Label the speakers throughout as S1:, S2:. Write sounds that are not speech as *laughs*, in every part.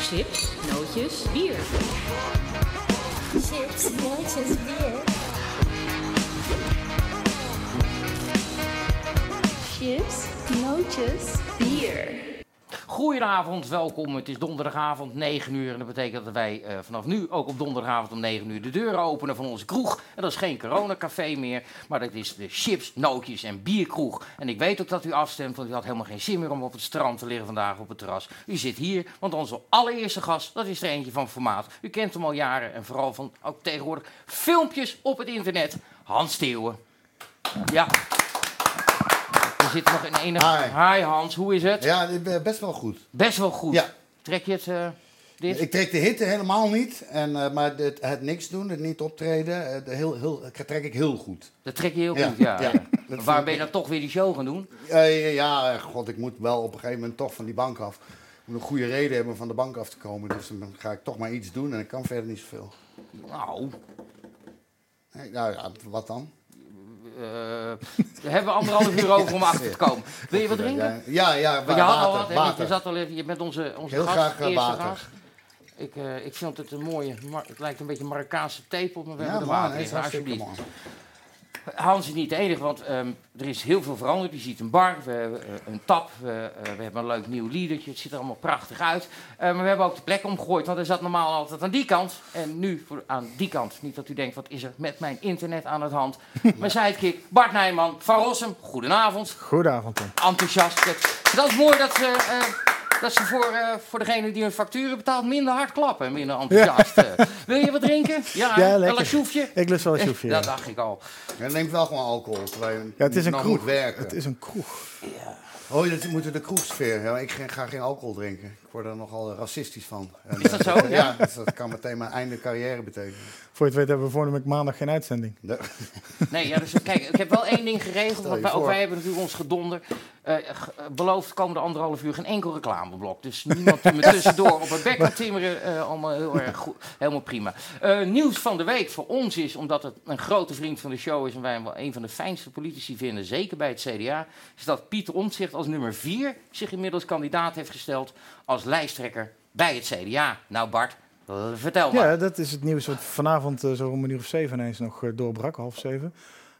S1: Chips, nootjes, bier.
S2: Chips, nootjes, bier. Chips, nootjes, bier.
S3: Goedenavond, welkom. Het is donderdagavond, 9 uur. En dat betekent dat wij eh, vanaf nu ook op donderdagavond om 9 uur de deuren openen van onze kroeg. En dat is geen coronacafé meer, maar dat is de chips, nootjes en bierkroeg. En ik weet ook dat u afstemt, want u had helemaal geen zin meer om op het strand te liggen vandaag op het terras. U zit hier, want onze allereerste gast, dat is er eentje van formaat. U kent hem al jaren en vooral van ook tegenwoordig filmpjes op het internet. Hans Steeuwen. Ja. We zitten nog in enige...
S4: Hi.
S3: Hi Hans, hoe is het?
S4: Ja, ik ben best wel goed.
S3: Best wel goed.
S4: Ja.
S3: Trek je het, eh, dit?
S4: Ik trek de hitte helemaal niet, en, eh, maar het, het niks doen, het niet optreden, eh, de heel, heel, dat trek ik heel goed.
S3: Dat trek je heel
S4: Ja,
S3: goed, ja.
S4: ja.
S3: Maar Waar ben je dan toch weer die show gaan doen?
S4: Eh, ja, eh, god, ik moet wel op een gegeven moment toch van die bank af. Ik moet een goede reden hebben om van de bank af te komen, dus dan ga ik toch maar iets doen en ik kan verder niet zoveel.
S3: Nou,
S4: Nee, nou ja, wat dan?
S3: eh, daar hebben we anderhalf uur over om achter te komen. Wil je wat drinken?
S4: Ja, ja, wa-
S3: Want je had al wat,
S4: water.
S3: hè? want Je,
S4: water.
S3: zat al even, je bent onze, onze
S4: Heel
S3: gast,
S4: graag, eh,
S3: eerste
S4: water.
S3: gast. Ik, eh, ik vind het een mooie, Mar- het lijkt een beetje Marokkaanse tepel, maar we
S4: Ja,
S3: hebben er
S4: man,
S3: water
S4: hij is
S3: in,
S4: hartstikke
S3: alsjeblieft.
S4: man.
S3: Hans is niet de enige, want ehm, er is heel veel veranderd. Je ziet een bar, we hebben eh, een tap, we, eh, we hebben een leuk nieuw liedertje. Het ziet er allemaal prachtig uit. Eh, maar we hebben ook de plek omgegooid, want er zat normaal altijd aan die kant. En nu voor, aan die kant. Niet dat u denkt, wat is er met mijn internet aan het
S5: *laughs*
S3: hand? Mijn sidekick, Bart Nijman van Rossum. Goedenavond.
S5: Goedenavond, Tom.
S3: Enthousiast. Dat, dat is mooi dat ze, eh, dat ze voor, eh, voor degene die hun facturen betaalt minder hard klappen. en Minder enthousiast. Eh, wil je wat
S5: *laughs*
S3: drinken? Ja,
S5: Ja,
S3: wel een
S5: lekker.
S3: soefje.
S5: Ik lust wel een soepje.
S3: Dat dacht ik al.
S4: En neemt wel gewoon alcohol, terwijl je
S5: Ja, het is een
S4: nog
S5: kroeg.
S4: moet werken.
S5: Het is een kroeg.
S4: Oh, dat moeten de kroegsfeer. Ja, ik ge- ga geen alcohol drinken. Ik word er nogal racistisch van. En,
S3: Is dat *laughs*
S4: eh,
S3: zo?
S4: ja, dus dat kan meteen mijn einde carrière betekenen.
S5: Voor je het weet hebben we voornamelijk maandag geen uitzending.
S4: De-
S3: Nee, ja, dus kijk, ik heb wel één ding geregeld.
S4: Stel
S3: Want
S4: je
S3: wij, ook
S4: voor.
S3: wij hebben natuurlijk ons gedonder. Eh, ge- eh, beloofd komende anderhalf uur geen enkel reclameblok. Dus niemand
S4: *laughs*
S3: die me tussendoor op het bek kan timmeren. eh, allemaal heel erg goed. Helemaal prima. Eh, nieuws van de week voor ons is, omdat het een grote vriend van de show is. En wij hem wel een van de fijnste politici vinden. Zeker bij het CDA. Is dat Pieter Omtzigt als nummer vier zich inmiddels kandidaat heeft gesteld. Als lijsttrekker bij het CDA. Nou Bart, eh, vertel maar.
S5: Ja, dat is het nieuws wat vanavond eh, zo om een uur of zeven ineens nog eh, doorbrak, half zeven.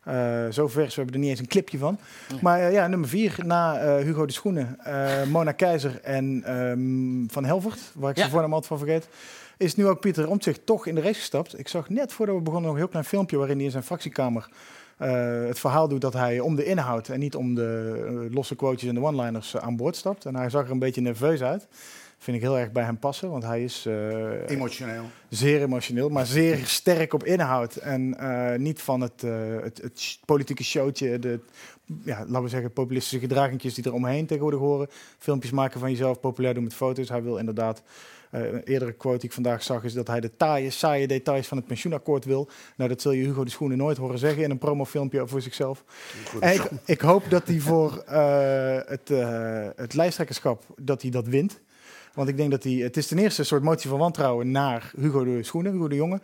S5: Eh zo vers, we hebben er niet eens een clipje van. Maar eh, ja, nummer vier na eh, Hugo de Schoenen, eh, Mona Keizer en ehm, Van Helvert, waar ik
S3: Ja.
S5: zijn voornaam altijd van vergeet, is nu ook Pieter Omtzigt toch in de race gestapt. Ik zag net voordat we begonnen nog een heel klein filmpje waarin hij in zijn fractiekamer eh, het verhaal doet dat hij om de inhoud en niet om de eh, losse quotejes en de one-liners eh, aan boord stapt. En hij zag er een beetje nerveus uit. Vind ik heel erg bij hem passen, want hij is... eh,
S4: Emotioneel.
S5: zeer emotioneel, maar zeer sterk op inhoud. En eh, niet van het, eh, het, het sh- politieke showtje, de, ja, laten we zeggen, populistische gedragingjes die er omheen tegenwoordig horen. Filmpjes maken van jezelf, populair doen met foto's. Hij wil inderdaad, eh, een eerdere quote die ik vandaag zag, is dat hij de taaie, saaie details van het pensioenakkoord wil. Nou, dat zul je Hugo de Schoenen nooit horen zeggen in een promofilmpje voor zichzelf.
S4: Goed.
S5: En ik, ik hoop dat hij voor eh, het, eh, het lijsttrekkerschap dat hij dat wint. Want ik denk dat hij, het is ten eerste een soort motie van wantrouwen naar Hugo de Schoenen, Hugo de Jonge.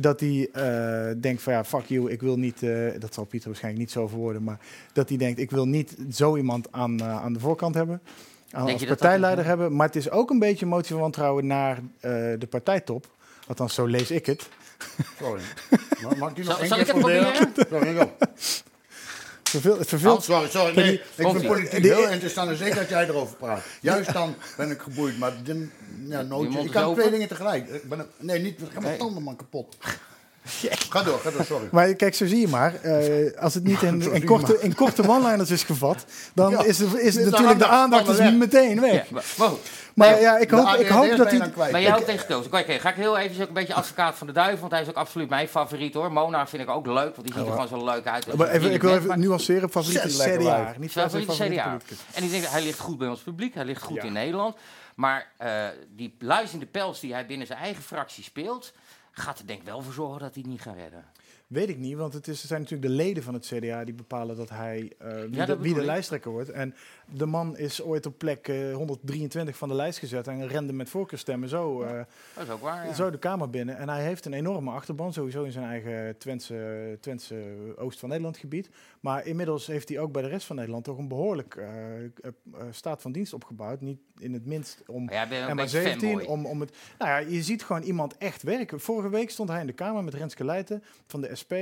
S5: Dat hij eh, denkt van ja, fuck you, ik wil niet, eh, dat zal Pieter waarschijnlijk niet zo verwoorden, maar dat hij denkt ik wil niet zo iemand aan, eh, aan de voorkant hebben. Aan,
S3: je
S5: als
S3: dat dat
S5: partijleider
S3: is,
S5: hebben. Maar het is ook een beetje een motie van wantrouwen naar eh, de partijtop. Althans, zo lees ik het.
S4: Sorry. Ma- Mag ik die nog
S3: Zal,
S4: één
S3: zal ik
S4: keer
S3: het proberen?
S4: Sorry, joh.
S5: Het verveelt, het
S4: Hans,
S5: verveelt
S4: sorry, sorry. Nee, ik
S3: Komt-ie.
S4: ben politiek
S5: Die-
S4: heel interessant en zeker dat jij erover praat. Juist dan ben ik geboeid, maar dan, ja,
S3: Je
S4: nooit.
S3: mond
S4: Ik
S3: is
S4: kan
S3: open.
S4: twee dingen tegelijk. Ik ben, een- nee, niet, ik ga mijn
S3: Nee.
S4: tanden man kapot. Ga door, ga door, sorry.
S5: Maar kijk, zo zie je maar. *laughs* eh, als het niet in, in korte, in korte one-liners is gevat, dan
S4: Ja.
S5: is, de, is
S4: Dan
S5: natuurlijk de aandacht
S4: van
S5: is
S4: de weg.
S5: meteen
S3: Ja,
S5: weg.
S3: maar, wow.
S5: Maar ja, ik
S4: De
S5: hoop, ik hoop
S4: ADHD
S5: dat
S4: ben je
S5: hij...
S4: dan kwijt.
S3: Ben jij ook tegen gekozen? Oké, ga ik heel even is ook een beetje advocaat van de duivel, want hij is ook absoluut mijn favoriet hoor. Mona vind ik ook leuk, want die ziet er gewoon zo leuk uit.
S5: Maar even, ik wil even
S3: nu
S5: nuanceren. Favoriete
S4: Zet lekker
S5: CDA.
S4: uit.
S5: Niet
S3: favoriete
S5: favoriete
S3: CDA.
S5: politicus.
S3: En ik denk, dat hij ligt goed bij ons publiek, hij ligt goed
S5: Ja.
S3: in Nederland. Maar eh, die luisterende pels die hij binnen zijn eigen fractie speelt, gaat er denk ik wel voor zorgen dat hij het niet gaat redden.
S5: Weet ik niet, want het, is, het zijn natuurlijk de leden van het CDA die bepalen dat hij eh, wie,
S3: dat
S5: de, wie
S3: bedoel
S5: de
S3: ik.
S5: lijsttrekker wordt. En de man is ooit op plek eh, 123 van de lijst gezet en rende met voorkeurstemmen zo, eh,
S3: Dat is ook waar. ja.
S5: zo de Kamer binnen. En hij heeft een enorme achterban, sowieso in zijn eigen Twentse, Twentse Oost van Nederland gebied. Maar inmiddels heeft hij ook bij de rest van Nederland toch een behoorlijk eh, eh, eh, staat van dienst opgebouwd. Niet in het minst om
S3: Maar jij bent
S5: en
S3: een
S5: maar
S3: beetje
S5: 17,
S3: fanboy.
S5: om, om het... Nou ja, je ziet gewoon iemand echt werken. Vorige week stond hij in de Kamer met Renske Leijten van de SP.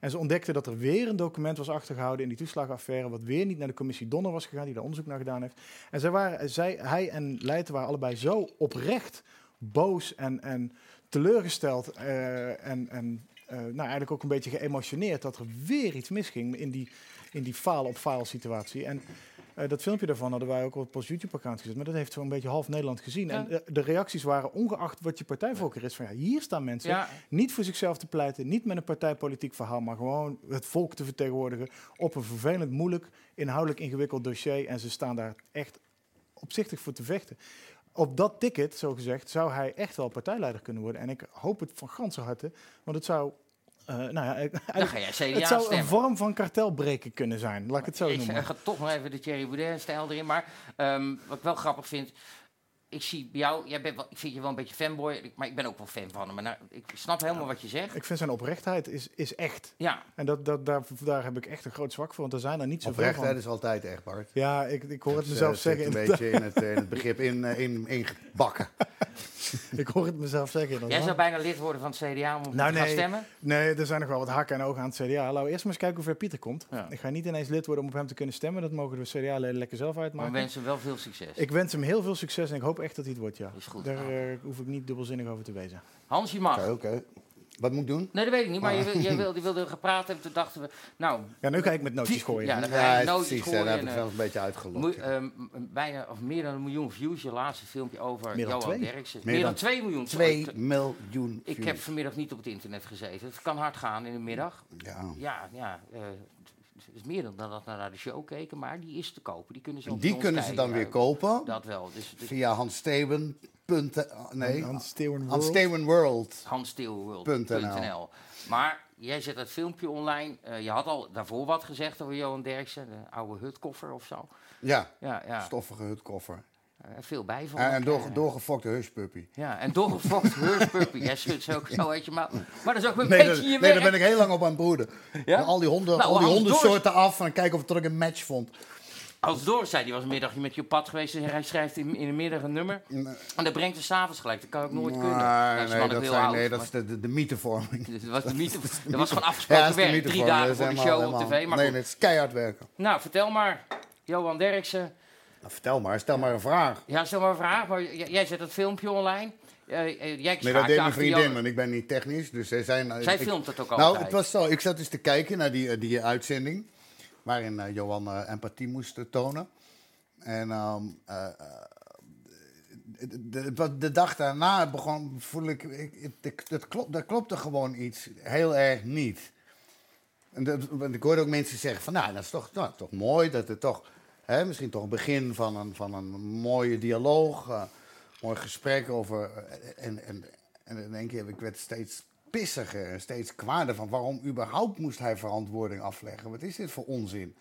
S5: En ze ontdekten dat er weer een document was achtergehouden in die toeslagaffaire... wat weer niet naar de commissie Donner was gegaan, die daar onderzoek naar gedaan heeft. En zij waren, zij, hij en Leijten waren allebei zo oprecht boos en, en teleurgesteld... eh, en, en eh, nou, eigenlijk ook een beetje geëmotioneerd dat er weer iets misging in die, in die faal op faal situatie. En eh, dat filmpje daarvan hadden wij ook op ons YouTube-account gezet. Maar dat heeft zo'n beetje half Nederland gezien.
S3: Ja.
S5: En eh, de reacties waren, ongeacht wat je partijvoorkeur is, van ja, hier staan mensen
S3: Ja,
S5: niet voor zichzelf te pleiten, niet met een partijpolitiek verhaal, maar gewoon het volk te vertegenwoordigen op een vervelend, moeilijk, inhoudelijk ingewikkeld dossier. En ze staan daar echt opzichtig voor te vechten. Op dat ticket, zo gezegd, zou hij echt wel partijleider kunnen worden. En ik hoop het van ganse harte, want het zou. eh, nou ja,
S3: dan
S5: eigenlijk-
S3: ga jij CDA
S5: het
S3: stemmen.
S5: zou een vorm van kartelbreken kunnen zijn, laat ik het zo
S3: ik
S5: noemen.
S3: eh, ga toch nog even de Thierry Baudet-stijl erin. Maar ehm, wat ik wel grappig vind... Ik zie bij jou... Jij bent wel, ik vind je wel een beetje fanboy. ik- Maar ik ben ook wel fan van hem. Maar nou, ik snap helemaal wat je zegt.
S5: Ik vind zijn oprechtheid is, is echt.
S3: Ja,
S5: En dat, dat, daar, daar heb ik echt een groot zwak voor, want er zijn er niet zoveel
S4: Oprechtheid
S5: van.
S4: is altijd echt, Bart.
S5: Ja, ik, ik hoor het
S4: Dus,
S5: mezelf
S4: eh,
S5: zeggen.
S4: zit een
S5: inderdaad.
S4: beetje in het, eh, in het begrip in, eh, in, ingebakken.
S5: *laughs* Ik hoor het mezelf zeggen.
S3: jij
S5: inderdaad.
S3: zou bijna lid worden van het CDA om op
S5: Nou,
S3: te gaan
S5: nee.
S3: stemmen.
S5: Nee, er zijn nog wel wat hakken en ogen aan het CDA. Laten we eerst maar eens kijken hoe ver Pieter komt.
S3: Ja.
S5: Ik ga niet ineens lid worden om op hem te kunnen stemmen. Dat mogen de CDA-leden lekker zelf
S3: Maar
S5: uitmaken.
S3: we wensen hem wel veel succes.
S5: Ik wens hem heel veel succes en ik hoop echt dat hij het wordt, ja.
S3: Is goed. Nou.
S5: Daar eh, hoef ik niet dubbelzinnig over te wezen.
S3: Hans, je mag.
S4: Oké, oké. Wat moet ik doen?
S3: Nee, dat weet ik niet. Maar je, wil- je wilde, je wilde gepraat hebben. Toen dachten we... Nou,
S5: Ja, nu ga ik met nootjes gooien.
S3: Ja, dan ga je
S4: Ja,
S3: nootjes
S4: precies.
S3: gooien
S4: Daar heb
S3: en,
S4: ik
S3: eh,
S4: zelf een beetje uitgelokt.
S3: Moe- ehm, m- bijna, of meer dan een miljoen views, je laatste filmpje over
S5: Meer dan
S3: Johan
S5: twee.
S3: Derksen.
S4: Meer
S3: Meer, dan
S4: dan
S3: 2 miljoen. sorry.
S4: 2 miljoen
S3: Ik
S4: views.
S3: heb vanmiddag niet op het internet gezeten. Het kan hard gaan in de middag.
S4: Ja.
S3: Ja, ja. eh, het is meer dan dat we naar de show keken, maar die is te kopen. Die kunnen ze, op
S4: Die
S3: ons
S4: kunnen ze
S3: kijken.
S4: dan weer kopen
S3: Dat wel. Dus het is
S4: via Hans Steven. eh, Nee,
S5: Hans
S4: Hans
S5: Steeuwen World.
S4: Steven World.
S3: hanssteelworld.nl. Maar jij zet dat filmpje online. Eh, je had al daarvoor wat gezegd over Johan Derksen, de oude hutkoffer of zo.
S4: Ja,
S3: Ja, ja.
S4: stoffige hutkoffer.
S3: Eh, veel bij van.
S4: En, en door, doorgefokte hushpuppy.
S3: Ja, en *laughs* doorgevocht hurspuppy. Jij schudt ze ook zo uit je mouw. Maar dat is ook een
S4: Nee, dat-
S3: beetje je
S4: nee,
S3: werk.
S4: daar ben ik heel lang op aan het broeden.
S3: Ja?
S4: Al die honden,
S3: Nou,
S4: al die
S3: Hans
S4: hondensoorten af en kijken of ik er ook een match vond.
S3: Als Doris zei, die was een middagje met je op pad geweest en hij schrijft in, in de middag een nummer. En dat brengt er s'avonds gelijk. Dat kan ook nooit kunnen.
S4: Maar
S3: Dat is
S4: nee,
S3: wel
S4: dat,
S3: heel
S4: zijn,
S3: oud,
S4: nee, dat
S3: maar-
S4: is de, de, de mythevorming.
S3: dat Dus was, de mythe,
S4: *laughs*
S3: dat was gewoon
S4: Ja,
S3: afgesproken
S4: dat is de
S3: werk. Drie
S4: mythevorming.
S3: dagen
S4: Dat
S3: voor
S4: is
S3: de show
S4: helemaal-
S3: op
S4: helemaal-
S3: tv. Maar
S4: Nee,
S3: goed.
S4: nee, het is keihard werken.
S3: Nou, vertel maar. Johan Derksen.
S4: Nou, vertel maar, stel maar een vraag.
S3: Ja, stel maar een vraag. Maar j- jij zet dat filmpje online. Eh, eh, jij
S4: Nee,
S3: schaakte
S4: dat deed mijn
S3: achter
S4: vriendin,
S3: Johan.
S4: want ik ben niet technisch. Dus zij zijn, eh,
S3: Zij
S4: ik-
S3: filmt het ook
S4: Nou,
S3: altijd.
S4: het was zo. Ik zat eens te kijken naar die, eh, die eh, uitzending. Waarin eh, Johan eh, empathie moest eh, tonen. En ehm, eh, eh, de, de- wat de dag daarna begon, voel ik, ik, ik- ik- dat, klopt, dat klopte gewoon iets heel erg niet. En dat, want ik hoorde ook mensen zeggen van, nou, dat is toch, nou, toch mooi dat het toch, hè, misschien toch een begin van een, van een mooie dialoog, eh, mooi gesprek over, eh, en, en, en in één keer, ik werd steeds pissiger en steeds kwaarder van, waarom überhaupt moest hij verantwoording afleggen? Wat is dit voor onzin?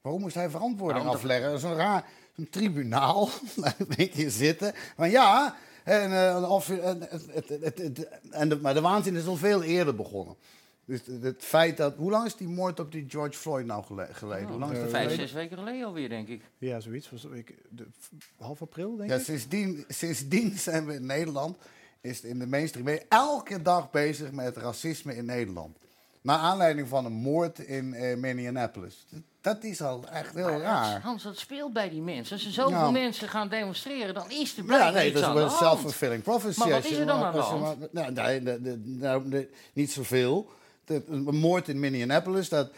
S4: Waarom moest hij verantwoording
S3: Waarom dat-
S4: afleggen? Dat is een raar een tribunaal. *laughs* Daar denk je zitten. Maar ja, en, eh, of, en, het- het- het- het- en de, maar de waanzin is al veel eerder begonnen. Dus het- het feit dat. Hoe lang is die moord op die George Floyd nou gele- geleden? Hoe lang is dat
S3: Eh, Vijf,
S4: geleden?
S3: zes weken geleden alweer, denk ik.
S5: Ja, zoiets. Was, ik, de, half april, denk
S4: Ja,
S5: ik?
S4: sindsdien, sindsdien *laughs* zijn we in Nederland, is het in de mainstream media elke dag bezig met racisme in Nederland. Naar aanleiding van een moord in eh, Minneapolis. Dat is al echt heel raar.
S3: Hans, dat speelt bij die mensen. Als er zoveel
S4: Ja.
S3: mensen gaan demonstreren, dan is er
S4: Nou. Ja,
S3: blijkbaar
S4: nee,
S3: iets
S4: dat is
S3: aan de
S4: wel een
S3: hand.
S4: self-fulfilling prophecy.
S3: Maar wat
S4: Als
S3: is
S4: je
S3: er dan aan de
S4: als je
S3: hand?
S4: maar- Nou, nee, de- de- nou, de- niet zoveel. De, een moord in Minneapolis, dat,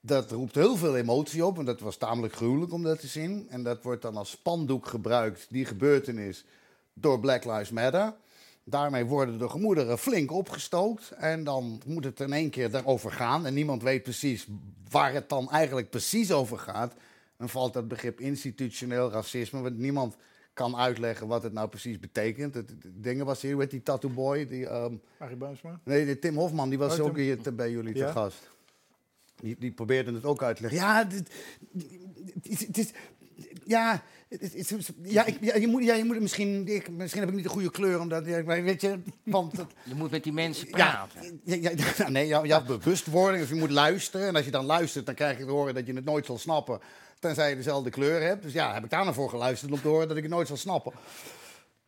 S4: dat roept heel veel emotie op. En dat was tamelijk gruwelijk om dat te zien. En dat wordt dan als spandoek gebruikt, die gebeurtenis, door Black Lives Matter. Daarmee worden de gemoederen flink opgestookt. En dan moet het in één keer daarover gaan. En niemand weet precies waar het dan eigenlijk precies over gaat. Dan valt dat begrip institutioneel racisme, want niemand kan uitleggen wat het nou precies betekent. Het, het- dingen was hier, hoe heet die tattoo boy? Die, ehm,
S5: Arie Boomsma?
S4: nee, die Tim Hofman, die was
S5: Oh,
S4: ook
S5: Tim.
S4: hier te- bij jullie
S5: Ja.
S4: te gast. Die, die probeerde het ook uit te leggen. Ja, dit, het is- het is... Ja, het is- het is- ja, ik, ja, je moet, ja, je moet het misschien... Ik, misschien heb ik niet de goede kleur, omdat... Ja, maar weet je, want... dat-
S3: Je moet met die mensen
S4: ja,
S3: praten.
S4: ja, ja, *laughs* ja, nee, je, je had bewustwording of je moet luisteren. En als je dan luistert, dan krijg je te horen dat je het nooit zal snappen. Tenzij je dezelfde kleur hebt. Dus ja, heb ik daar nou voor geluisterd om te horen dat ik het nooit zal snappen.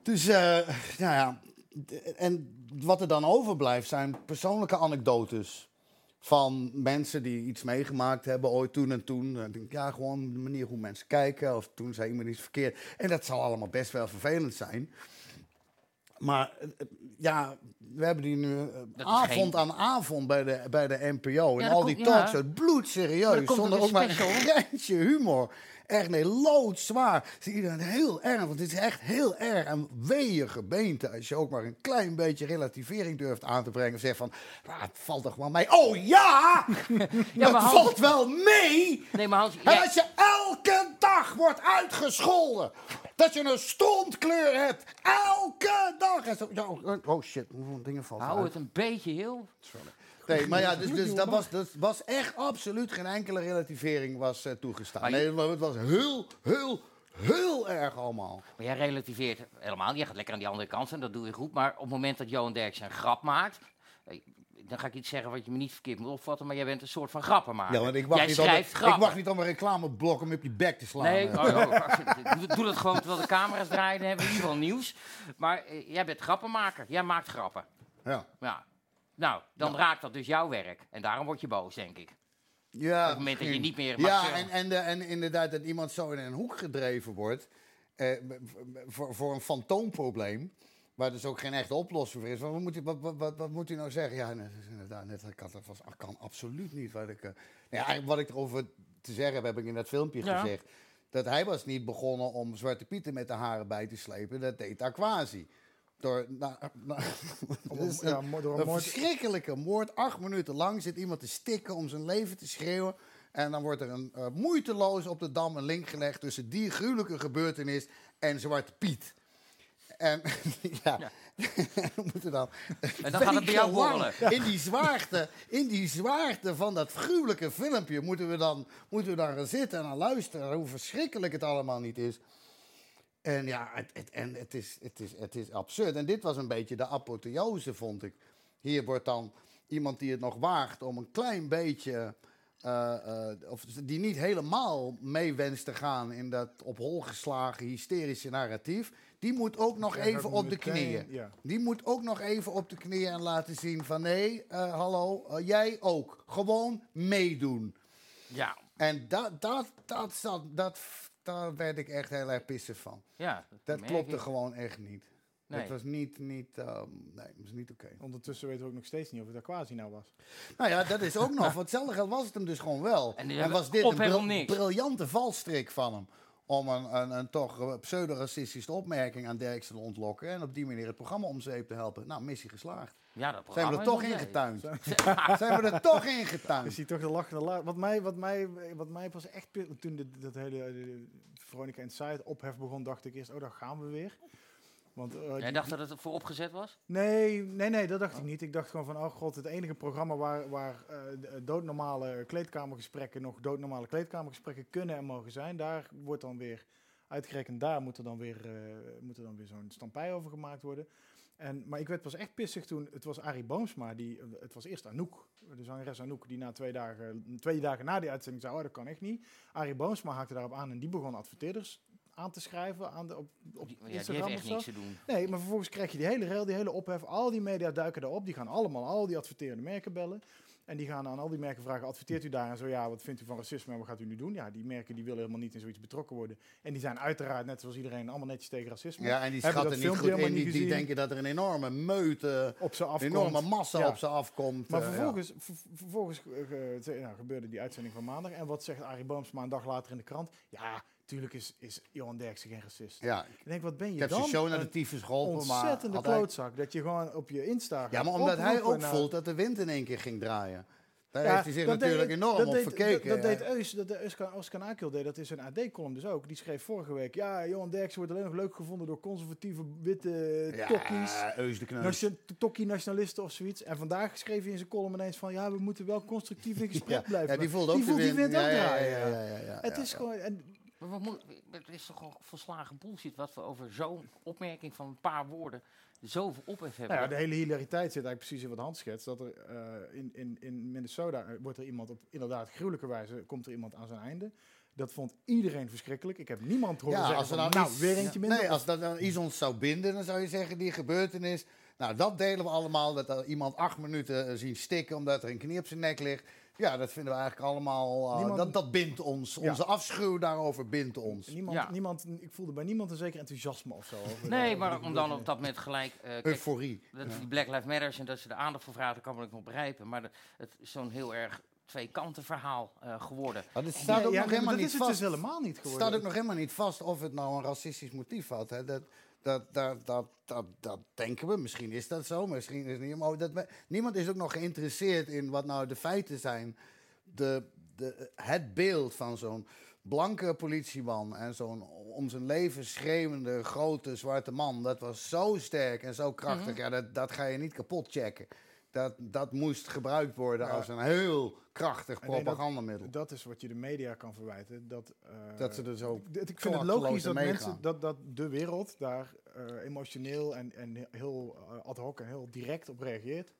S4: Dus, eh nou ja. d- En wat er dan overblijft zijn persoonlijke anekdotes. Van mensen die iets meegemaakt hebben ooit toen en toen. Dan denk ik, ja, gewoon de manier hoe mensen kijken. Of toen zei iemand iets verkeerd. En dat zal allemaal best wel vervelend zijn. Maar eh, eh, ja, we hebben die nu eh,
S3: is
S4: avond
S3: geen-
S4: aan avond bij de, bij de NPO.
S3: Ja,
S4: en
S3: dat
S4: al die
S3: komt- ja.
S4: talks uit bloed
S3: Maar
S4: serieus.
S3: dat komt
S4: Zonder
S3: door
S4: ook
S3: de
S4: maar een
S3: special.
S4: greintje humor. Echt, nee, loodzwaar. Zie iedereen heel erg, want het is echt heel erg. En wee je gebeente als je ook maar een klein beetje relativering durft aan te brengen. Of zegt van, "Ah, het valt toch wel mee. Oh
S3: *laughs*
S4: ja!
S3: Ja, maar
S4: het
S3: Hans-
S4: valt wel mee!
S3: Nee, maar Hans,
S4: En
S3: jij-
S4: als je elke dag wordt uitgescholden. Dat je een stontkleur hebt. Elke dag. En zo- ja, oh, oh shit, hoeveel dingen vallen
S3: hou
S4: uit?
S3: het een beetje heel...
S4: Nee, maar ja, dus, dus dat, was, dat was echt absoluut geen enkele relativering was eh,
S3: Maar
S4: toegestaan.
S3: je-
S4: Nee, maar het was heel, heel, heel erg allemaal.
S3: Maar jij relativeert helemaal niet. Jij gaat lekker aan die andere kant en dat doe je goed. Maar op het moment dat Johan Derksen een grap maakt... eh, Dan ga ik iets zeggen wat je me niet verkeerd moet opvatten, maar jij bent een soort van grappenmaker.
S4: Ja, want ik mag,
S3: Ah, jij
S4: niet om,
S3: schrijft
S4: ik
S3: grappen.
S4: mag niet om een reclameblok om je op je bek te slaan.
S3: Nee,
S4: eh.
S3: oh, oh, doe- doe dat gewoon terwijl de camera's draaien, dan hebben we in ieder geval nieuws. Maar eh, jij bent grappenmaker, jij maakt grappen.
S4: Ja,
S3: Ja. Nou, dan raakt dat dus jouw werk. En daarom word je boos, denk ik.
S4: ja, op
S3: het moment dat je niet meer mag
S4: Ja,
S3: zeggen.
S4: en, en, de- en inderdaad dat iemand zo in een hoek gedreven wordt eh, b- b- voor, voor een fantoomprobleem. Waar dus ook geen echte oplossing voor is. Want Wat moet, hij- wat, wat, wat, wat moet hij nou zeggen? Ja, net, is inderdaad, net, ik had dat was, ik kan absoluut niet. Wat ik, eh, nou ja, eigenlijk wat ik erover te zeggen heb, heb ik in dat filmpje
S3: Ja.
S4: gezegd. Dat hij was niet begonnen om Zwarte Pieten met de haren bij te slepen. Dat deed Aquasi. Door, na, na- *laughs*
S5: Om-
S4: dat is
S5: ja,
S4: een-
S5: mo- door een
S4: een
S5: moord-
S4: verschrikkelijke moord. Acht minuten lang zit iemand te stikken om zijn leven te schreeuwen. En dan wordt er een, eh, moeiteloos op de dam een link gelegd tussen die gruwelijke gebeurtenis en Zwarte Piet. En *laughs* ja, we moeten dan.
S3: En dan gaat het bij jou
S4: wekenlang
S3: borrelen.
S4: In die, zwaarte, in die zwaarte van dat gruwelijke filmpje moeten we dan, moeten we dan gaan zitten en dan luisteren hoe verschrikkelijk het allemaal niet is. En ja, het, het- en het, is, het, is, het is absurd. En dit was een beetje de apotheose, vond ik. Hier wordt dan iemand die het nog waagt om een klein beetje. eh, eh, of die niet helemaal mee wenst te gaan in dat op hol geslagen hysterische narratief. Die moet ook nog
S5: Ja,
S4: even
S5: dat
S4: op de
S5: meteen,
S4: knieën.
S5: ja.
S4: Die moet ook nog even op de knieën en laten zien: van nee, eh, hallo, eh, jij ook. Gewoon meedoen.
S3: Ja.
S4: En dat, dat, dat, zat- dat, daar werd ik echt heel erg pissig van.
S3: Ja.
S4: Dat
S3: merk
S4: klopte
S3: ik.
S4: gewoon echt niet.
S3: Nee.
S4: Dat was niet, niet, ehm, nee, dat was niet oké.
S5: Ondertussen weten we ook nog steeds niet of het Aquasi nou was.
S4: Nou ja, dat is ook nog. Want hetzelfde geld was het hem dus gewoon wel.
S3: En
S4: En,
S3: die hebben
S4: was dit
S3: op
S4: een
S3: helemaal
S4: bril-
S3: niks.
S4: briljante valstrik van hem. Om een, een, een toch eh, pseudo-racistische opmerking aan Derksen te ontlokken. En op die manier het programma om zeep te helpen. Nou, missie geslaagd.
S3: Ja, dat
S4: Zijn we er
S3: programma
S4: toch
S3: is nog
S4: ingetuind?
S3: steeds.
S4: *laughs*
S3: Ja,
S4: Zijn we er toch
S5: Is
S4: ingetuind?
S5: hij Dus toch de lachende la- Wat mij, wat mij, wat mij pas echt... pi- Toen de, dat hele eh, Veronica Inside ophef begon, dacht ik eerst... Oh, daar gaan we weer. Want, eh,
S3: Jij dacht dat het voor opgezet was?
S5: Nee, nee, nee, dat dacht ik niet. Ik dacht gewoon van, oh god, het enige programma waar, waar eh, d- doodnormale kleedkamergesprekken nog doodnormale kleedkamergesprekken kunnen en mogen zijn, daar wordt dan weer, uitgerekend daar moet er dan weer, eh, moet er dan weer zo'n stampij over gemaakt worden. En, maar ik werd pas echt pissig toen, het was Arie Boomsma, die, eh, het was eerst Anouk, de zangeres Anouk, die na twee dagen, twee dagen na die uitzending zei, oh dat kan echt niet. Arie Boomsma haakte daarop aan en die begon adverteerders aan te schrijven aan de, op, op
S3: Die, ja, die heeft
S5: Instagram of
S3: echt
S5: zo.
S3: niks te doen.
S5: Nee, maar vervolgens krijg je die hele rel, die hele ophef. Al die media duiken daarop. Die gaan allemaal al die adverterende merken bellen. En die gaan aan al die merken vragen, adverteert u daar? En zo, ja, wat vindt u van racisme en wat gaat u nu doen? Ja, die merken die willen helemaal niet in zoiets betrokken worden. En die zijn uiteraard, net zoals iedereen, allemaal netjes tegen racisme.
S4: Ja, en die
S5: Hebben dat
S4: schatten niet
S5: filmpje
S4: goed
S5: helemaal
S4: in. Die,
S5: niet
S4: die
S5: gezien.
S4: denken dat er een enorme meute,
S5: Op ze
S4: een
S5: afkomt.
S4: enorme massa
S5: Ja.
S4: op ze afkomt.
S5: Maar
S4: eh, ja.
S5: vervolgens, ver- vervolgens eh, ge- ze- nou, gebeurde die uitzending van maandag. En wat zegt Arie Boomsma een dag later in de krant? Ja, tuurlijk is, is Johan Derksen geen racist.
S4: Ja,
S5: Ik denk, wat ben je
S4: ik heb
S5: dan?
S4: zijn show naar
S5: een
S4: de tyfus geholpen, maar...
S5: ontzettende
S4: had hij-
S5: klootzak. Dat je gewoon op je Insta
S4: Ja,
S5: gaat
S4: maar omdat hij
S5: oproepen
S4: ook
S5: naar-
S4: voelt dat de wind in één keer ging draaien. Daar
S5: Ja,
S4: heeft hij zich
S5: dat deed-
S4: natuurlijk enorm
S5: dat
S4: op
S5: deed-
S4: verkeken.
S5: Dat,
S4: hè.
S5: dat deed Eus, dat de Euskan, Oskan Akil deed dat in zijn AD-column dus ook. Die schreef vorige week, ja, Johan Derksen wordt alleen nog leuk gevonden door conservatieve witte tokkies.
S4: ja, Eus de Kneus.
S5: Nation- Tokkie-nationalisten of zoiets. En vandaag schreef hij in zijn column ineens van... ja, we moeten wel constructief
S4: *laughs*
S5: in gesprek
S4: Ja,
S5: blijven.
S4: ja, die voelde ook
S5: die
S4: de
S5: voelt die
S4: wind.
S5: wind ook
S4: Ja, ja,
S5: draaien.
S4: ja, ja, ja, ja,
S5: Het
S4: ja,
S5: is gewoon... En,
S3: Maar we moeten- het is toch gewoon volslagen bullshit wat we over zo'n opmerking van een paar woorden zoveel ophef hebben.
S5: nou ja, de hele hilariteit zit eigenlijk precies in wat Hans schetst. Dat er eh, in, in, in Minnesota eh, wordt er iemand op inderdaad gruwelijke wijze... komt er iemand aan zijn einde. Dat vond iedereen verschrikkelijk. Ik heb niemand horen
S4: Ja,
S5: zeggen
S4: als er
S5: van,
S4: nou,
S5: nou,
S4: iets-
S5: weer eentje minder.
S4: Nee,
S5: Of-
S4: als dat nou iets ons zou binden, dan zou je zeggen, die gebeurtenis... Nou, dat delen we allemaal, dat er iemand acht minuten eh, zien stikken omdat er een knie op zijn nek ligt. Ja, dat vinden we eigenlijk allemaal... eh,
S5: Niemand-
S4: dat, dat bindt ons.
S5: Ja.
S4: Onze afschuw daarover bindt ons.
S5: Niemand,
S3: Ja.
S5: niemand, ik voelde bij niemand een zeker enthousiasme of zo. over-
S3: Nee,
S5: over
S3: maar
S5: die
S3: om dan op
S5: gebeurtenis.
S3: dat moment gelijk... eh, kijk,
S4: Euforie.
S3: dat die Black Lives Matters en dat ze de aandacht voor vragen, dat kan ik nog begrijpen. Maar dat- het is zo'n heel erg twee kanten verhaal eh, geworden.
S4: Maar het staat ook nog
S5: Ja, nee, maar
S4: helemaal
S5: dat
S4: niet
S5: is het
S4: vast.
S5: dus helemaal niet
S4: Het
S5: geworden.
S4: staat ook nog helemaal niet vast of het nou een racistisch motief had. Hè? Dat, dat, dat, dat, dat, dat denken we. Misschien is dat zo, misschien is het niet. Maar dat, we- niemand is ook nog geïnteresseerd in wat nou de feiten zijn. De, de, het beeld van zo'n blanke politieman en zo'n om zijn leven schreeuwende grote zwarte man. Dat was zo sterk en zo krachtig.
S5: Mhm.
S4: Ja, dat, dat ga je niet kapot checken. Dat, dat moest gebruikt worden als een heel krachtig
S5: Ik denk dat-
S4: propagandamiddel.
S5: Dat, is wat je de media kan verwijten. Dat, eh,
S4: Dat ze er zo
S5: d- Ik vind het
S4: klakkeloos
S5: logisch dat,
S4: mee
S5: mensen,
S4: gaan.
S5: dat, dat de wereld daar eh, emotioneel en, en heel eh, ad hoc en heel direct op reageert.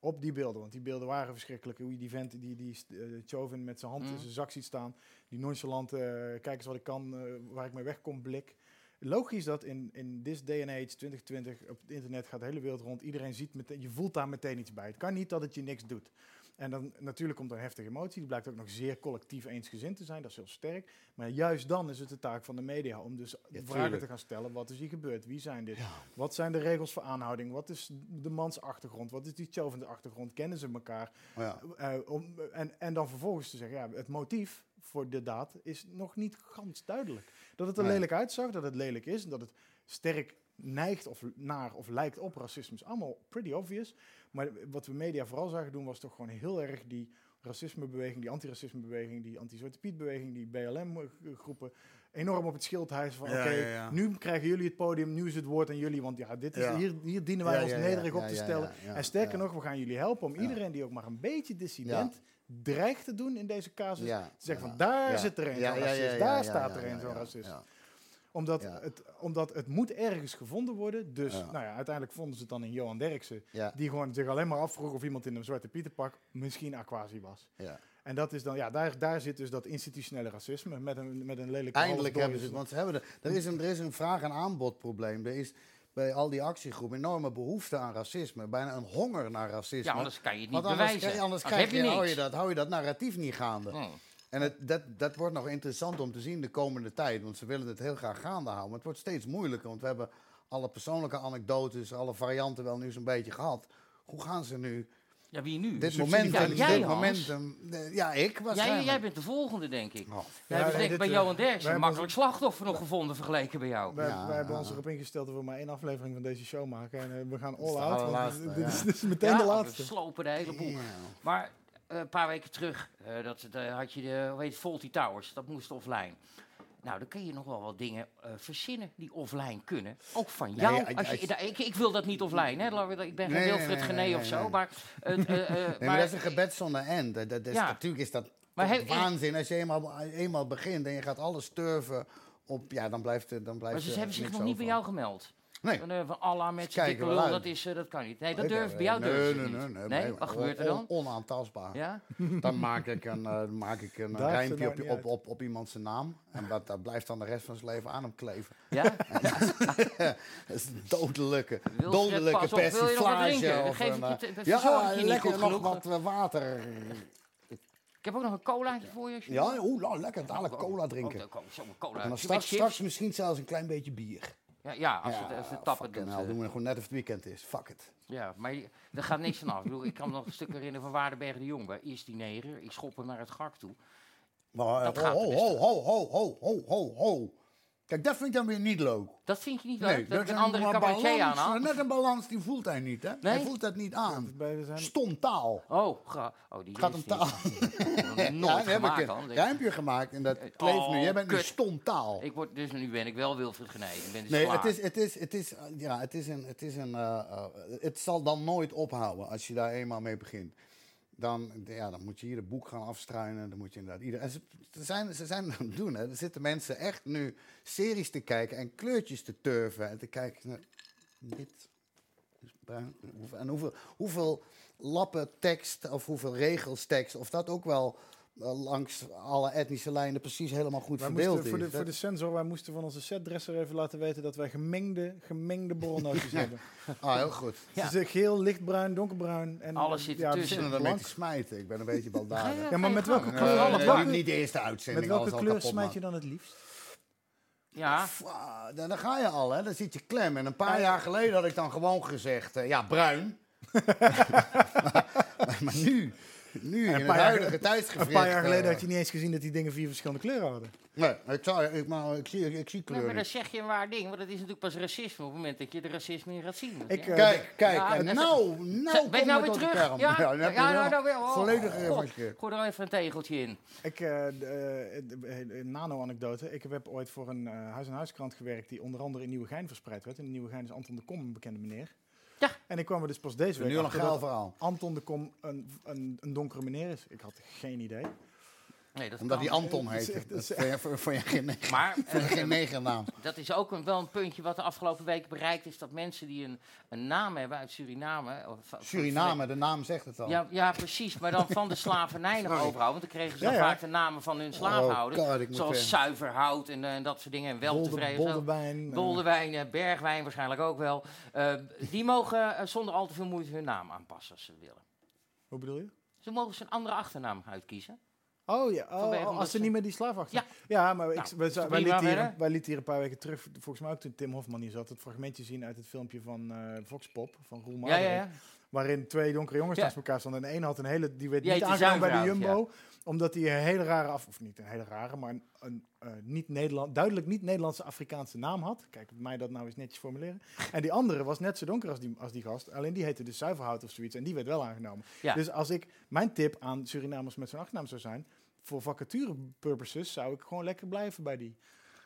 S5: Op die beelden, want die beelden waren verschrikkelijk. Hoe je die vent, die, die eh, Chauvin met zijn hand
S4: Mm.
S5: in zijn zak ziet staan. Die nonchalant, eh, kijk eens wat ik kan, eh, waar ik mee wegkom, blik. Logisch dat in, in this day and age, 2020, op het internet gaat de hele wereld rond. Iedereen ziet meteen, je voelt daar meteen iets bij. Het kan niet dat het je niks doet. En dan natuurlijk komt er een heftige emotie. Die blijkt ook nog zeer collectief eensgezind te zijn. Dat is heel sterk. Maar juist dan is het de taak van de media om dus vragen
S4: tuurlijk.
S5: te gaan stellen. Wat is hier gebeurd? Wie zijn dit? Wat zijn de regels voor aanhouding? Wat is de mans achtergrond? Wat is die Chauvin's achtergrond? Kennen ze elkaar?
S4: Ja.
S5: Eh, om, en, en dan vervolgens te zeggen, ja, het motief voor de daad is nog niet gans duidelijk. Dat het er
S4: Nee.
S5: lelijk uitzag, dat het lelijk is en dat het sterk neigt of naar of lijkt op racisme is allemaal pretty obvious. Maar wat we media vooral zagen doen was toch gewoon heel erg die racismebeweging, die antiracismebeweging, die anti-Zwarte Piet-beweging, die BLM-groepen eh, enorm op het schild hijsen van
S4: Ja,
S5: oké,
S4: ja, ja.
S5: nu krijgen jullie het podium, nu is het woord aan jullie, want ja, dit is,
S4: Ja.
S5: Hier, hier dienen wij
S4: Ja,
S5: ons
S4: ja, ja,
S5: nederig
S4: ja,
S5: op te
S4: ja,
S5: stellen.
S4: ja, ja,
S5: en sterker
S4: ja.
S5: nog, we gaan jullie helpen om
S4: Ja.
S5: iedereen die ook maar een beetje dissident dreigt te doen in deze casus,
S4: Ja,
S5: te zeggen
S4: ja,
S5: van daar
S4: ja.
S5: zit er een
S4: Ja,
S5: zo'n
S4: ja, ja,
S5: racist,
S4: ja,
S5: daar
S4: ja,
S5: staat
S4: ja,
S5: er een
S4: ja,
S5: zo'n
S4: ja,
S5: racist.
S4: ja.
S5: Omdat,
S4: Ja.
S5: het, omdat het moet ergens gevonden worden. Dus
S4: Ja.
S5: Nou ja, uiteindelijk vonden ze het dan in Johan Derksen.
S4: Ja.
S5: Die gewoon zich alleen maar afvroeg of iemand in een zwarte pietenpak misschien Aquasi was.
S4: Ja.
S5: En dat is dan, ja, daar, daar zit dus dat institutionele racisme met een, met een lelijke
S4: Eindelijk
S5: halfdooie-
S4: hebben ze het, want ze hebben de, er, is een, er is een vraag- en aanbodprobleem. Er is bij al die actiegroepen enorme behoefte aan racisme. Bijna een honger naar racisme.
S3: Ja, anders kan je het
S4: Want
S3: niet
S4: anders
S3: bewijzen.
S4: krijg-
S3: Anders
S4: Anders, krijg
S3: heb je
S4: je, hou, je
S3: niks.
S4: dat, hou je dat narratief niet gaande.
S3: Hmm.
S4: En het, dat, dat wordt nog interessant om te zien de komende tijd. Want ze willen het heel graag gaande houden. Maar het wordt steeds moeilijker. Want we hebben alle persoonlijke anekdotes, alle varianten wel nu zo'n beetje gehad. Hoe gaan ze nu?
S3: Ja, wie nu?
S4: Dit
S3: Ja,
S4: momentum.
S3: jij,
S4: dit
S3: Hans.
S4: momentum eh, ja, ik
S3: Jij,
S4: waarschijnlijk.
S3: jij bent de volgende, denk ik.
S4: Oh.
S3: Jij
S5: Ja,
S3: bent
S5: nee,
S3: denk ik
S5: dit,
S3: bij
S5: eh,
S3: Johan
S5: wij hebben
S3: Derksen
S5: ons-
S3: makkelijk slachtoffer nog gevonden vergeleken bij jou.
S5: Wij,
S4: Ja,
S5: wij hebben
S4: ja,
S5: ons
S4: ja.
S5: erop ingesteld dat we maar één aflevering van deze show maken. En eh, we gaan
S4: is
S5: all
S4: de
S5: out. want
S4: allerlaatste,
S5: dit- dit,
S4: ja.
S5: is, dit is meteen de
S3: Ja,
S5: laatste.
S3: We slopen de hele boel. Maar eh, een paar weken terug eh, dat, eh, had je de, hoe heet het, Faulty Towers. Dat moest offline. Nou, dan kun je nog wel wat dingen eh, verzinnen die offline kunnen. Ook van jou.
S4: Nou ja,
S3: als je,
S4: als je-
S3: daar- ik, ik wil dat niet offline. Hè. Laten we dat- Ik ben geen
S4: Nee, nee,
S3: Wilfred
S4: nee,
S3: Gené
S4: nee,
S3: of
S4: nee,
S3: zo.
S4: nee.
S3: Maar, het, eh, eh,
S4: *laughs* Nee, maar, dat is een gebed zonder eind. Dat, dat is,
S3: Ja.
S4: Natuurlijk is dat
S3: Maar
S4: toch
S3: heel-
S4: waanzin. Als je eenmaal, eenmaal begint en je gaat alles turven op... Ja, dan blijft, er- dan blijft
S3: maar ze
S4: er
S3: hebben zich
S4: eh, niks
S3: nog niet bij jou
S4: over.
S3: gemeld.
S4: Nee.
S3: Van, eh, van Allah met z'n
S4: kijken
S3: dikke
S4: wel
S3: lul,
S4: uit.
S3: dat, is, eh, dat kan niet. Nee, dat
S4: Ik, eh,
S3: durft bij jou
S4: nee,
S3: durven ze
S4: nee,
S3: niet.
S4: nee, nee, nee, Oh,
S3: Wat
S4: on-
S3: gebeurt er
S4: on-
S3: dan?
S4: onaantastbaar.
S3: Ja?
S4: Dan maak ik een, eh, dan maak ik een
S5: Daagt er
S4: rijmpje
S5: nou
S4: op,
S5: niet
S4: op,
S5: uit.
S4: op, op iemands naam. En dat, dat blijft dan de rest van zijn leven aan hem kleven.
S3: Ja?
S4: Dat is een dodelijke,
S3: Wilfred,
S4: dodelijke
S3: pas op, wil je nog wat drinken?
S4: persiflage.
S3: Dan
S4: of
S3: geef
S4: een,
S3: ik je
S4: eh,
S3: te- het verzorg ik
S4: ja,
S3: je niet
S4: lekker
S3: goed
S4: nog
S3: genoeg.
S4: wat eh, water.
S3: Ik heb ook nog een colaatje voor je. als je wil.
S4: Ja, oeh, nou, lekker dadelijk cola drinken.
S3: Oh, oh, zo'n cola.
S4: En dan
S3: Met
S4: straks,
S3: chips.
S4: straks misschien zelfs een klein beetje bier.
S3: Ja, ja, als het, als het tappen
S4: fucking
S3: doet.
S4: hell,
S3: eh,
S4: doen we gewoon net of het weekend is. Fuck it.
S3: Ja, maar je- er gaat niks van af. Ik, bedoel, ik kan me nog een stuk herinneren van Waardenberg de Jong. Waar is die neger? Ik schop hem naar het gak toe.
S4: Maar, eh,
S3: Dat gaat
S4: ho,
S3: er
S4: ho,
S3: dus
S4: ho, ho, ho, ho, ho, ho, ho. Kijk, dat vind ik dan weer niet leuk.
S3: Dat vind je niet leuk?
S4: Nee,
S3: dat ik
S4: is
S3: een andere
S4: maar
S3: cabaretier
S4: balans,
S3: aan
S4: Net een balans, die voelt hij niet, hè? Hij
S3: Nee?
S4: voelt dat niet aan.
S5: Bij- we zijn-
S4: Stomtaal.
S3: Oh, ga, oh die
S4: Het gaat om
S3: is
S4: taal.
S3: niet.
S4: *laughs* Ja,
S3: Nooit
S4: dan heb
S3: gemaakt
S4: ik
S3: dan.
S4: een ruimpje gemaakt en dat kleeft nu. Jij bent nu
S3: kut.
S4: stomtaal.
S3: Ik word, dus nu ben ik wel Wilfried Genee. Ik ben dus
S4: Nee,
S3: klaar.
S4: het is, het is, het is, eh, ja, het is een, het is een, eh, eh, het zal dan nooit ophouden als je daar eenmaal mee begint. Dan, ja, dan moet je hier een boek gaan afstruinen. Dan moet je inderdaad ieder. En ze, ze zijn, ze zijn het aan het doen. Hè. Er zitten mensen echt nu series te kijken en kleurtjes te turven. En te kijken naar dit. is bruin. En hoeveel, hoeveel lappen tekst of hoeveel regels tekst. Of dat ook wel eh, langs alle etnische lijnen precies helemaal goed
S5: Wij
S4: verdeeld
S5: moesten, voor,
S4: is.
S5: de, voor de sensor, wij moesten van onze setdresser even laten weten dat wij gemengde, gemengde
S4: *laughs*
S5: borrelnootjes hebben. Dus
S4: Dat- Ah, heel goed.
S5: Ja. Dus eh, geel, lichtbruin, donkerbruin. En,
S3: Alles zit
S5: ja,
S3: ertussen.
S5: dus
S4: Ik zit
S5: een
S4: er mee te
S5: blank.
S4: smijten. Ik ben een beetje baldadig.
S5: Ja, maar met welke
S3: Nee,
S5: kleur,
S3: nee,
S5: met
S3: nee,
S5: welke,
S4: niet, niet de eerste
S5: met
S4: uitzending.
S5: welke
S4: alles al
S5: kleur
S4: kapot
S5: smijt je
S4: maken.
S5: dan het liefst?
S3: Ja,
S4: Pff, ah, dan, dan ga je al, hè? Dan zit je klem. En een paar jaar geleden had ik dan gewoon gezegd, eh, ja, bruin. maar, maar nu, nu in het
S5: paar jaar-
S4: huidige tijdsgevricht...
S5: Een paar jaar geleden
S4: eh,
S5: had je niet eens gezien dat die dingen vier verschillende kleuren hadden.
S4: Nee, ik, zou, ik, maar, ik, zie, ik zie
S3: Nee,
S4: kleuren.
S3: maar dan zeg je een waar ding. Want dat is natuurlijk pas racisme op het moment dat je de racisme in gaat zien.
S5: Ik,
S3: Ja.
S5: eh,
S4: Kijk, kijk.
S3: Ja,
S4: en
S3: en-
S4: nou, nou
S3: ben ik
S4: komen
S3: nou
S4: we
S3: weer
S4: tot de
S3: terug?
S4: kern.
S3: Ja,
S4: dan heb je er wel
S3: nou weer. Oh,
S4: Volledig
S3: God,
S4: gereformeerd.
S3: Gooi er even een tegeltje in.
S5: Ik, eh, d- eh, d- eh, nano-anekdote. Ik heb ooit voor een eh huis-aan-huiskrant gewerkt die onder andere in Nieuwegein verspreid werd. En in Nieuwegein is Anton de Kom een bekende meneer.
S3: Ja.
S5: En ik kwam er dus pas deze week
S4: Nu al een
S5: achter
S4: geil
S5: dat
S4: verhaal.
S5: Anton de Kom een, een, een donkere meneer is. Ik had geen idee.
S3: Nee, dat
S4: Omdat
S3: kan.
S4: die Anton
S5: Dat is
S4: heet.
S5: echt- dat
S4: Dat
S5: is
S4: vond je- vond je geen neg- *laughs*
S3: Maar
S4: vond je
S3: eh,
S4: geen negernaam.
S3: dat is ook een, wel een puntje wat de afgelopen weken bereikt is. Dat mensen die een, een naam hebben uit Suriname. of van-
S4: Suriname, de naam zegt het
S5: Oh.
S4: al.
S3: Ja, ja, precies. Maar dan van de slavernij
S5: *laughs*
S3: nog overhouden. Want dan kregen ze
S5: Ja,
S3: dan
S5: ja.
S3: vaak de namen van hun slaafhouders.
S4: Oh, God, ik moet
S3: zoals
S4: ver.
S3: zuiverhout en, eh, en dat soort dingen. En weltevreden.
S5: Bolde- Boldewijn, eh.
S3: Boldewijn, eh, Bergwijn waarschijnlijk ook wel. Eh, die mogen eh, zonder al te veel moeite hun naam aanpassen als ze willen.
S5: Hoe bedoel je?
S3: Ze mogen ze een andere achternaam uitkiezen.
S5: Oh ja, oh,
S3: Vanwege
S5: oh,
S3: omdat
S5: als ze
S3: ze-
S5: niet meer die slaaf achter.
S3: Ja.
S5: maar ik,
S3: Nou,
S5: wij,
S3: is toch
S5: wij,
S3: prima
S5: lieten hier,
S3: verder?
S5: wij lieten hier een paar weken terug, volgens mij ook toen Tim Hofman hier zat, het fragmentje zien uit het filmpje van eh Vox Pop, van Roel
S3: Ja, ja,
S5: Maalderink.
S3: ja.
S5: Waarin twee donkere jongens
S3: Ja.
S5: naast elkaar stonden. En de ene had een hele. Die werd
S3: Die
S5: niet
S3: heette
S5: aangenomen bij de
S3: Zuiverhout,
S5: Jumbo. Omdat hij een hele rare. Af, of niet een hele rare, maar een, een eh, niet Nederland, duidelijk niet-Nederlandse Afrikaanse naam had. Kijk, mij dat nou eens netjes
S3: *laughs*
S5: formuleren. En die andere was net zo donker als die, als die gast. Alleen die heette dus Zuiverhout of zoiets. En die werd wel aangenomen.
S3: Ja.
S5: Dus als ik. Mijn tip aan Surinamers met zo'n achternaam zou zijn. Voor vacature purposes zou ik gewoon lekker blijven bij die.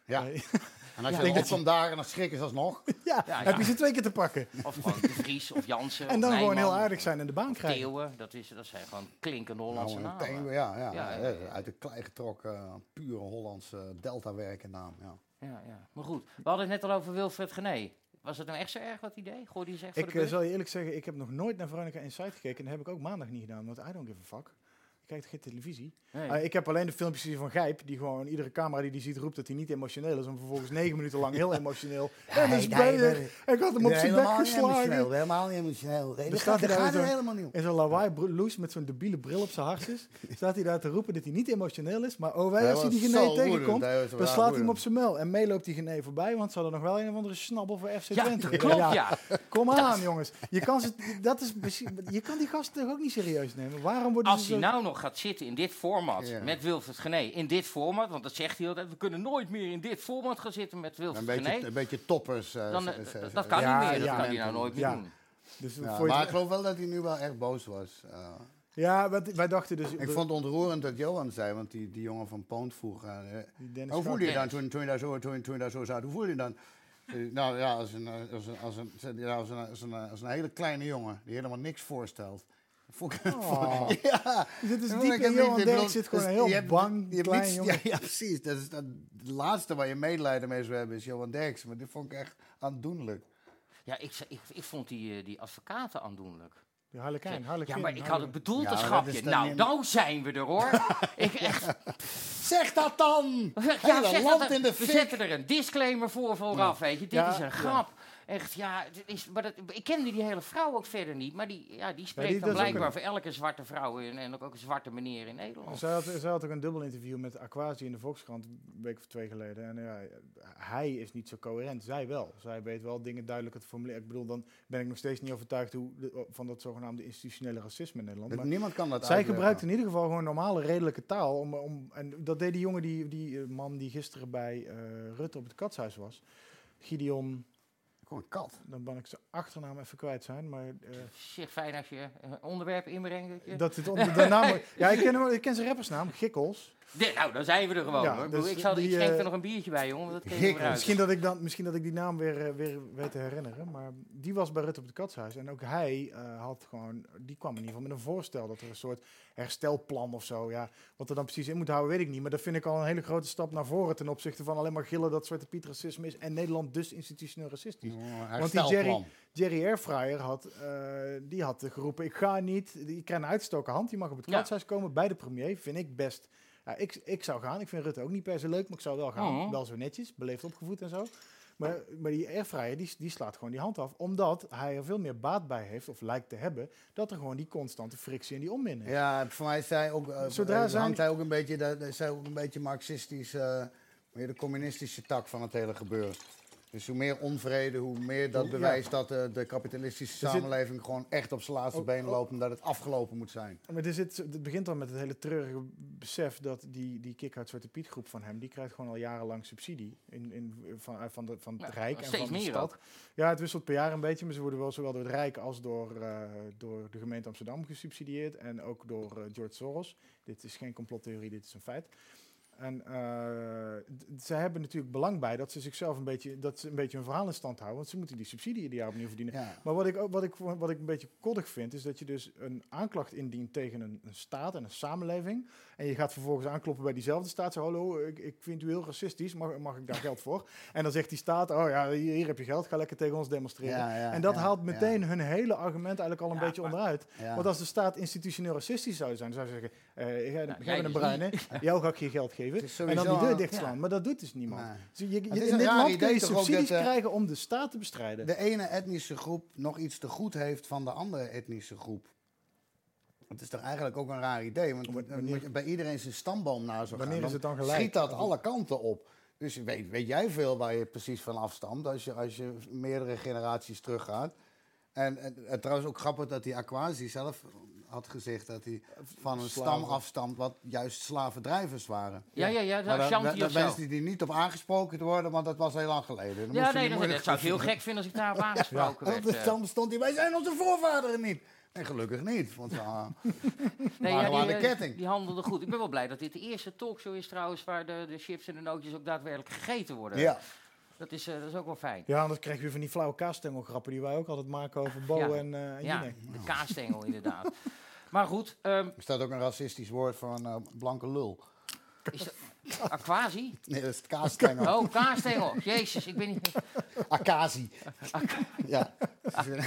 S4: Ja.
S5: Eh, *laughs*
S4: En als
S5: Ja.
S4: je
S5: Ik denk
S4: dan
S5: dat
S4: opkomt daar en dan schrikken ze alsnog.
S5: ja,
S3: Ja,
S5: heb
S3: ja.
S5: je ze twee keer te pakken.
S3: Of gewoon De Vries of Jansen.
S5: *laughs* En
S3: of
S5: dan gewoon
S3: Nijman
S5: heel
S3: of-
S5: aardig zijn en de baan
S3: Of
S5: krijgen.
S3: Theeuwen. Dat, is, dat zijn gewoon klinkende Hollandse
S4: Nou, een
S3: namen.
S4: tango, ja, ja,
S3: Ja, ja,
S4: ja,
S3: ja.
S4: Uit de klei getrokken, eh, pure Hollandse deltawerkennaam. Ja.
S3: Ja, ja. Maar goed, we hadden het net al over Wilfred Gené. Was het nou echt zo erg wat idee? Gooi die eens echt voor
S5: Ik
S3: de
S5: eh,
S3: bus?
S5: zal je eerlijk zeggen, ik heb nog nooit naar Veronica Inside gekeken. En dat heb ik ook maandag niet gedaan, want I don't give a fuck. Ik kijk geen televisie.
S3: Nee.
S5: Eh, ik heb alleen de filmpjes gezien van Gijp, die gewoon iedere camera die die ziet roept dat hij niet emotioneel is. En vervolgens negen minuten lang
S4: *laughs*
S5: heel emotioneel. En is
S4: nee,
S5: bezig.
S4: nee.
S5: Ik had hem op zijn bek geslagen.
S4: helemaal niet emotioneel. Nee,
S5: Bestaat
S4: dat
S5: er
S4: gaat
S5: nou
S4: er
S5: zo'n-
S4: helemaal niet om.
S5: In zo'n lawaai bro- loes met zo'n debiele bril op zijn hartjes. *laughs* staat hij daar te roepen dat hij niet emotioneel is. Maar oh wij,
S4: Hij
S5: als hij
S4: was
S5: die
S4: zo
S5: genee
S4: woedend,
S5: tegenkomt,
S4: hij was
S5: dan
S4: wel
S5: slaat hij hem op
S4: woedend.
S5: zijn mel. En meeloopt die genee voorbij, want ze hadden nog wel een of andere snabbel voor FC
S3: Ja,
S5: Twente.
S3: klopt, ja.
S5: Kom aan, jongens. Je kan, ze, dat is, misschien- je kan die gasten toch ook niet serieus nemen? Waarom worden
S3: Als
S5: ze
S3: hij
S5: zo-
S3: nou nog gaat zitten in dit format
S4: Ja.
S3: met Wilfred Gené, in dit format, want dat zegt hij altijd, we kunnen nooit meer in dit format gaan zitten met
S4: Een
S3: Wilfred
S4: beetje,
S3: Gené.
S4: een beetje toppers. eh,
S3: Dan,
S4: ze-
S3: eh,
S4: ze-
S3: dat-
S4: ze-
S3: dat kan
S5: ja,
S3: niet meer, dat
S5: ja.
S3: kan hij nou nooit meer
S5: Ja.
S3: doen.
S5: Dus
S4: Ja,
S5: voor je-
S4: maar ik geloof wel dat hij nu wel echt boos was. eh.
S5: ja, want wij dachten dus...
S4: ik vond het ontroerend dat Johan zei, want die, die jongen van Poont vroeg... eh, eh,
S5: Die Dennis
S4: hoe voelde je dan
S3: Schouten.
S4: toen, toen, je daar zo, toen, toen je daar zo zat? Hoe voelde je dan? Zei hij, Nou ja, als een, eh, als een, als een, zei hij, ja, als een, als een, eh, als een hele kleine jongen die helemaal niks voorstelt. Vond ik- *laughs*
S5: Oh.
S4: Ja.
S5: Dit is
S4: Ja,
S5: diep
S4: ik
S5: in
S4: heb
S5: Johan
S4: niet- ik
S5: Derk
S4: bedoel,
S5: zit gewoon
S4: dus
S5: een heel
S4: je hebt-
S5: bang
S4: je hebt
S5: klein
S4: niets- *laughs*
S5: jongen.
S4: Ja, ja, precies. Dat is dat, het laatste waar je medelijden mee zou hebben is Johan Derks. Maar dit vond ik echt aandoenlijk.
S3: Ja, ik, z- ik, ik vond die, eh, die advocaten aandoenlijk.
S5: Die Harlekijn, Harlekijn.
S3: ja, maar ik had het bedoeld
S4: Ja,
S3: als
S4: maar dat
S3: grapje.
S4: is dan
S3: Nou,
S4: niet-
S3: nou zijn we er
S4: *laughs*
S3: hoor. ik echt,
S4: Zeg dat
S3: *laughs*
S4: dan!
S3: Ja,
S4: Hele
S3: zeg
S4: land
S3: dat-
S4: in de
S3: we
S4: fik.
S3: zetten er een disclaimer voor vooraf, weet je. Dit
S5: Ja,
S3: is
S5: ja.
S3: een grap. Echt, ja, dit is, maar dat, ik kende die hele vrouw ook verder niet. Maar die, ja, die spreekt
S5: die- dat
S3: dan
S5: is ook
S3: blijkbaar
S5: een-
S3: voor elke zwarte vrouw in, en ook, ook een zwarte meneer in Nederland.
S5: Zij had, zij had ook een dubbel interview met Aquasi in de Volkskrant een week of twee geleden. En ja, hij is niet zo coherent, zij wel. Zij weet wel dingen duidelijker te formuleren. Ik bedoel, dan ben ik nog steeds niet overtuigd hoe, de- van dat zogenaamde institutionele racisme in Nederland.
S4: Dat-
S5: Maar
S4: Niemand kan dat
S5: zij
S4: uitleggen.
S5: gebruikt in ieder geval gewoon normale, redelijke taal. Om, om, en dat deed die jongen, die, die eh, man die gisteren bij eh, Rutte op het katshuis was? Gideon,
S4: Gewoon een kat.
S5: dan ben ik zijn achternaam even kwijt zijn, maar... eh,
S3: Zeg fijn als je eh, onderwerpen inbrengt. dat je-
S5: Dat het onder de naam. Ja, ik ken, hem, ik ken zijn rappersnaam, Gikkels.
S3: Nee, nou, dan zijn we er gewoon.
S5: Ja,
S3: hoor. Ik bedoel,
S5: dus
S3: ik zal
S5: die,
S3: ik schenk
S5: eh,
S3: er nog een biertje bij, jongen. want Dat kreeg
S4: Hick,
S3: ik eruit.
S5: Misschien dat, ik dan, misschien dat ik die naam weer, eh, weer weet te herinneren. Maar die was bij Rutte op het katshuis. En ook hij eh, had gewoon. Die kwam in ieder geval met een voorstel. Dat er een soort herstelplan of zo. Ja, wat er dan precies in moet houden, weet ik niet. Maar dat vind ik al een hele grote stap naar voren. Ten opzichte van alleen maar gillen dat Zwarte Piet racisme is. En Nederland dus institutioneel racistisch. Want die Jerry, Jerry Airfryer had, eh, die had geroepen: Ik ga niet, ik krijg een uitgestoken hand. Die mag op het
S3: Ja.
S5: katshuis komen bij de premier. Vind ik best. Ja, ik, ik zou gaan. Ik vind Rutte ook niet per se leuk, maar ik zou wel gaan.
S3: Mhm.
S5: Wel zo netjes, beleefd opgevoed en zo. Maar, maar die Airfryer die, die slaat gewoon die hand af. Omdat hij er veel meer baat bij heeft, of lijkt te hebben, dat er gewoon die constante frictie en die onmin is.
S4: Ja, voor mij is hij ook, eh,
S5: Zodra
S4: eh,
S5: zijn-
S4: hangt hij ook een beetje, daar is hij ook een beetje marxistisch, eh, meer de communistische tak van het hele gebeuren. Dus hoe meer onvrede, hoe meer dat
S5: Ja.
S4: bewijst dat eh, de kapitalistische
S5: Er zit-
S4: samenleving gewoon echt op zijn laatste
S5: Oh,
S4: been
S5: oh.
S4: loopt en dat het afgelopen moet zijn.
S5: Maar er zit, het begint al met het hele treurige besef dat die, die kick-out Zwarte Piet groep van hem, die krijgt gewoon al jarenlang subsidie in, in, van, van, de, van het
S3: Ja,
S5: Rijk en
S3: steeds
S5: van de
S3: meer
S5: stad.
S3: ook.
S5: Ja, het wisselt per jaar een beetje, maar ze worden wel zowel door het Rijk als door, eh, door de gemeente Amsterdam gesubsidieerd en ook door eh, George Soros. Dit is geen complottheorie, dit is een feit. En eh, d- ze hebben natuurlijk belang bij dat ze zichzelf een beetje, dat ze een beetje hun verhaal in stand houden, want ze moeten die subsidie ieder jaar opnieuw verdienen.
S4: Ja.
S5: Maar wat ik, ook- wat, ik, wat ik een beetje koddig vind, is dat je dus een aanklacht indient tegen een, een staat en een samenleving. En je gaat vervolgens aankloppen bij diezelfde staat. Zo, hallo, ik, ik vind u heel racistisch, mag, mag ik daar geld voor?
S4: *laughs*
S5: En dan zegt die staat, oh ja, hier, hier heb je geld, ga lekker tegen ons demonstreren.
S4: Ja, ja,
S5: en dat
S4: ja,
S5: haalt
S4: ja.
S5: meteen hun hele argument eigenlijk al een
S3: Ja,
S5: beetje
S3: maar-
S5: onderuit.
S4: Ja.
S5: Want als de staat institutioneel racistisch zou zijn, dan zou ze zeggen, eh jij
S3: Nou,
S5: jij
S3: jij
S5: bent een
S3: dus *laughs*
S5: bruine, jou ga ik je geld geven.
S4: is
S5: en dan
S4: sowieso
S5: die deur
S4: al-
S5: dichtslaan. Maar dat doet dus niemand.
S4: Nee.
S5: Dus je, je-
S4: Het is
S5: in
S4: een
S5: dit
S4: raar
S5: land kun
S4: idee
S5: je
S4: toch ook
S5: subsidies
S4: dat, eh,
S5: krijgen om de staat te bestrijden.
S4: De ene etnische groep nog iets te goed heeft van de andere etnische groep. Het is toch eigenlijk ook een raar idee, want
S5: Wanneer-
S4: wanneer je bij iedereen zijn stamboom na zou
S5: Wanneer
S4: gaan,
S5: is het dan gelijk?
S4: schiet dat alle kanten op. Dus weet, weet jij veel waar je precies van afstamt als je, als je meerdere generaties teruggaat? En, en, en trouwens ook grappig dat die Aquasi zelf had gezegd dat hij van een
S5: Slaven.
S4: stam afstamt wat juist slavendrijvers waren.
S3: Ja, ja, ja,
S4: Maar
S3: nou,
S4: dan,
S3: Shanti of
S4: dan
S3: zo.
S4: mensen die er niet op aangesproken te worden, want dat was heel lang geleden. Dan moest
S3: Ja,
S4: je
S3: nee,
S4: die
S3: dat,
S4: moeilijk
S3: dat zou ik heel gek vinden als ik daarop aangesproken
S4: ja.
S3: werd.
S4: Op de
S3: eh.
S4: stand stond hij, wij zijn onze voorvaderen niet. En gelukkig niet, want ah,
S3: Nee,
S4: waren we aan
S3: die,
S4: de
S3: eh,
S4: ketting.
S3: die handelde goed. Ik ben wel blij dat dit de eerste talkshow is trouwens... waar de, de chips en de nootjes ook daadwerkelijk gegeten worden.
S4: ja.
S3: Dat, is, eh, dat is ook wel fijn.
S5: Ja, anders krijg je weer van die flauwe kaasstengelgrappen die wij ook altijd maken over Bo
S3: Ja.
S5: en eh en
S3: Ja,
S5: Jinek.
S3: de kaasstengel inderdaad. *laughs* Maar goed, ehm,
S4: er staat ook een racistisch woord voor een eh, blanke lul.
S3: is dat... Aquasi?
S4: Nee, dat is het kaasstengel.
S3: ah, Oh, kaasstengel. Jezus, ik ben niet... *laughs*
S4: Akazi. ja. Ze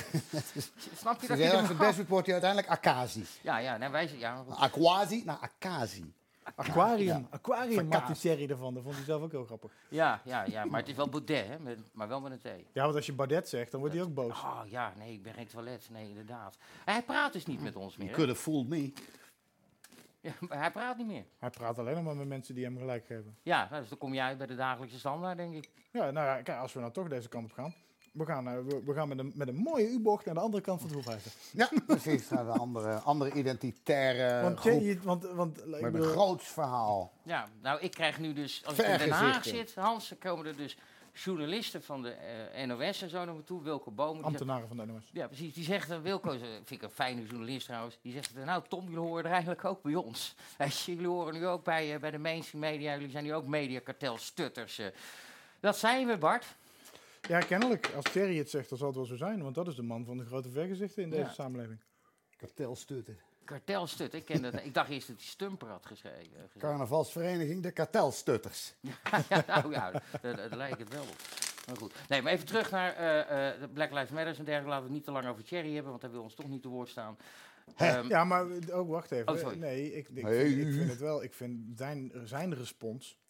S3: Snap je dat ik
S4: zeggen,
S3: het
S4: als het best doet, wordt hij uiteindelijk Akazi.
S3: Ja, ja, nou, wij... Ja,
S4: Aquasi naar Akazi.
S5: Aquarium.
S4: Ja.
S5: Aquarium
S4: Verkaas.
S5: maakt die serie ervan. Dat vond hij zelf ook heel grappig.
S3: ja, ja, ja, maar het is wel Baudet, hè? met- maar wel met een thee.
S5: Ja, want als je Bardet zegt, dan wordt hij ook boos.
S3: Oh ja, nee, ik ben geen toilet. Nee, inderdaad. Hij praat dus niet met ons
S4: You
S3: meer. hè?
S4: could have fooled me.
S3: Ja, maar hij praat niet meer.
S5: Hij praat alleen nog maar met mensen die hem gelijk geven.
S3: Ja, nou, dus dan kom jij bij de dagelijkse standaard, denk ik.
S5: Ja, nou ja, kijk, als we nou toch deze kant op gaan. We gaan, eh, we, we gaan met, een, met een mooie U-bocht naar de andere kant van het hoefijzer.
S4: Ja, *laughs* precies. Naar de andere, andere identitaire
S3: Eh,
S5: want,
S4: groep.
S5: je, want, want eh, ik
S4: Met een
S5: bedoel,
S4: groots verhaal.
S3: Ja, nou, ik krijg nu dus, als ik in Den
S4: Vergezichten.
S3: Haag zit, Hans, dan komen er dus journalisten van de eh, NOS en zo naar me toe. Wilco Bomen. die zegt-
S5: ambtenaren van de NOS.
S3: ja, precies. Die zegt, eh, Wilco, is, eh, vind ik een fijne journalist trouwens, die zegt, eh, nou Tom, jullie horen er eigenlijk ook bij ons. *laughs* Hij zegt, jullie horen nu ook bij, eh, bij de mainstream media, jullie zijn nu ook mediakartelstutters. eh. Dat zijn we, Bart.
S5: Ja, kennelijk. Als Thierry het zegt, dan zal het wel zo zijn. Want dat is de man van de grote vergezichten in deze
S3: Ja.
S5: samenleving.
S4: Kartelstutter.
S3: Kartelstut, ik ken dat. Ik dacht eerst dat hij Stumper had geschreven. eh, gezegd.
S4: Carnavalsvereniging de Kartelstutters.
S3: *laughs* ja, nou ja, daar- daar lijkt het wel op. Maar goed. Nee, maar even terug naar eh, eh, de Black Lives Matter en dergelijke. Laten we het niet te lang over Thierry hebben, want hij wil ons toch niet te woord staan. Ehm,
S5: Ja, maar ook wacht even.
S3: Oh, sorry.
S5: nee, ik, ik,
S4: Nee.
S5: Vind, ik vind het wel. Ik vind zijn, zijn respons.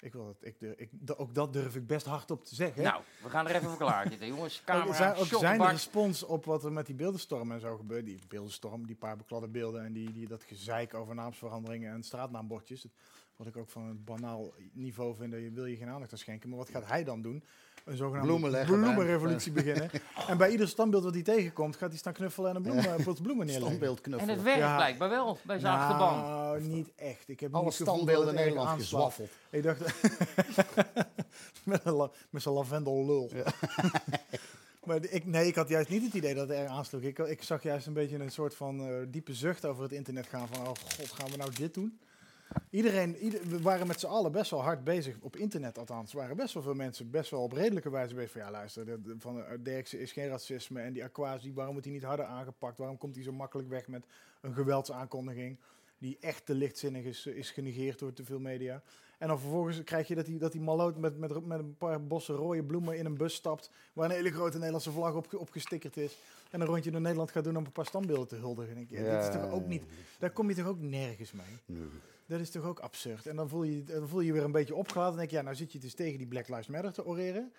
S5: Ik wil dat, ik, durf- ik, d- ook dat durf ik best hardop te zeggen.
S3: nou, we gaan er even voor klaar zitten, jongens.
S5: Ook zijn,
S3: Camera,
S5: ook zijn
S3: shotbak.
S5: respons op wat er met die beeldenstorm en zo gebeurt. Die beeldenstorm, die paar bekladde beelden en die, die, dat gezeik over naamsveranderingen en straatnaambordjes. Wat ik ook van een banaal niveau vind, dat je wil je geen aandacht aan schenken. Maar wat gaat hij dan doen? een zogenaamde
S4: Bloemen leggen bij-
S5: bloemenrevolutie
S4: *laughs*
S5: beginnen. En bij ieder standbeeld wat hij tegenkomt, gaat hij staan knuffelen en een bloem, eh, pot bloemen neerleggen.
S4: Standbeeld
S3: En het
S4: knuffelen.
S3: werkt
S5: Ja.
S3: blijkbaar wel bij zijn achterban.
S5: Nou, niet echt. Ik heb
S4: Alle
S5: niet het gevoel
S4: standbeelden in
S5: dat het erg
S4: Nederland
S5: aanslaat.
S4: gezwaffeld.
S5: Ik dacht, *laughs* met, een la- met zo'n lavendellul. *laughs* maar ik, nee, ik had juist niet het idee dat het erg aansloeg. Ik, ik zag juist een beetje een soort van eh, diepe zucht over het internet gaan. Van, oh god, gaan we nou dit doen? Iedereen, ieder- we waren met z'n allen best wel hard bezig, op internet althans. Er waren best wel veel mensen best wel op redelijke wijze bezig van... ja, luister, de- de- van, eh, Derksen is geen racisme en die Aquasi, waarom wordt hij niet harder aangepakt? Waarom komt hij zo makkelijk weg met een geweldsaankondiging... die echt te lichtzinnig is, eh, is genegeerd door te veel media? En dan vervolgens krijg je dat die, dat die malloot met, met, met een paar bossen rode bloemen in een bus stapt... waar een hele grote Nederlandse vlag op, op gestickerd is... en een rondje door Nederland gaat doen om een paar standbeelden te huldigen. En ik, denk, ja, dit is toch ook niet... Daar kom je toch ook nergens mee? Dat is toch ook absurd. En dan voel je dan voel je je weer een beetje opgelaten. En denk je, ja, nou zit je dus tegen die Black Lives Matter te oreren.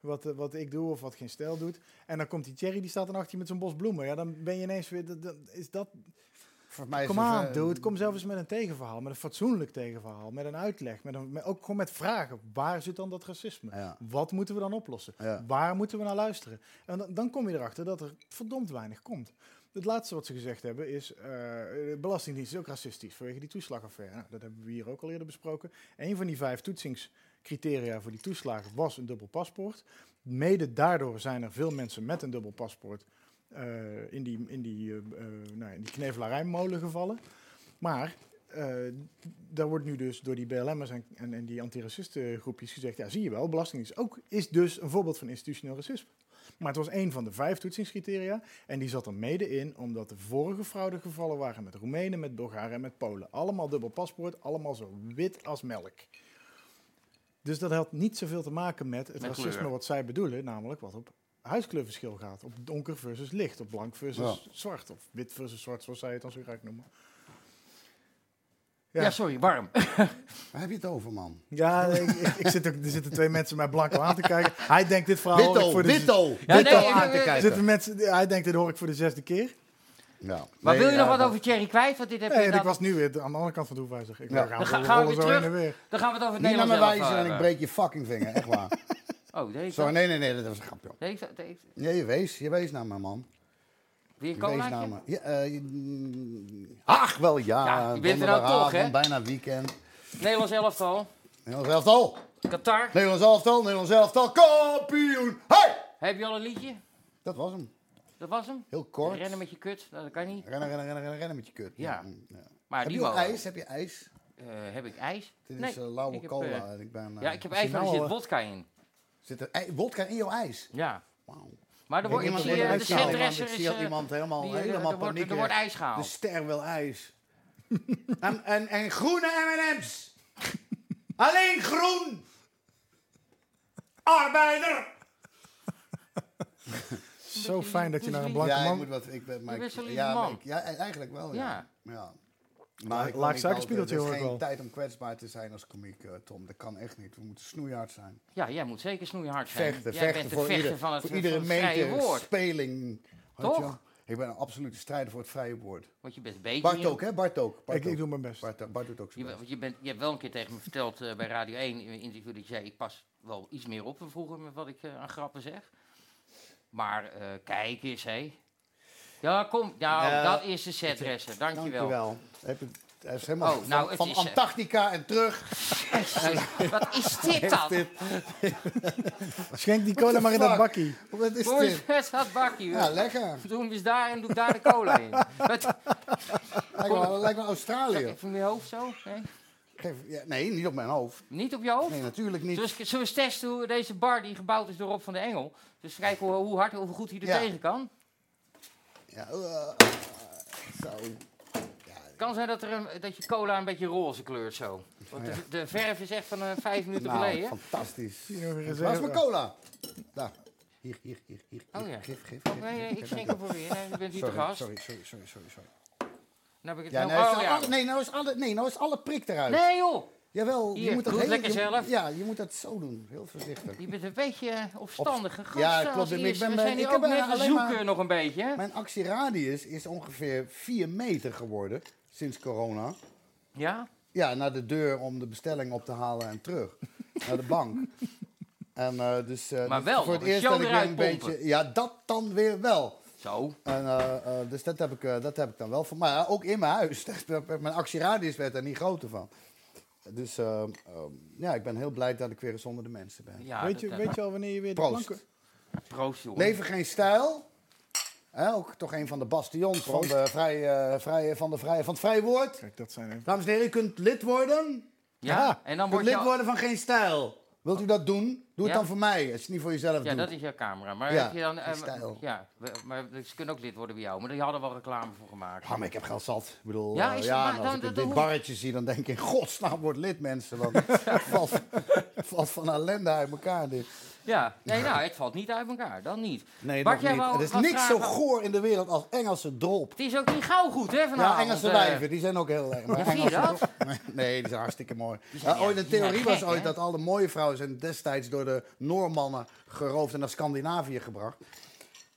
S5: Wat, eh, wat ik doe of wat geen stijl doet. En dan komt die Thierry, die staat dan achter je met zo'n bos bloemen. Ja, dan ben je ineens weer... dat- dat- is dat...
S4: Voor mij is
S5: Kom
S4: het, eh,
S5: aan, dude. Kom zelf eens met een tegenverhaal. Met een fatsoenlijk tegenverhaal. Met een uitleg. Met een, met- ook gewoon met vragen. Waar zit dan dat racisme?
S4: Ja.
S5: Wat moeten we dan oplossen?
S4: Ja.
S5: Waar moeten we naar luisteren? En dan, dan kom je erachter dat er verdomd weinig komt. Het laatste wat ze gezegd hebben is... eh, de Belastingdienst is ook racistisch vanwege die toeslagaffaire. Nou, dat hebben we hier ook al eerder besproken. Een van die vijf toetsingscriteria voor die toeslagen was een dubbel paspoort. Mede daardoor zijn er veel mensen met een dubbel paspoort... eh, in, die, in, die, eh, eh, nou, in die knevelarijmolen gevallen. Maar eh, daar wordt nu dus door die BLM'ers en, en, en die antiracistengroepjes gezegd... ja, zie je wel, Belastingdienst ook is dus een voorbeeld van institutioneel racisme. Maar het was één van de vijf toetsingscriteria en die zat er mede in... omdat de vorige fraudegevallen waren met Roemenen, met Bulgaren en met Polen. Allemaal dubbel paspoort, allemaal zo wit als melk. Dus dat had niet zoveel te maken met het
S3: Met
S5: racisme
S3: kleur.
S5: wat zij bedoelen... namelijk wat op huiskleurverschil gaat. Op donker versus licht, op blank versus
S4: Ja.
S5: zwart... of wit versus zwart, zoals zij het dan zo graag noemen.
S3: Ja,
S5: Ja.
S3: sorry, warm.
S4: Waar heb je het over, man?
S5: *laughs* Ja, ik, ik- ik zit ook, er zitten twee mensen mij blank aan te kijken. Hij denkt dit
S3: Nou,
S5: verhaal hoor ik
S4: Witto,
S5: voor de
S4: Witto!
S3: Ja,
S4: Witto
S3: nee,
S4: aan te
S3: eh,
S5: Er
S4: kijken.
S5: zitten mensen, hij denkt dit hoor ik voor de zesde keer.
S4: Ja.
S3: Maar
S4: Nee,
S3: wil je nog
S4: ja,
S3: wat
S4: dat-
S3: over Thierry kwijt? Want dit heb
S5: Nee,
S3: je
S5: en ik
S3: dat...
S5: was nu weer aan de andere kant van de hoefijzer. Ik
S4: Ja.
S5: ja.
S3: Dan
S5: gaan we
S3: ga-
S5: rollen
S3: gaan we
S5: zo
S3: weer
S5: heen en weer.
S3: Dan gaan we het over eh, het
S4: Niet naar
S3: Nederlands
S4: mijn
S3: elftal
S4: wijzer en
S3: hebben.
S4: ik breek je fucking vinger, echt waar.
S3: *laughs* Oh, deed ik dat?
S4: Sorry, nee, nee, nee, dat was een grapje.
S3: Deed ik dat? Deed ik-
S4: Nee, je wees, je wees naar me, man.
S3: Weer een
S4: Je wees
S3: colaatje?
S4: naar me. Ja, eh, mm, ach, wel ja.
S3: Ja, je bent er nou
S4: donderdagavond,
S3: toch, hè?
S4: Bijna weekend.
S3: Nederlands elftal.
S4: Nederlands elftal.
S3: Qatar.
S4: Nederlands elftal, Nederlands elftal, kampioen! Hey!
S3: Heb je al een liedje?
S4: Dat was hem.
S3: Dat was hem?
S4: Heel kort.
S3: Rennen met je kut. Nou, dat kan niet.
S4: Rennen, rennen, rennen, rennen, rennen met je kut.
S3: Ja.
S4: Mm, ja.
S3: Maar
S4: Heb
S3: die
S4: je ook
S3: mogen.
S4: ijs? Heb je ijs?
S3: Eh, heb ik ijs?
S4: Dit
S3: Nee,
S4: is eh, lauwe
S3: ik heb,
S4: cola.
S3: eh,
S4: en ik ben, eh,
S3: ja, ik heb ijs, maar er
S5: nou
S3: zit
S5: al, eh,
S3: wodka in.
S4: Zit er ei- wodka in jouw ijs?
S3: Ja.
S4: Wauw. Ik
S3: Maar er wordt, ik
S4: iemand
S3: zie,
S4: wordt
S3: eh, de
S4: eruit gehaald,
S3: centresser is...
S4: man. Ik zie dat
S3: eh,
S4: iemand helemaal,
S3: die, eh,
S4: helemaal
S3: er wordt-
S4: paniek Dus-
S3: Er wordt
S4: heeft.
S3: ijs gehaald.
S4: De ster wil ijs. *laughs* en, en, en groene
S3: *laughs*
S4: M&M's. Alleen groen. Arbeider.
S5: Zo fijn dat je naar een blanke
S4: Ja, ik moet
S5: man...
S4: wat. Ik ben,
S3: Je
S4: maar ik-
S3: bent zo'n lieve
S4: ja, maar
S3: man.
S4: ik- ja, e- eigenlijk wel. Ja. ja.
S5: Laag-
S4: ik kan
S5: laag
S4: niet
S5: suikerspiegeltje
S4: altijd-
S5: hoor ik
S4: Er is
S5: wel.
S4: geen tijd om kwetsbaar te zijn als komiek, eh, Tom. Dat kan echt niet. We moeten snoeihard zijn.
S3: Ja, jij moet zeker snoeihard zijn.
S4: Vechten,
S3: jij
S4: vechten
S3: bent de
S4: voor,
S3: vechter
S4: ieder,
S3: van het, eh,
S4: voor iedere
S3: van het vrije
S4: meter,
S3: woord.
S4: speling. weet
S3: Toch?
S4: je wel. Ik ben een absolute strijder voor het vrije woord.
S3: Want je bent beter.
S4: Bart
S3: in-
S4: ook, hè? Bart ook. Bart
S5: Ik- ik
S4: ook.
S5: doe mijn best.
S4: Bart, Bart doet ook
S3: Je,
S4: zijn best.
S3: want je, bent, je hebt wel een keer tegen me verteld eh, bij Radio 1 in een interview dat je zei, ik pas wel iets meer op dan vroeger met wat ik eh, aan grappen zeg. Maar eh, kijk eens, hé. Ja, kom. Nou,
S4: Ja.
S3: dat is de setdresser. Dankjewel.
S4: Dankjewel. Heb je- Hij is helemaal
S3: Oh,
S4: van-
S3: nou, het
S4: van
S3: is, eh,
S4: Antarctica en terug.
S3: Wat is dit
S4: eh,
S3: dan?
S5: Schenk die cola maar in dat
S4: fuck?
S5: bakkie.
S4: Wat is
S3: Kom eens
S4: dit?
S3: met dat bakje.
S4: Ja,
S3: joh.
S4: lekker.
S3: Doe hem eens daar en doe daar de cola
S4: *laughs*
S3: in. Wat,
S4: Lijkt wel, lijkt wel Australië.
S3: even je hoofd zo? Nee,
S4: Geef- ja, nee, niet op mijn hoofd.
S3: niet op je hoofd?
S4: Nee, natuurlijk niet.
S3: Zullen we, eens- zullen we eens testen hoe deze bar die gebouwd is door Rob van de Engel. Dus kijken hoe, hoe hard, hoe goed hij er
S4: Ja.
S3: tegen kan.
S4: Ja, eh, zo.
S3: Kan zijn dat, er een, dat je cola een beetje roze kleurt zo. Want de, de verf is echt van eh, vijf minuten
S4: Nou,
S3: geleden.
S4: fantastisch.
S5: Hier nog een
S4: Waar is
S5: reserve-
S4: mijn cola? Daar. Hier, hier, hier. hier.
S3: Oh, ja.
S4: Geef, geef, geef.
S3: Nee, nee, ik schenk hem voor weer. Nee, je bent hier te
S4: Sorry,
S3: gast.
S4: sorry, sorry, sorry, sorry, sorry.
S3: Nou heb ik het
S4: Ja,
S3: wel-
S4: nee, is
S3: oh,
S4: nou
S3: ja.
S4: alle- nee, nou is alle, nee, nou is alle prik eruit.
S3: Nee, joh.
S4: Jawel, je
S3: Hier,
S4: moet dat
S3: doe het
S4: heel-
S3: lekker
S4: je-
S3: zelf.
S4: Ja, je moet dat zo doen. Heel voorzichtig.
S3: Je bent een beetje eh, opstandige gast.
S4: Ja,
S3: eh,
S4: klopt.
S3: als
S4: Ik ben-
S3: eerste.
S4: ik
S3: We
S4: ben-
S3: zijn
S4: ik
S3: hier
S4: heb
S3: ook
S4: bijna
S3: mensen
S4: alleen maar-
S3: zoeken nog een beetje. hè?
S4: Mijn actieradius is ongeveer 4 meter geworden sinds corona.
S3: Ja? *laughs*
S4: Ja, naar de deur om de bestelling op te halen en terug. naar de bank. En, eh, dus, eh,
S3: Maar
S4: dat
S3: wel
S4: voor het
S3: nog een
S4: eerst
S3: show
S4: dat ik weer
S3: eruit
S4: een
S3: pompen.
S4: beetje. Ja, dat dan weer wel.
S3: Zo.
S4: En, eh, eh, dus dat heb, ik, eh, dat heb ik dan wel van. Maar ja, ook in mijn huis. *laughs* mijn actieradius werd daar niet groter van. Dus ehm, ehm, ja, ik ben heel blij dat ik weer eens onder de mensen ben.
S3: Ja,
S5: weet, je,
S3: dat, eh,
S5: weet je al wanneer je weer de
S4: Proost.
S5: planken...
S3: Proost, jongen.
S4: Leven geen stijl. Hè, ook toch een van de bastions van, de vrije, eh, vrije, van, de vrije, van het vrije woord.
S5: Kijk, dat zijn
S3: Nou,
S5: er.
S4: Dames en heren, u kunt lid worden.
S3: Ja, en dan
S4: u kunt
S3: word je...
S4: lid
S3: al-
S4: worden van geen stijl. Wilt u dat doen? Doe het
S3: Ja.
S4: dan voor mij, als je het niet voor jezelf
S3: Ja,
S4: doet.
S3: dat is jouw camera. Maar
S4: Ja,
S3: heb je dan... eh,
S4: die stijl.
S3: ja, we- maar ze kunnen ook lid worden bij jou. Maar die hadden wel reclame voor gemaakt.
S4: Ja, Ah, maar ik heb geld zat. Ik bedoel,
S3: Ja,
S4: eh,
S3: is-
S4: ja,
S3: maar
S4: en als
S3: dan-
S4: ik dit,
S3: dan-
S4: dit barretje zie, dan denk ik, *laughs* in godsnaam, word lid,
S3: *laughs*
S4: mensen. Want het valt, het valt van ellende uit elkaar, dit.
S3: Ja, nee, nou, het valt niet uit elkaar. Dan niet.
S4: Nee,
S3: Bart,
S4: nog
S3: jij
S4: niet.
S3: wou
S4: Er is
S3: wat
S4: niks zo
S3: vragen?
S4: goor in de wereld als Engelse drop.
S3: Het is ook niet gauw goed, hè, vanavond.
S4: Ja, Engelse
S3: eh.
S4: wijven, die zijn ook
S3: *laughs*
S4: heel erg. maar
S3: Ja, vind je
S4: Engelse drop- Nee, die zijn hartstikke mooi.
S3: zijn-
S4: Ja, ooit een
S3: die zijn
S4: theorie
S3: gek,
S4: was ooit
S3: hè?
S4: dat alle mooie vrouwen zijn destijds door de Noormannen geroofd en naar Scandinavië gebracht.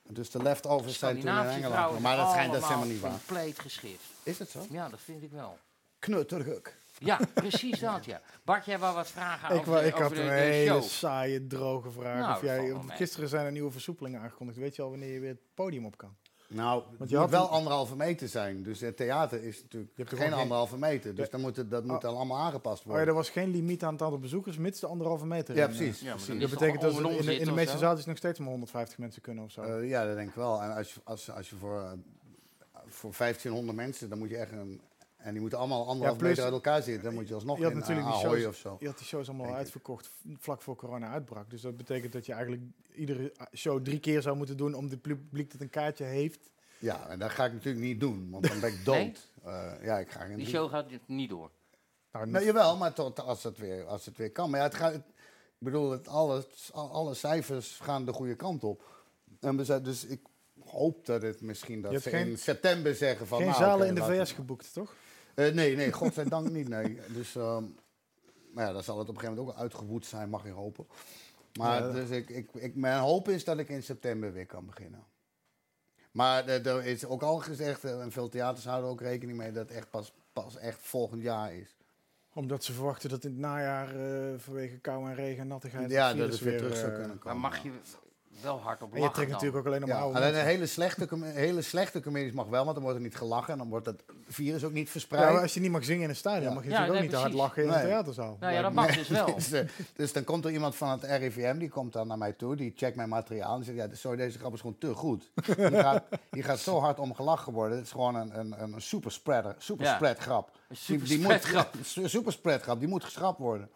S4: Dus de leftovers zijn toen in
S3: Scandinavische
S4: Engeland.
S3: vrouwen
S4: Maar dat, schijnt, dat is
S3: allemaal
S4: helemaal niet waar.
S3: compleet geschift.
S4: Is het zo?
S3: Ja, dat vind ik wel.
S4: Knutterguk.
S3: Ja, precies dat, ja. Bart, jij wou wat vragen
S5: Ik,
S3: over,
S5: wou-
S3: de,
S5: ik
S3: over
S5: had
S3: de,
S5: een
S3: de
S5: hele
S3: show.
S5: saaie, droge vraag.
S3: Nou,
S5: of
S3: dat valt
S5: jij,
S3: wel mee.
S5: gisteren zijn er nieuwe versoepelingen aangekondigd. Weet je al wanneer je weer het podium op kan?
S4: Nou, het moet
S5: je had
S4: wel
S5: een-
S4: anderhalve meter zijn. Dus het theater is natuurlijk
S5: hebt
S4: geen
S5: er gewoon geen-
S4: anderhalve meter. Dus dan moet het, dat moet dan allemaal aangepast
S5: Oh ja,
S4: worden.
S5: er was geen limiet aan het aantal bezoekers, mits de anderhalve meter.
S4: Ja,
S5: En, eh,
S4: precies.
S3: Ja, maar
S4: precies.
S3: dan
S5: Dat
S3: is
S5: betekent
S3: toch
S5: dat ze in,
S3: onder
S5: de- in de
S3: zitten
S5: meeste
S3: of zo?
S5: zaaltjes nog steeds maar 150 mensen kunnen of zo.
S4: Eh, ja, dat denk ik wel. En als je, als, als je voor, eh, voor 1500 mensen, dan moet je echt een... En die moeten allemaal anderhalve
S5: plus-
S4: meter uit elkaar zitten. Dan moet je alsnog
S5: je had
S4: in eh,
S5: natuurlijk die
S4: Ahoy
S5: shows,
S4: of zo.
S5: je had die shows allemaal
S4: Denk ik.
S5: uitverkocht v- vlak voor corona uitbrak. Dus dat betekent dat je eigenlijk iedere eh, show drie keer zou moeten doen om het publiek dat een kaartje
S4: Nou,
S5: heeft.
S4: Ja, en dat ga ik natuurlijk niet doen. Want dan ben ik dood.
S3: Nee?
S4: Eh, ja, ik ga geen...
S3: Die show gaat niet door.
S5: Nou,
S4: Nou, jawel, maar tot, als, het weer, als het weer kan. Maar ja, het gaat, ik bedoel, het, alles, al- alle cijfers gaan de goede kant op. En we zijn, dus ik hoop dat het misschien
S5: Je
S4: dat
S5: hebt
S4: ze
S5: geen-
S4: in september zeggen van...
S5: geen
S4: nou,
S5: zalen
S4: oké,
S5: in de
S4: laten we-
S5: VS geboekt, toch?
S4: Eh, nee, nee, godzijdank niet, nee. Dus, ehm maar ja, dan zal het op een gegeven moment ook uitgewoed zijn, mag je hopen. Maar
S5: Ja.
S4: dus ik, ik, ik, mijn hoop is dat ik in september weer kan beginnen. Maar er er is ook al gezegd, eh, en veel theaters houden ook rekening mee... dat het echt pas, pas echt volgend jaar is.
S5: Omdat ze verwachten dat in het najaar eh, vanwege kou en regen en nattigheid...
S4: Ja,
S5: virus
S4: dat
S3: dus
S4: het weer terug zou
S5: eh,
S4: kunnen
S3: Maar
S4: komen.
S3: mag je wel hard op
S5: En
S3: lachen
S5: je trekt natuurlijk ook alleen nog maar
S4: Ja,
S5: oude
S4: alleen eh,
S5: mensen.
S4: een hele slechte, com- hele slechte comedies mag wel, want dan wordt er niet gelachen en dan wordt het virus ook niet
S5: Ja, maar
S4: verspreid.
S5: als je niet mag zingen in een stadion,
S4: Ja.
S5: mag je
S3: Ja,
S5: natuurlijk ook
S3: nee,
S5: niet te hard
S3: precies.
S5: lachen in een
S4: Nee.
S5: theaterzaal.
S3: Nou ja, dat
S5: Lijkt
S3: mag dus wel.
S4: *laughs* dus, eh, dus dan komt er iemand van het RIVM, die komt dan naar mij toe, die checkt mijn materiaal en zegt, ja, sorry, deze grap is gewoon te goed. Die gaat, die gaat zo hard om gelachen worden, het is gewoon een, een, een superspreader, superspread grap.
S3: Een
S4: Die- die moet- *laughs*
S3: superspreadgrap.
S4: Een superspread grap, die moet geschrapt worden.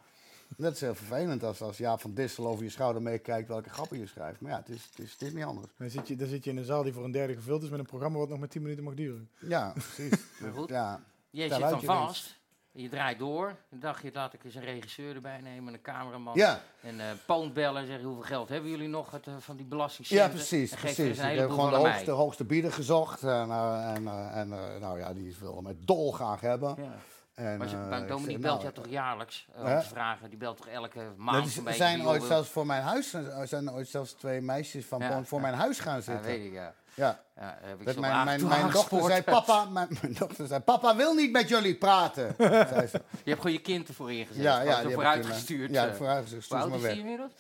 S4: Dat is heel vervelend als, als Jaap van Dissel over je schouder meekijkt welke grappen je schrijft. Maar ja, het is, het is, het is niet anders.
S5: Dan zit, je, dan zit je in een zaal die voor een derde gevuld is met een programma wat nog maar 10 minuten mag duren.
S4: Ja, precies.
S3: *laughs* Maar goed.
S4: Ja.
S3: Je zit
S4: Daar
S3: dan
S4: luid je ineens.
S3: vast. Je draait door. Dan dacht je, laat ik eens een regisseur erbij nemen, een cameraman.
S4: Ja.
S3: En eh poont bellen en zeggen, hoeveel geld hebben jullie nog uit, eh, van die belastingcenten?
S4: Ja, precies.
S3: En geeft er
S4: precies.
S3: eens
S4: Ik
S3: een
S4: heb
S3: heleboel
S4: gewoon de
S3: van aan
S4: hoogste, hoogste bieder gezocht. En, eh, en, eh, en eh, nou ja, die wil met dol graag hebben.
S3: mij. Ja.
S4: En,
S3: Maar
S4: eh,
S3: zo'n bank
S4: ik
S3: Dominique
S4: zeg,
S3: belt jou
S4: nou,
S3: toch jaarlijks eh,
S4: Hè?
S3: om te vragen? Die belt toch elke
S4: er
S3: maand
S4: is-
S3: een beetje?
S4: zijn
S3: joh,
S4: ooit
S3: wil-
S4: zelfs voor mijn huis er zijn ooit zelfs twee meisjes van
S3: Ja,
S4: voor
S3: ja.
S4: mijn huis gaan
S3: Ja,
S4: zitten.
S3: weet ik, ja.
S4: Ja,
S3: ja heb ik
S4: dat
S3: ze
S4: mijn,
S3: op
S4: mijn,
S3: aange-
S4: mijn dochter zei:
S3: aangespoord.
S4: papa, mijn, mijn dochter zei: papa wil niet met jullie
S3: *laughs*
S4: praten. zei ze.
S3: Je hebt gewoon je kind ervoor ingezet.
S4: Ja, ja, die heb ik
S3: vooruit
S4: toen, eh,
S3: gestuurd.
S4: Ja,
S3: eh.
S4: vooruit gestuurd.
S3: Hoe
S4: Stuur ze
S3: oud
S4: maar
S3: is die
S4: weg.
S3: inmiddels?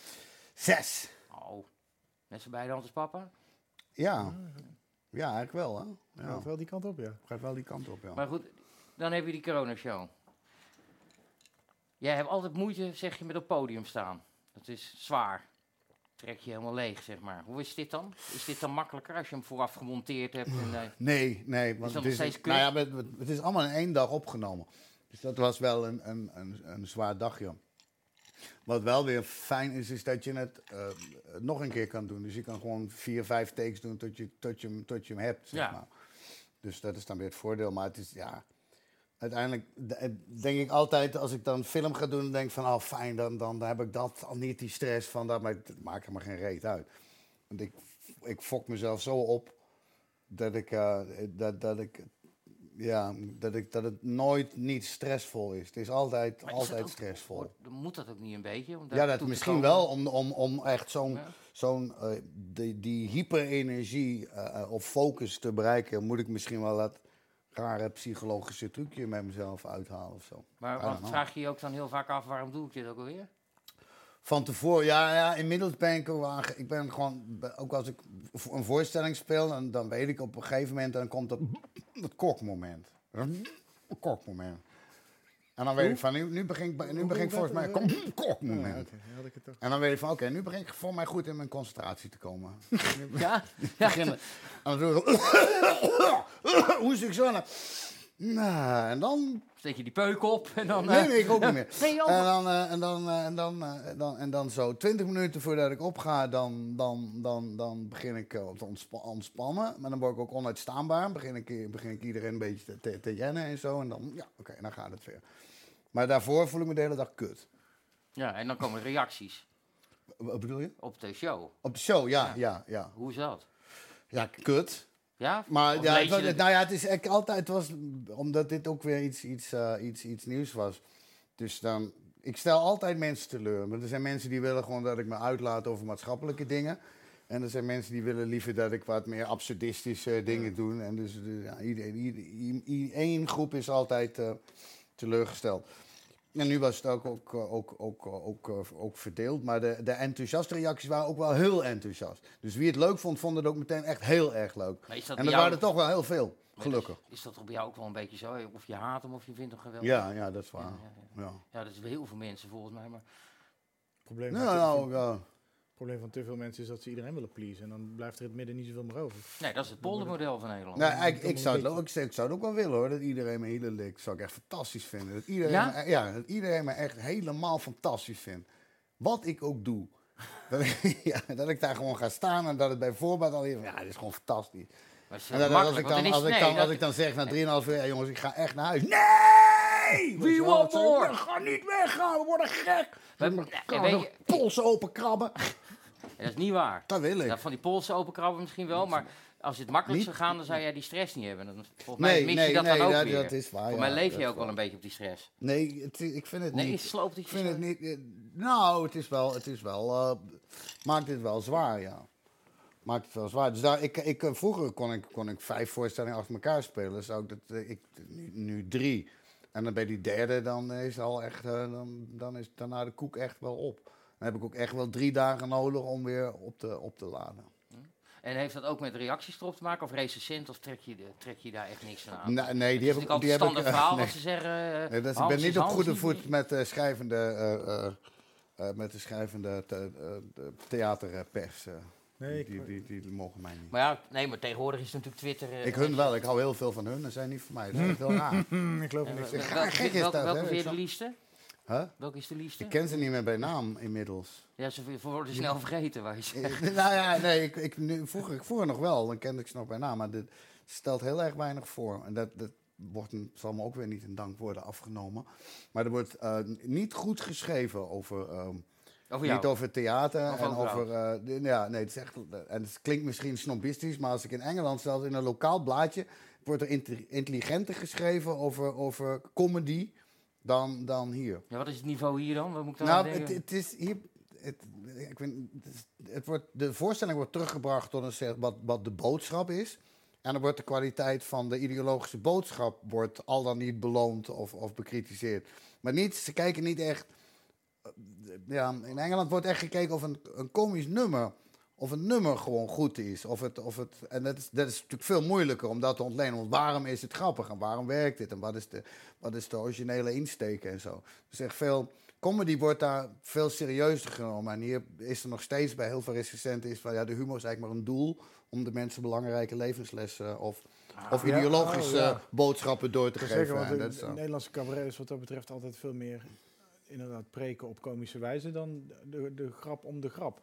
S4: Zes.
S3: Oh, net zo bij de hand als papa. Oh.
S4: Ja. Ja, eigenlijk wel, hè? Ja.
S5: Gaat wel die kant op, ja.
S4: Gaat wel die kant op, ja.
S3: Maar goed, dan heb je die coronashow. Jij hebt altijd moeite, zeg je, met op podium staan. Dat is zwaar. Trek je helemaal leeg, zeg maar. Hoe is dit dan? Is dit dan makkelijker als je hem vooraf gemonteerd hebt? En, eh,
S4: Nee, nee. Want
S3: dat
S4: het, is,
S3: nog steeds
S4: nou ja, maar het, het is allemaal in één dag opgenomen. Dus dat was wel een, een, een, een zwaar dagje. Wat wel weer fijn is, is dat je het eh, nog een keer kan doen. Dus je kan gewoon vier, vijf takes doen tot je, tot je, hem- tot je hem hebt. Zeg
S3: Ja.
S4: maar. Dus dat is dan weer het voordeel. Maar het is, ja... Uiteindelijk de- denk ik altijd, als ik dan een film ga doen, dan denk ik van, oh fijn, dan, dan heb ik dat, al niet die stress van dat, maar het maakt er maar geen reet uit. Want ik, ik fok mezelf zo op dat ik, eh, dat, dat ik, ja, dat ik, dat het nooit niet stressvol is. Het is altijd,
S3: maar is dat
S4: altijd
S3: ook-
S4: stressvol.
S3: hoort- oh, dan moet dat ook niet een beetje? om daar
S4: Ja,
S3: toe
S4: dat
S3: te
S4: misschien
S3: komen?
S4: wel, om, om, om echt zo'n,
S3: Ja.
S4: zo'n eh, die, die hyperenergie eh, eh, of focus te bereiken, moet ik misschien wel dat rare psychologische trucje met mezelf uithalen of zo.
S3: Maar
S4: I don't
S3: want
S4: know. *laughs*
S3: vraag je je ook dan heel vaak af, waarom doe ik dit ook alweer?
S4: van tevoren, ja, ja, inmiddels ben ik, er wel aange- ik ben gewoon, ook als ik vo- een voorstelling speel, dan, dan weet ik op een gegeven moment, dan komt dat, dat kokmoment. Dat kokmoment. En dan weet ik van, nu, nu begin ik, bij- nu begin ik volgens mij, kom, kokmoment.
S5: had ik het toch.
S4: En dan weet ik van, oké, nu begin ik voor mij goed in mijn concentratie te komen.
S3: Ja, ja.
S4: Beginnen. En dan doe ik... Hoest ik zo naar... Nou, en dan
S3: steek je die peuk op en dan...
S4: Nee,
S3: eh,
S4: nee, ik ook niet meer.
S3: Nee, joh.
S4: en, dan, eh, en, dan, eh, en, dan, eh, dan, en dan zo 20 minuten voordat ik opga, dan, dan, dan, dan begin ik eh, te ontspa- ontspannen. Maar dan word ik ook onuitstaanbaar. Begin ik, eh, begin ik iedereen een beetje te, te, te jennen en zo. En dan, ja, oké, dan gaat het weer. Maar daarvoor voel ik me de hele dag kut.
S3: Ja, en dan komen reacties
S4: W- Wat bedoel je?
S3: op de show.
S4: Op de show, ja, ja, ja.
S3: Hoe is dat?
S4: Ja, kut.
S3: Ja?
S4: Maar
S3: Of
S4: ja,
S3: lees
S4: het
S3: je
S4: was-
S3: het-
S4: nou ja, het is eigenlijk altijd het was omdat dit ook weer iets, iets, eh, iets, iets nieuws was. Dus dan, ik stel altijd mensen teleur. Want er zijn mensen die willen gewoon dat ik me uitlaat over maatschappelijke dingen. En er zijn mensen die willen liever dat ik wat meer absurdistische eh, dingen doe. En dus eh, ja, iedereen, ieder- i- i- één groep is altijd eh, teleurgesteld. En nu was het ook, ook, eh, ook, ook, eh, ook, eh, ook verdeeld. Maar de, de enthousiaste reacties waren ook wel heel enthousiast. Dus wie het leuk vond, vond het ook meteen echt heel erg leuk.
S3: Maar is dat
S4: en
S3: bij
S4: er
S3: jou-
S4: waren er toch wel heel veel, gelukkig.
S3: Is dat toch bij jou ook wel een beetje zo? hè? Of je haat hem of je vindt hem geweldig?
S4: Ja, ja, dat is waar.
S3: Ja, ja,
S4: Ja.
S3: Ja, dat is bij heel veel mensen volgens mij. Maar
S5: Probleem,
S4: Nou,
S5: van te-
S4: nou, ja.
S5: probleem van te veel mensen is dat ze iedereen willen pleasen. En dan blijft er in het midden niet zoveel meer over.
S3: nee, dat is het poldermodel van Nederland.
S4: Nou, ik, ik, zou het, ook- ik, zou- ik zou het ook wel willen hoor, dat iedereen me hele lik zou ik echt fantastisch vinden. Dat iedereen,
S3: Ja?
S4: Me, eh, ja, dat iedereen me echt helemaal fantastisch vindt. Wat ik ook doe. *laughs* Dat ik, ja, dat ik daar gewoon ga staan en dat het bij voorbaat al even, ja, dit is gewoon fantastisch.
S3: Maar het is
S4: En
S3: heel
S4: dat- als,
S3: makkelijk,
S4: ik
S3: want dan
S4: dan,
S3: is-
S4: als, ik
S3: nee,
S4: dan,
S3: dat-
S4: als ik dan zeg na 3,5 uur, ja, jongens, ik ga echt naar huis. Nee! Weet je wel,
S3: want
S4: zo,
S3: more?
S4: We gaan niet weggaan, we worden gek.
S3: We-
S4: Met mijn
S3: ja,
S4: koude
S3: weet je-
S4: polsen open krabben.
S3: Dat is niet waar.
S4: Dat wil
S3: Ja,
S4: ik.
S3: van die polsen openkrabben misschien wel, maar als het makkelijk zou
S4: Niet-
S3: gaan, dan zou jij die stress niet hebben. Dan- Volgens mij
S4: Nee,
S3: mis je
S4: nee,
S3: dat
S4: nee,
S3: dan ook
S4: dat,
S3: weer.
S4: dat is waar.
S3: Voor
S4: ja,
S3: mij leef
S4: dat
S3: je
S4: is
S3: ook wel
S4: waar.
S3: een beetje op die stress.
S4: Nee, het, is- ik vind het
S3: Nee,
S4: niet.
S3: sloopt
S4: Ik
S3: het je
S4: vind
S3: zo?
S4: het niet. eh, Nou, het is wel. Het is wel eh, maakt het wel zwaar, ja. Maakt het wel zwaar. Dus daar, ik, ik, eh, vroeger kon ik, kon ik vijf voorstellingen achter elkaar spelen. Zou ik dat, eh, ik, nu, nu drie. En dan bij die derde, dan is het al echt. eh, dan, dan is daarna de koek echt wel op. Dan heb ik ook echt wel drie dagen nodig om weer op te, op te laden.
S3: En heeft dat ook met reacties erop te maken? Of recensent? Of trek je, de- trek je daar echt niks aan?
S4: Nee, nee, die
S3: dat
S4: heb
S3: Nou, is natuurlijk
S4: ik. Die
S3: altijd
S4: heb ik
S3: standaard
S4: eh, *laughs*
S3: verhaal
S4: nee.
S3: dat ze zeggen... eh,
S4: Nee, dat is, ik
S3: Hans
S4: ben
S3: is
S4: niet op
S3: Hans,
S4: goede
S3: niet-
S4: voet met eh, schrijvende, eh, eh, eh, met de schrijvende the- eh, de theaterpers. eh.
S5: Nee,
S4: die,
S5: ik-
S4: die, die, die mogen mij niet.
S3: Maar ja, nee, maar tegenwoordig is het natuurlijk Twitter... eh,
S4: Ik hun wel, ik hou heel veel van hun en zij niet van mij. Dat is heel
S5: *laughs*
S4: raar.
S5: Hmm, ik geloof er
S3: eh,
S5: niks.
S3: wel-
S4: Ja,
S3: welke-
S4: gek is
S3: welke-
S4: dat,
S3: Welke
S4: hè,
S3: vind je
S4: ik
S3: de
S4: snap-
S3: liefste?
S4: Huh?
S3: Welke is de liefste?
S4: Ik ken ze niet meer bij naam inmiddels.
S3: Ja, ze ze worden snel vergeten, waar je zegt.
S4: Eh, *laughs* nou ja, nee, ik, ik, nu, vroeger, ik vroeger nog wel, dan kende ik ze nog bij naam. Maar dit stelt heel erg weinig voor. En dat, dat wordt een, zal me ook weer niet in dank worden afgenomen. Maar er wordt eh, niet goed geschreven over... ehm,
S3: Over jou.
S4: Niet over theater
S3: Of
S4: en
S3: over
S4: over. eh, de- ja, nee, het, is echt, en het klinkt misschien snobistisch, maar als ik in Engeland, zelfs in een lokaal blaadje, wordt er inte- intelligenter geschreven over, over comedy dan, dan hier.
S3: Ja, wat is het niveau hier dan? Wat moet ik dan aan
S4: Nou,
S3: denken?
S4: het, het is hier. Het, ik weet, het is- het wordt, de voorstelling wordt teruggebracht tot een, soort- wat, wat de boodschap is. En dan wordt de kwaliteit van de ideologische boodschap wordt al dan niet beloond of, of bekritiseerd. Maar niet, ze kijken niet echt. eh, Ja, in Engeland wordt echt gekeken of een, een komisch nummer. Of een nummer gewoon goed is. Of het, of het, en dat is, dat is natuurlijk veel moeilijker om dat te ontlenen. Want waarom is het grappig en waarom werkt dit? En wat is de, wat is de originele insteek en zo? Dus echt veel. Comedy wordt daar veel serieuzer genomen. En hier is er nog steeds bij heel veel recensenten is van ja, de humor is eigenlijk maar een doel om de mensen belangrijke levenslessen of, of
S5: ja.
S4: ideologische
S5: Oh, ja.
S4: boodschappen door te
S5: Ik wil
S4: geven.
S5: zeggen, want
S4: en
S5: de-
S4: dat is
S5: de
S4: dan-
S5: Nederlandse cabaret is wat dat betreft altijd veel meer eh, inderdaad preken op komische wijze dan de- de, de grap om de grap.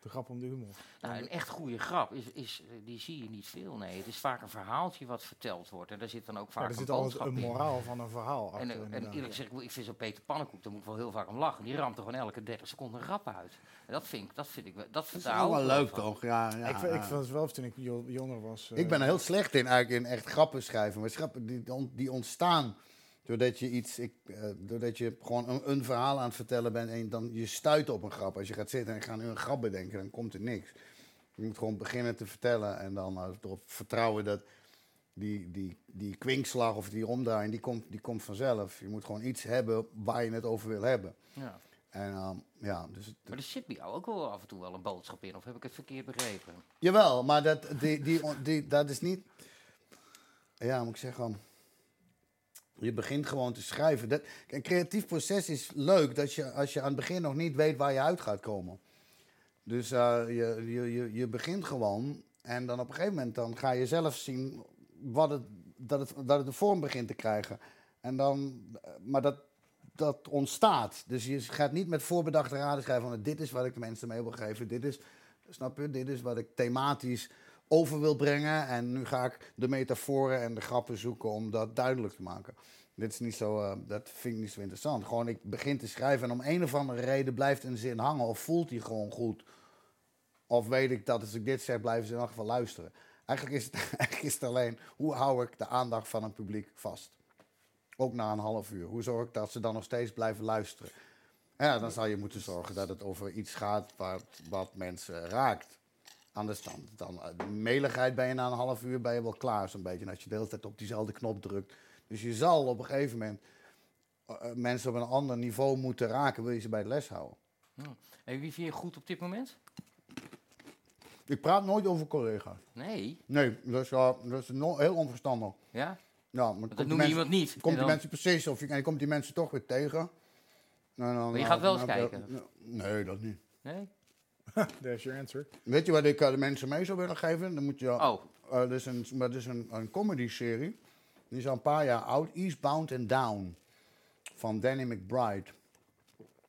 S5: De grap om de humor.
S3: Nou, een echt goede grap, is, is, eh, die zie je niet veel. Nee, het is vaak een verhaaltje wat verteld wordt. En daar zit dan ook
S5: Ja,
S3: vaak
S5: er
S3: een
S5: zit altijd
S3: boodschap
S5: een
S3: in.
S5: moraal van een verhaal
S3: En,
S5: achter.
S3: eh, en
S5: inderdaad.
S3: eerlijk gezegd, ik vind zo'n Peter Pannenkoek, daar moet ik wel heel vaak om lachen. Die ramt er gewoon elke 30 seconden een grap uit. En dat vind ik, dat vind ik, wel- dat
S4: dat
S3: vind
S4: is ook wel leuk toch? Ja, ja,
S5: ik, vind- ik
S4: ja.
S5: vond het wel toen ik jo- jonger was. eh,
S4: Ik ben er heel slecht in, eigenlijk in echt grappen schrijven. Maar grappen die, on- die ontstaan doordat je iets, ik, eh, doordat je gewoon een, een verhaal aan het vertellen bent en dan je stuit op een grap. Als je gaat zitten en gaat nu een grap bedenken, dan komt er niks. Je moet gewoon beginnen te vertellen en dan eh, erop vertrouwen dat die, die, die kwinkslag of die omdraaiing, die komt, die komt vanzelf. Je moet gewoon iets hebben waar je het over wil hebben.
S3: Ja.
S4: En ehm, ja, dus het-
S3: Maar er zit bij jou ook wel af en toe wel een boodschap in, of heb ik het verkeerd begrepen?
S4: Jawel, maar dat, die, die, die, dat is niet. Ja, moet ik zeggen. Je begint gewoon te schrijven. Dat, een creatief proces is leuk dat je, als je aan het begin nog niet weet waar je uit gaat komen. Dus eh, je, je, je, je begint gewoon en dan op een gegeven moment dan ga je zelf zien wat het, dat, het, dat het een vorm begint te krijgen. En dan, eh, maar dat, dat ontstaat. Dus je gaat niet met voorbedachte raden schrijven van dit is wat ik de mensen mee wil geven, dit is Snap je? Dit is wat ik thematisch over wil brengen. En nu ga ik de metaforen en de grappen zoeken om dat duidelijk te maken. Dit is niet zo, eh, dat vind ik niet zo interessant. Gewoon, ik begin te schrijven en om een of andere reden blijft een zin hangen. Of voelt die gewoon goed. Of weet ik dat als ik dit zeg, blijven ze in elk geval luisteren. Eigenlijk is, het, *laughs* eigenlijk is het alleen, hoe hou ik de aandacht van een publiek vast? Ook na een half uur. Hoe zorg ik dat ze dan nog steeds blijven luisteren? Ja, dan zou je moeten zorgen dat het over iets gaat wat, wat mensen raakt. Anders dan, dan eh, de meligheid ben je na een half uur ben je wel klaar zo'n beetje. En als je de hele tijd op diezelfde knop drukt. Dus je zal op een gegeven moment eh, eh, mensen op een ander niveau moeten raken. Wil je ze bij de les houden.
S3: En wie vind je goed op dit moment?
S4: Ik praat nooit over collega's.
S3: Nee,
S4: Nee, dat is, eh, dat is no- heel onverstandig.
S3: ja?
S4: Ja, maar
S3: Dat noem je iemand niet.
S4: Komt
S3: En
S4: die
S3: dan-
S4: mensen precies, of je, en je komt die mensen toch weer tegen. En dan,
S3: je
S4: eh,
S3: gaat wel eens
S4: dan heb je-
S3: kijken?
S4: Nee, dat niet.
S3: Nee?
S5: There's your answer.
S4: Weet je wat ik eh, de mensen mee zou willen geven? Dan moet je.
S3: Oh.
S4: Eh, dat is een, dat is een, een comedy-serie. Die is al een paar jaar oud. Eastbound and Down. Van Danny McBride.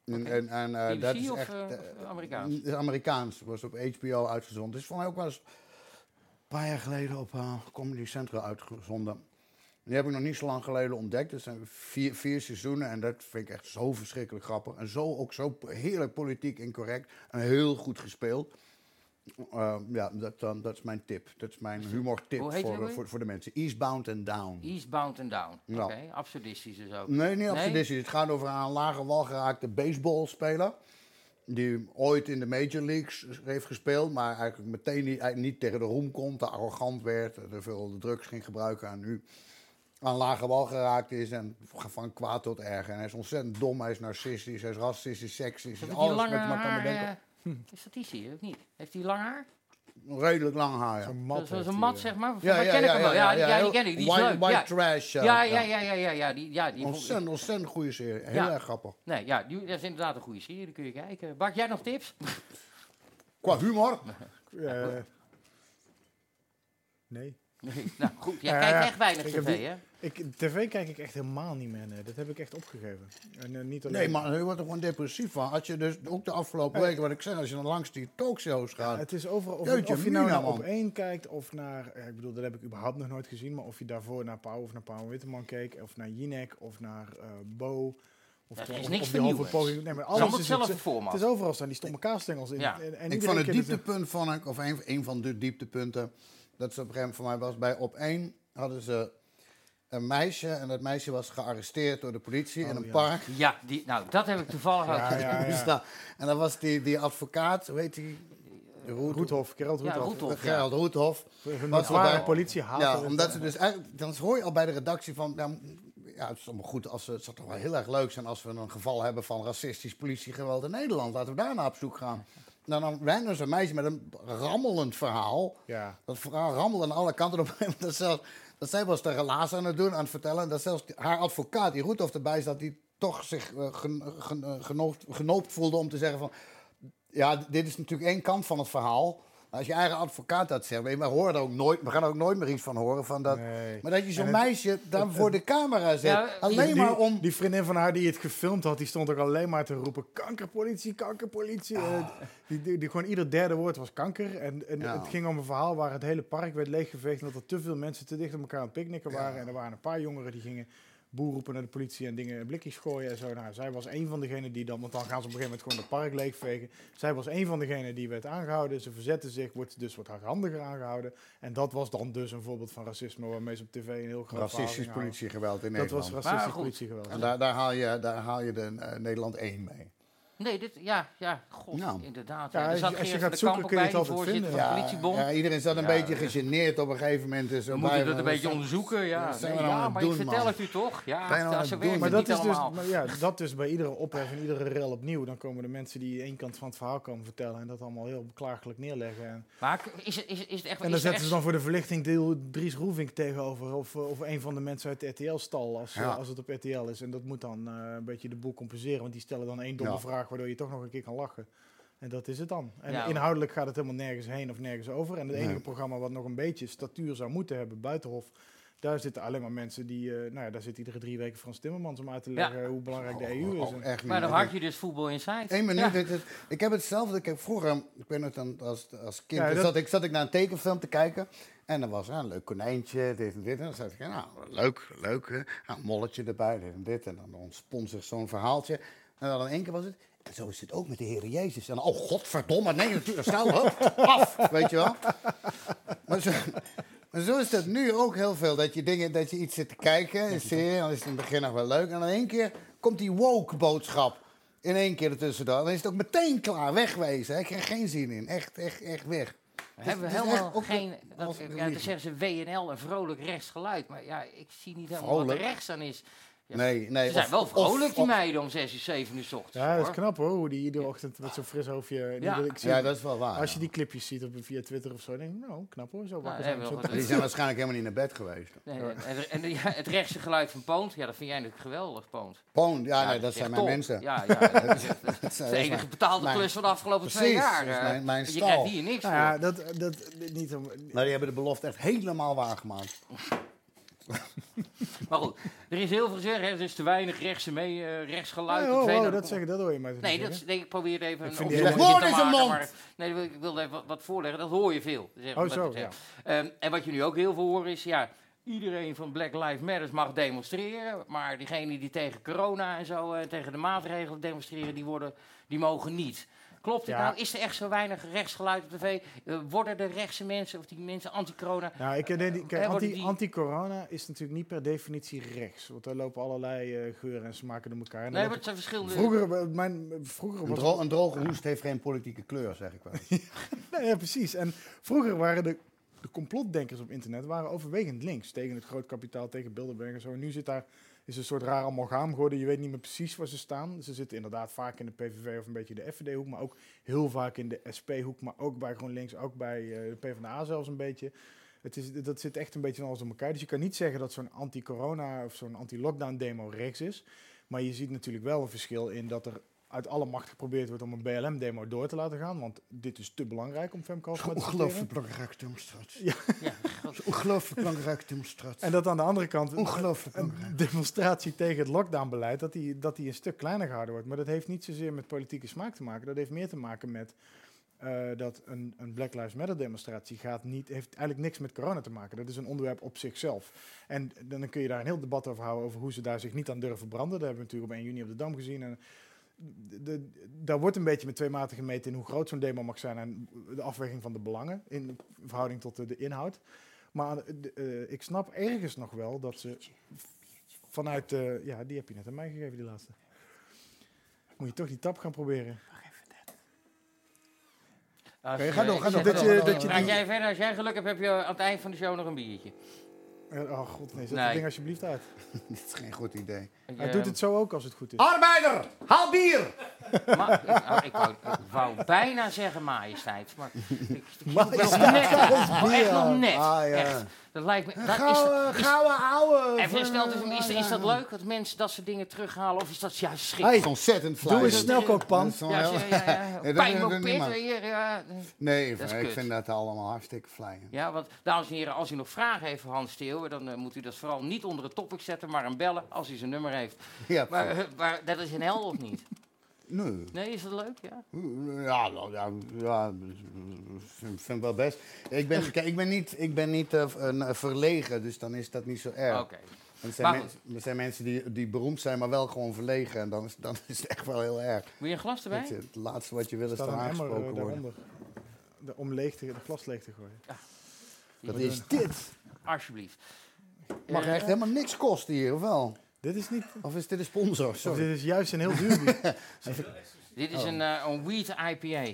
S4: En, en, en, eh,
S3: BBC
S4: dat is
S3: of,
S4: echt.
S3: eh,
S4: eh,
S3: of Amerikaans?
S4: het is Amerikaans. Was op HBO uitgezonden. Het is voor mij ook wel eens een paar jaar geleden op eh, Comedy Central uitgezonden. Die heb ik nog niet zo lang geleden ontdekt. Dat zijn vier, vier seizoenen en dat vind ik echt zo verschrikkelijk grappig. En zo ook zo heerlijk politiek incorrect en heel goed gespeeld. Eh, ja, dat, eh, dat is mijn tip. Dat is mijn humortip
S3: Hoe
S4: voor,
S3: heet die ook
S4: eh,
S3: weer?
S4: voor, voor de mensen. Eastbound and Down.
S3: Eastbound and Down.
S4: Ja.
S3: Oké, absurdistisch dus ook.
S4: Nee, niet absurdistisch. Het gaat over een lage wal geraakte baseballspeler. Die ooit in de Major Leagues heeft gespeeld, maar eigenlijk meteen niet, eigenlijk niet tegen de roem komt. Te arrogant werd, te veel drugs ging gebruiken en nu aan lage wal geraakt is. En van kwaad tot erg. En hij is ontzettend dom, hij is narcistisch, hij is racistisch, seksisch.
S3: Is dat met
S4: Hij is
S3: die
S4: alles
S3: lange
S4: wat je maar kan
S3: haar?
S4: bedenken.
S3: eh, Is dat die zie je of niet? Heeft hij lang haar?
S4: Redelijk lang haar, ja.
S5: Zo'n
S3: Dat
S5: mat.
S3: is- dat is
S5: heeft
S3: een
S5: hij,
S3: mat,
S5: eh.
S3: zeg eh. maar. Ja, ken ik hem wel. Ja, die- ja, die ken ik. Die is
S4: white,
S3: leuk.
S4: White
S3: ja.
S4: trash. eh,
S3: Ja, ja, ja, ja, ja, ja, die, ja, die vond ik-
S4: Ontzettend, ontzettend goede serie. Heel
S3: Ja.
S4: erg grappig.
S3: Nee, ja, die, dat is inderdaad een goede serie, die kun je kijken. Bak, jij nog tips? *laughs*
S4: Qua humor.
S5: Eh, nee.
S3: Nee, nou goed, jij
S5: Ja,
S3: kijkt
S5: ja.
S3: echt weinig
S5: Ik heb
S3: tv,
S5: die-
S3: hè?
S5: Ik, tv kijk ik echt helemaal niet meer. Nee. Dat heb ik echt opgegeven. En, eh, niet alleen
S4: Nee, maar je wordt er gewoon depressief van. Als je dus ook de afgelopen
S5: Ja.
S4: weken, wat ik zeg, als je dan langs die talkshows
S5: Ja,
S4: gaat.
S5: het is overal. Of,
S4: Jeetje,
S5: of je nou
S4: Mina,
S5: naar op
S4: man.
S5: één kijkt of naar. eh, Ik bedoel, dat heb ik überhaupt nog nooit gezien. Maar of je daarvoor naar Pauw of naar Pauw en Witteman keek. Of naar Jinek of naar eh, Bo. Of
S3: Er
S5: de-
S3: is niks
S5: of- of die halve
S3: vernieuwends.
S5: poging- Nee, maar
S3: is
S5: alles
S3: allemaal
S5: is
S3: hetzelfde
S5: het-
S3: format.
S5: Het is overal staan die stomme kaasstengels in.
S3: Ja.
S5: En, en
S4: ik
S5: iedere
S4: vond het
S5: keer dat-
S4: dieptepunt van ik, of een, een van de dieptepunten, dat ze op een gegeven moment voor mij was bij op één hadden ze een meisje en dat meisje was gearresteerd door de politie in een
S5: Oh, ja.
S4: park.
S3: Ja, die, nou, dat heb ik toevallig ook.
S5: Ja, ja,
S4: *laughs* Dus
S5: ja.
S4: daar- En dan was die, die advocaat, hoe heet die? Roet-
S5: Roethof, Gerald
S3: Ja,
S5: Roethof.
S3: Roethof, ja.
S4: Gerald Roethoff.
S5: Een
S4: Wat we
S5: notoire
S4: bij-
S5: politie haat.
S4: Ja, omdat ze dus eigenlijk, dan hoor je al bij de redactie van, ja, m- ja het is allemaal goed, als we, het zou toch wel heel erg leuk zijn als we een geval hebben van racistisch politiegeweld in Nederland. Laten we daar naar op zoek gaan. Nou, dan rennen ze een meisje met een rammelend verhaal.
S5: Ja.
S4: Dat verhaal rammelde aan alle kanten. Op *laughs* een gegeven moment dat, zelfs, dat zij was de relaas aan het doen, aan het vertellen. En dat zelfs die- haar advocaat, die Roethoff erbij zat, die toch zich eh, gen- gen- eh, genoopt, genoopt voelde om te zeggen van... Ja, d- dit is natuurlijk één kant van het verhaal. Als je eigen advocaat dat zegt, we horen er ook nooit, we gaan er ook nooit meer iets van horen. Van dat,
S5: Nee.
S4: Maar dat je
S5: En
S4: zo'n
S5: het-
S4: meisje daar voor de camera zet.
S3: Ja,
S4: alleen
S5: Die,
S4: maar om...
S5: die vriendin van haar die het gefilmd had, die stond ook alleen maar te roepen: kankerpolitie, kankerpolitie.
S4: Ah.
S5: Eh, Die, die, die, gewoon ieder derde woord was kanker. En, en
S4: Ja.
S5: het ging om een verhaal waar het hele park werd leeggeveegd. Omdat er te veel mensen te dicht op elkaar aan het picknicken waren. En er waren een paar jongeren die gingen boer roepen naar de politie en dingen en blikjes gooien en zo. Nou, zij was een van degenen die dan, want dan gaan ze op een gegeven moment gewoon het park leegvegen. Zij was een van degenen die werd aangehouden. Ze verzette zich, wordt dus wat hardhandiger aangehouden. En dat was dan dus een voorbeeld van racisme waarmee ze op tv een heel groot verhaal
S4: Racistisch
S5: gingen houden.
S4: politiegeweld in
S5: Dat
S4: Nederland.
S5: was
S3: Maar
S5: racistisch
S3: goed.
S5: politiegeweld.
S4: en daar, daar haal je, daar haal je de, eh, Nederland 1 mee.
S3: Nee, dit, ja, ja, god,
S4: Nou.
S3: inderdaad.
S5: Ja,
S3: Ja, er
S5: als je-
S3: zat
S5: als je
S3: Geert
S5: gaat
S3: van de
S5: zoeken,
S3: Kamp ook
S5: kun je
S3: bij,
S5: het
S3: die
S5: altijd
S3: voorzitter
S5: vinden,
S3: van
S4: Ja,
S3: de politiebond.
S4: ja, iedereen is dat een
S3: Ja,
S4: beetje gegeneerd op een gegeven moment. Dus
S3: We
S4: erbij,
S3: moeten dat een
S4: maar
S3: beetje onderzoeken, ja.
S4: zijn we
S3: Nee,
S4: nou aan
S3: ja,
S4: het
S3: maar ik
S4: doen,
S3: vertel
S4: man?
S3: het u toch?
S4: Zijn we
S3: Ja,
S4: nou
S3: dat
S4: aan
S3: zo
S4: het
S3: werkt
S4: doen?
S5: Maar
S3: het
S5: dat
S3: niet
S5: is dus,
S3: allemaal.
S5: maar ja, dat dus bij iedere ophef en iedere rel opnieuw. Dan komen de mensen die één kant van het verhaal komen vertellen en dat allemaal heel beklagelijk neerleggen. En,
S3: Maar k- is het, is, is het echt...
S5: en
S3: is
S5: dan
S3: er
S5: zetten
S3: echt-
S5: ze dan voor de verlichting deel Dries Roevink tegenover of, eh, of een van de mensen uit de RTL-stal als, eh,
S4: Ja.
S5: als het op RTL is. En dat moet dan eh, een beetje de boel compenseren, want die stellen dan één domme
S4: Ja.
S5: vraag waardoor je toch nog een keer kan lachen. En dat is het dan. En
S3: Ja.
S5: inhoudelijk gaat het helemaal nergens heen of nergens over. En het
S4: Nee.
S5: enige programma wat nog een beetje statuur zou moeten hebben, Buitenhof, daar zitten alleen maar mensen die... eh, nou ja, daar zit iedere drie weken Frans Timmermans om uit te leggen hoe belangrijk de EU is.
S4: Oh,
S5: En-
S4: echt niet.
S3: Maar dan
S4: Dat
S3: had je dus voetbal inside.
S4: Eén minuut.
S3: Ja.
S4: dit is- ik heb hetzelfde. Ik heb vroeger, ik weet nog, dan als, als kind
S5: Ja, dat-
S4: zat, ik, zat ik naar een tekenfilm te kijken. En dan was er een leuk konijntje, dit en dit. En dan zei ik, nou, leuk, leuk. Hè? Nou, een molletje erbij, dit en dit. En dan ontspon zich zo'n verhaaltje. En dan in één keer was het. En zo is het ook met de Heer Jezus. En dan, oh, godverdomme, nee, natuurlijk, snel, hup, af, weet je wel. Maar zo, maar zo is dat nu ook heel veel. Dat je, dingen, dat je iets zit te kijken, een serie, dan is het in het begin nog wel leuk. En in één keer komt die woke-boodschap in één keer ertussendoor. Dan is het ook meteen klaar, wegwezen. hè. Ik krijg er geen zin in, echt, echt, echt weg. Dus
S3: We hebben
S4: Het is
S3: helemaal
S4: echt ook
S3: geen...
S4: een-
S3: Dat,
S4: als
S3: ja, dan
S4: religie.
S3: zeggen ze WNL, een vrolijk rechtsgeluid. Maar ja, ik zie niet helemaal wat er
S4: Vrolijk?
S3: rechts aan is. Ja,
S4: Nee, nee.
S3: Ze zijn
S4: of-
S3: wel
S4: of-
S3: vrolijk, die
S4: of-
S3: meiden, om 6 uur 7 uur 's ochtends.
S5: Ja, dat is
S3: hoor.
S5: knap hoor, hoe die iedere ochtend met zo'n fris hoofdje...
S3: Ja.
S5: Ik zie-
S4: Ja, dat is wel waar.
S5: Als je
S4: ja.
S5: die clipjes ziet op, via Twitter of zo, denk ik, nou, knap hoor, zo wakker
S3: dat
S5: zijn.
S3: hebben we
S5: Zo-
S3: wel
S4: Die zijn waarschijnlijk helemaal niet naar bed geweest.
S3: Nee, en, en- en- ja, het rechtse geluid van Poont, ja, dat vind jij natuurlijk geweldig, Poont.
S4: Poon, ja, nee,
S3: is
S4: dat
S3: echt
S4: zijn mijn
S3: top.
S4: mensen. *laughs*
S3: Ja, ja, dat is echt- dat
S4: Dat
S3: is
S4: zijn-
S3: de
S4: dat is
S3: enige
S4: mijn-
S3: betaalde
S4: mijn-
S3: klus van de afgelopen
S4: Precies,
S3: twee
S4: dat
S3: jaar.
S4: is
S3: eh.
S4: mijn- mijn
S3: je
S4: stal.
S3: krijgt hier niks
S5: Nou
S3: voor.
S5: ja, dat, dat, niet
S3: Ah,
S5: om...
S4: Maar die hebben de belofte echt helemaal waargemaakt.
S3: Maar goed, er is heel veel gezegd, hè, er is te weinig rechtse mee, eh, rechtsgeluid.
S5: Nee,
S3: het
S5: oh,
S3: tweede-
S5: oh, dat zeggen, dat hoor je mij toch
S3: Nee,
S5: niet
S3: dat is-
S5: zeggen?
S3: nee, ik probeer even een
S5: vind die
S3: opzomming
S4: hele-
S3: te
S4: Woorden in zijn
S3: maken,
S4: mond!
S3: maar- nee, dat wil- ik wilde even wat, wat voorleggen, dat hoor je veel. zeg maar,
S5: Oh, zo,
S3: dat het- Ehm, en wat je nu ook heel veel hoort is, ja, iedereen van Black Lives Matter mag demonstreren, maar diegenen die tegen corona en zo, eh, tegen de maatregelen demonstreren, die, worden, die mogen niet. Klopt het
S5: Ja.
S3: nou? Is er echt zo weinig rechtsgeluid op tv? Eh, worden de rechtse mensen of die mensen anti-corona...
S5: Nou, ik, denk die- kijk,
S3: Eh, worden
S5: anti,
S3: die-
S5: anti-corona is natuurlijk niet per definitie rechts. Want daar lopen allerlei eh, geuren en smaken door elkaar. En
S3: Nee,
S5: dan
S3: maar het
S5: wordt-
S3: zijn verschillende...
S5: vroeger, eh, mijn, vroeger
S4: Een,
S5: was
S4: dro- een droge hoest heeft geen politieke kleur, zeg ik wel.
S5: Nee, ja, precies. En vroeger waren de, de complotdenkers op internet waren overwegend links. Tegen het groot kapitaal, tegen Bilderberg en zo. En nu zit daar is een soort raar amalgaam geworden. Je weet niet meer precies waar ze staan. Ze zitten inderdaad vaak in de PVV of een beetje de FVD-hoek. Maar ook heel vaak in de SP-hoek. Maar ook bij GroenLinks, ook bij eh, de PvdA zelfs een beetje. Het is, dat zit echt een beetje van alles door elkaar. Dus je kan niet zeggen dat zo'n anti-corona of zo'n anti-lockdown-demo rechts is. Maar je ziet natuurlijk wel een verschil in dat er uit alle macht geprobeerd wordt om een BLM-demo door te laten gaan. Want dit is te belangrijk om Femco te citeren.
S4: Ongelooflijk belangrijke demonstratie.
S3: Ja,
S4: Ongelooflijk belangrijke demonstratie.
S5: En dat aan de andere kant
S4: Ongelooflijk
S5: een demonstratie tegen het lockdownbeleid, dat die, dat die een stuk kleiner gehouden wordt. Maar dat heeft niet zozeer met politieke smaak te maken. Dat heeft meer te maken met eh, dat een, een Black Lives Matter demonstratie gaat niet, heeft eigenlijk niks met corona te maken. Dat is een onderwerp op zichzelf. En dan kun je daar een heel debat over houden over hoe ze daar zich niet aan durven branden. Dat hebben we natuurlijk op 1 juni op de Dam gezien. En de, de- daar wordt een beetje met twee maten gemeten in hoe groot zo'n demo mag zijn en de afweging van de belangen in verhouding tot de, de inhoud. Maar eh, de- eh, ik snap ergens nog wel dat ze vanuit de. Ja, die heb je net aan mij gegeven, die laatste. Moet je toch die tap gaan proberen?
S3: Als,
S4: Oké, ga
S3: eh,
S4: door,
S3: ik
S4: ga
S3: zeg
S4: door,
S3: het
S5: dat je-
S3: al,
S5: dat je
S3: praat
S5: die-
S3: jij verder. Als jij geluk hebt, heb je aan het eind van de show nog een biertje.
S5: Eh, Oh god, nee, zet
S3: Nee.
S5: dat ding alsjeblieft uit.
S4: Dit is geen goed idee.
S5: Hij
S3: Eh,
S5: doet
S3: *laughs*
S5: het zo ook als het goed is.
S4: Arbeider, haal bier!
S3: maar- ik, nou, ik wou, ik wou bijna zeggen majesteit, maar ik,
S4: Maar
S3: nog net. Maar echt nog net.
S4: Ah, ja.
S3: Echt. Dat lijkt me... Dat is,
S4: Gouden, gouden ouwe. eh, nou
S3: even snel, tussen- is, is
S4: Ah,
S3: dat leuk dat mensen dat soort dingen terughalen? Of is dat juist schrik?
S4: Hij is ontzettend flauw.
S5: Doe eens snelkookpan.
S4: Dat is wel
S3: Ja,
S4: heel-
S3: ja, ja,
S4: *laughs*
S3: ja.
S4: Nee, dat
S3: Pijn
S4: doet
S3: op pit,
S4: niemand.
S3: hier, ja.
S4: Nee,
S3: Dat is
S4: ik
S3: kut.
S4: vind dat allemaal hartstikke flauw.
S3: Ja, want dames en heren, als u nog vragen heeft voor Hans Steeuwen, dan eh, moet u dat vooral niet onder het topic zetten, maar hem bellen als hij zijn nummer heeft.
S4: Ja,
S3: Maar, eh, maar dat is een hel of niet?
S4: nee.
S3: Nee, is dat leuk? Ja.
S4: Ja, nou, ja, ja, vind, vind ik wel best.
S3: *laughs*
S4: Ik ben, kijk, ik ben niet, ik ben niet eh, een, eh, verlegen, dus dan is dat niet zo erg.
S3: Oké.
S4: Er zijn,
S3: Maar
S4: mens- er zijn mensen die, die beroemd zijn, maar wel gewoon verlegen. En dan is, dan is het echt wel heel erg.
S3: Wil je een glas
S4: Dat je-
S3: erbij?
S4: het laatste wat je wil is
S5: staat
S4: dan
S5: een emmer
S4: aangesproken
S5: eh,
S4: worden.
S5: daaronder. De, om leeg te, de glas leeg te gooien.
S4: Dat is dit.
S3: Alsjeblieft.
S4: Mag
S3: Eh,
S4: echt helemaal niks kosten hier, of wel?
S5: Dit is niet.
S4: Of is dit een sponsor?
S5: Dit
S4: Sorry.
S5: is juist een heel duur bier.
S3: Dit is
S4: Oh.
S3: een, eh, een wheat IPA.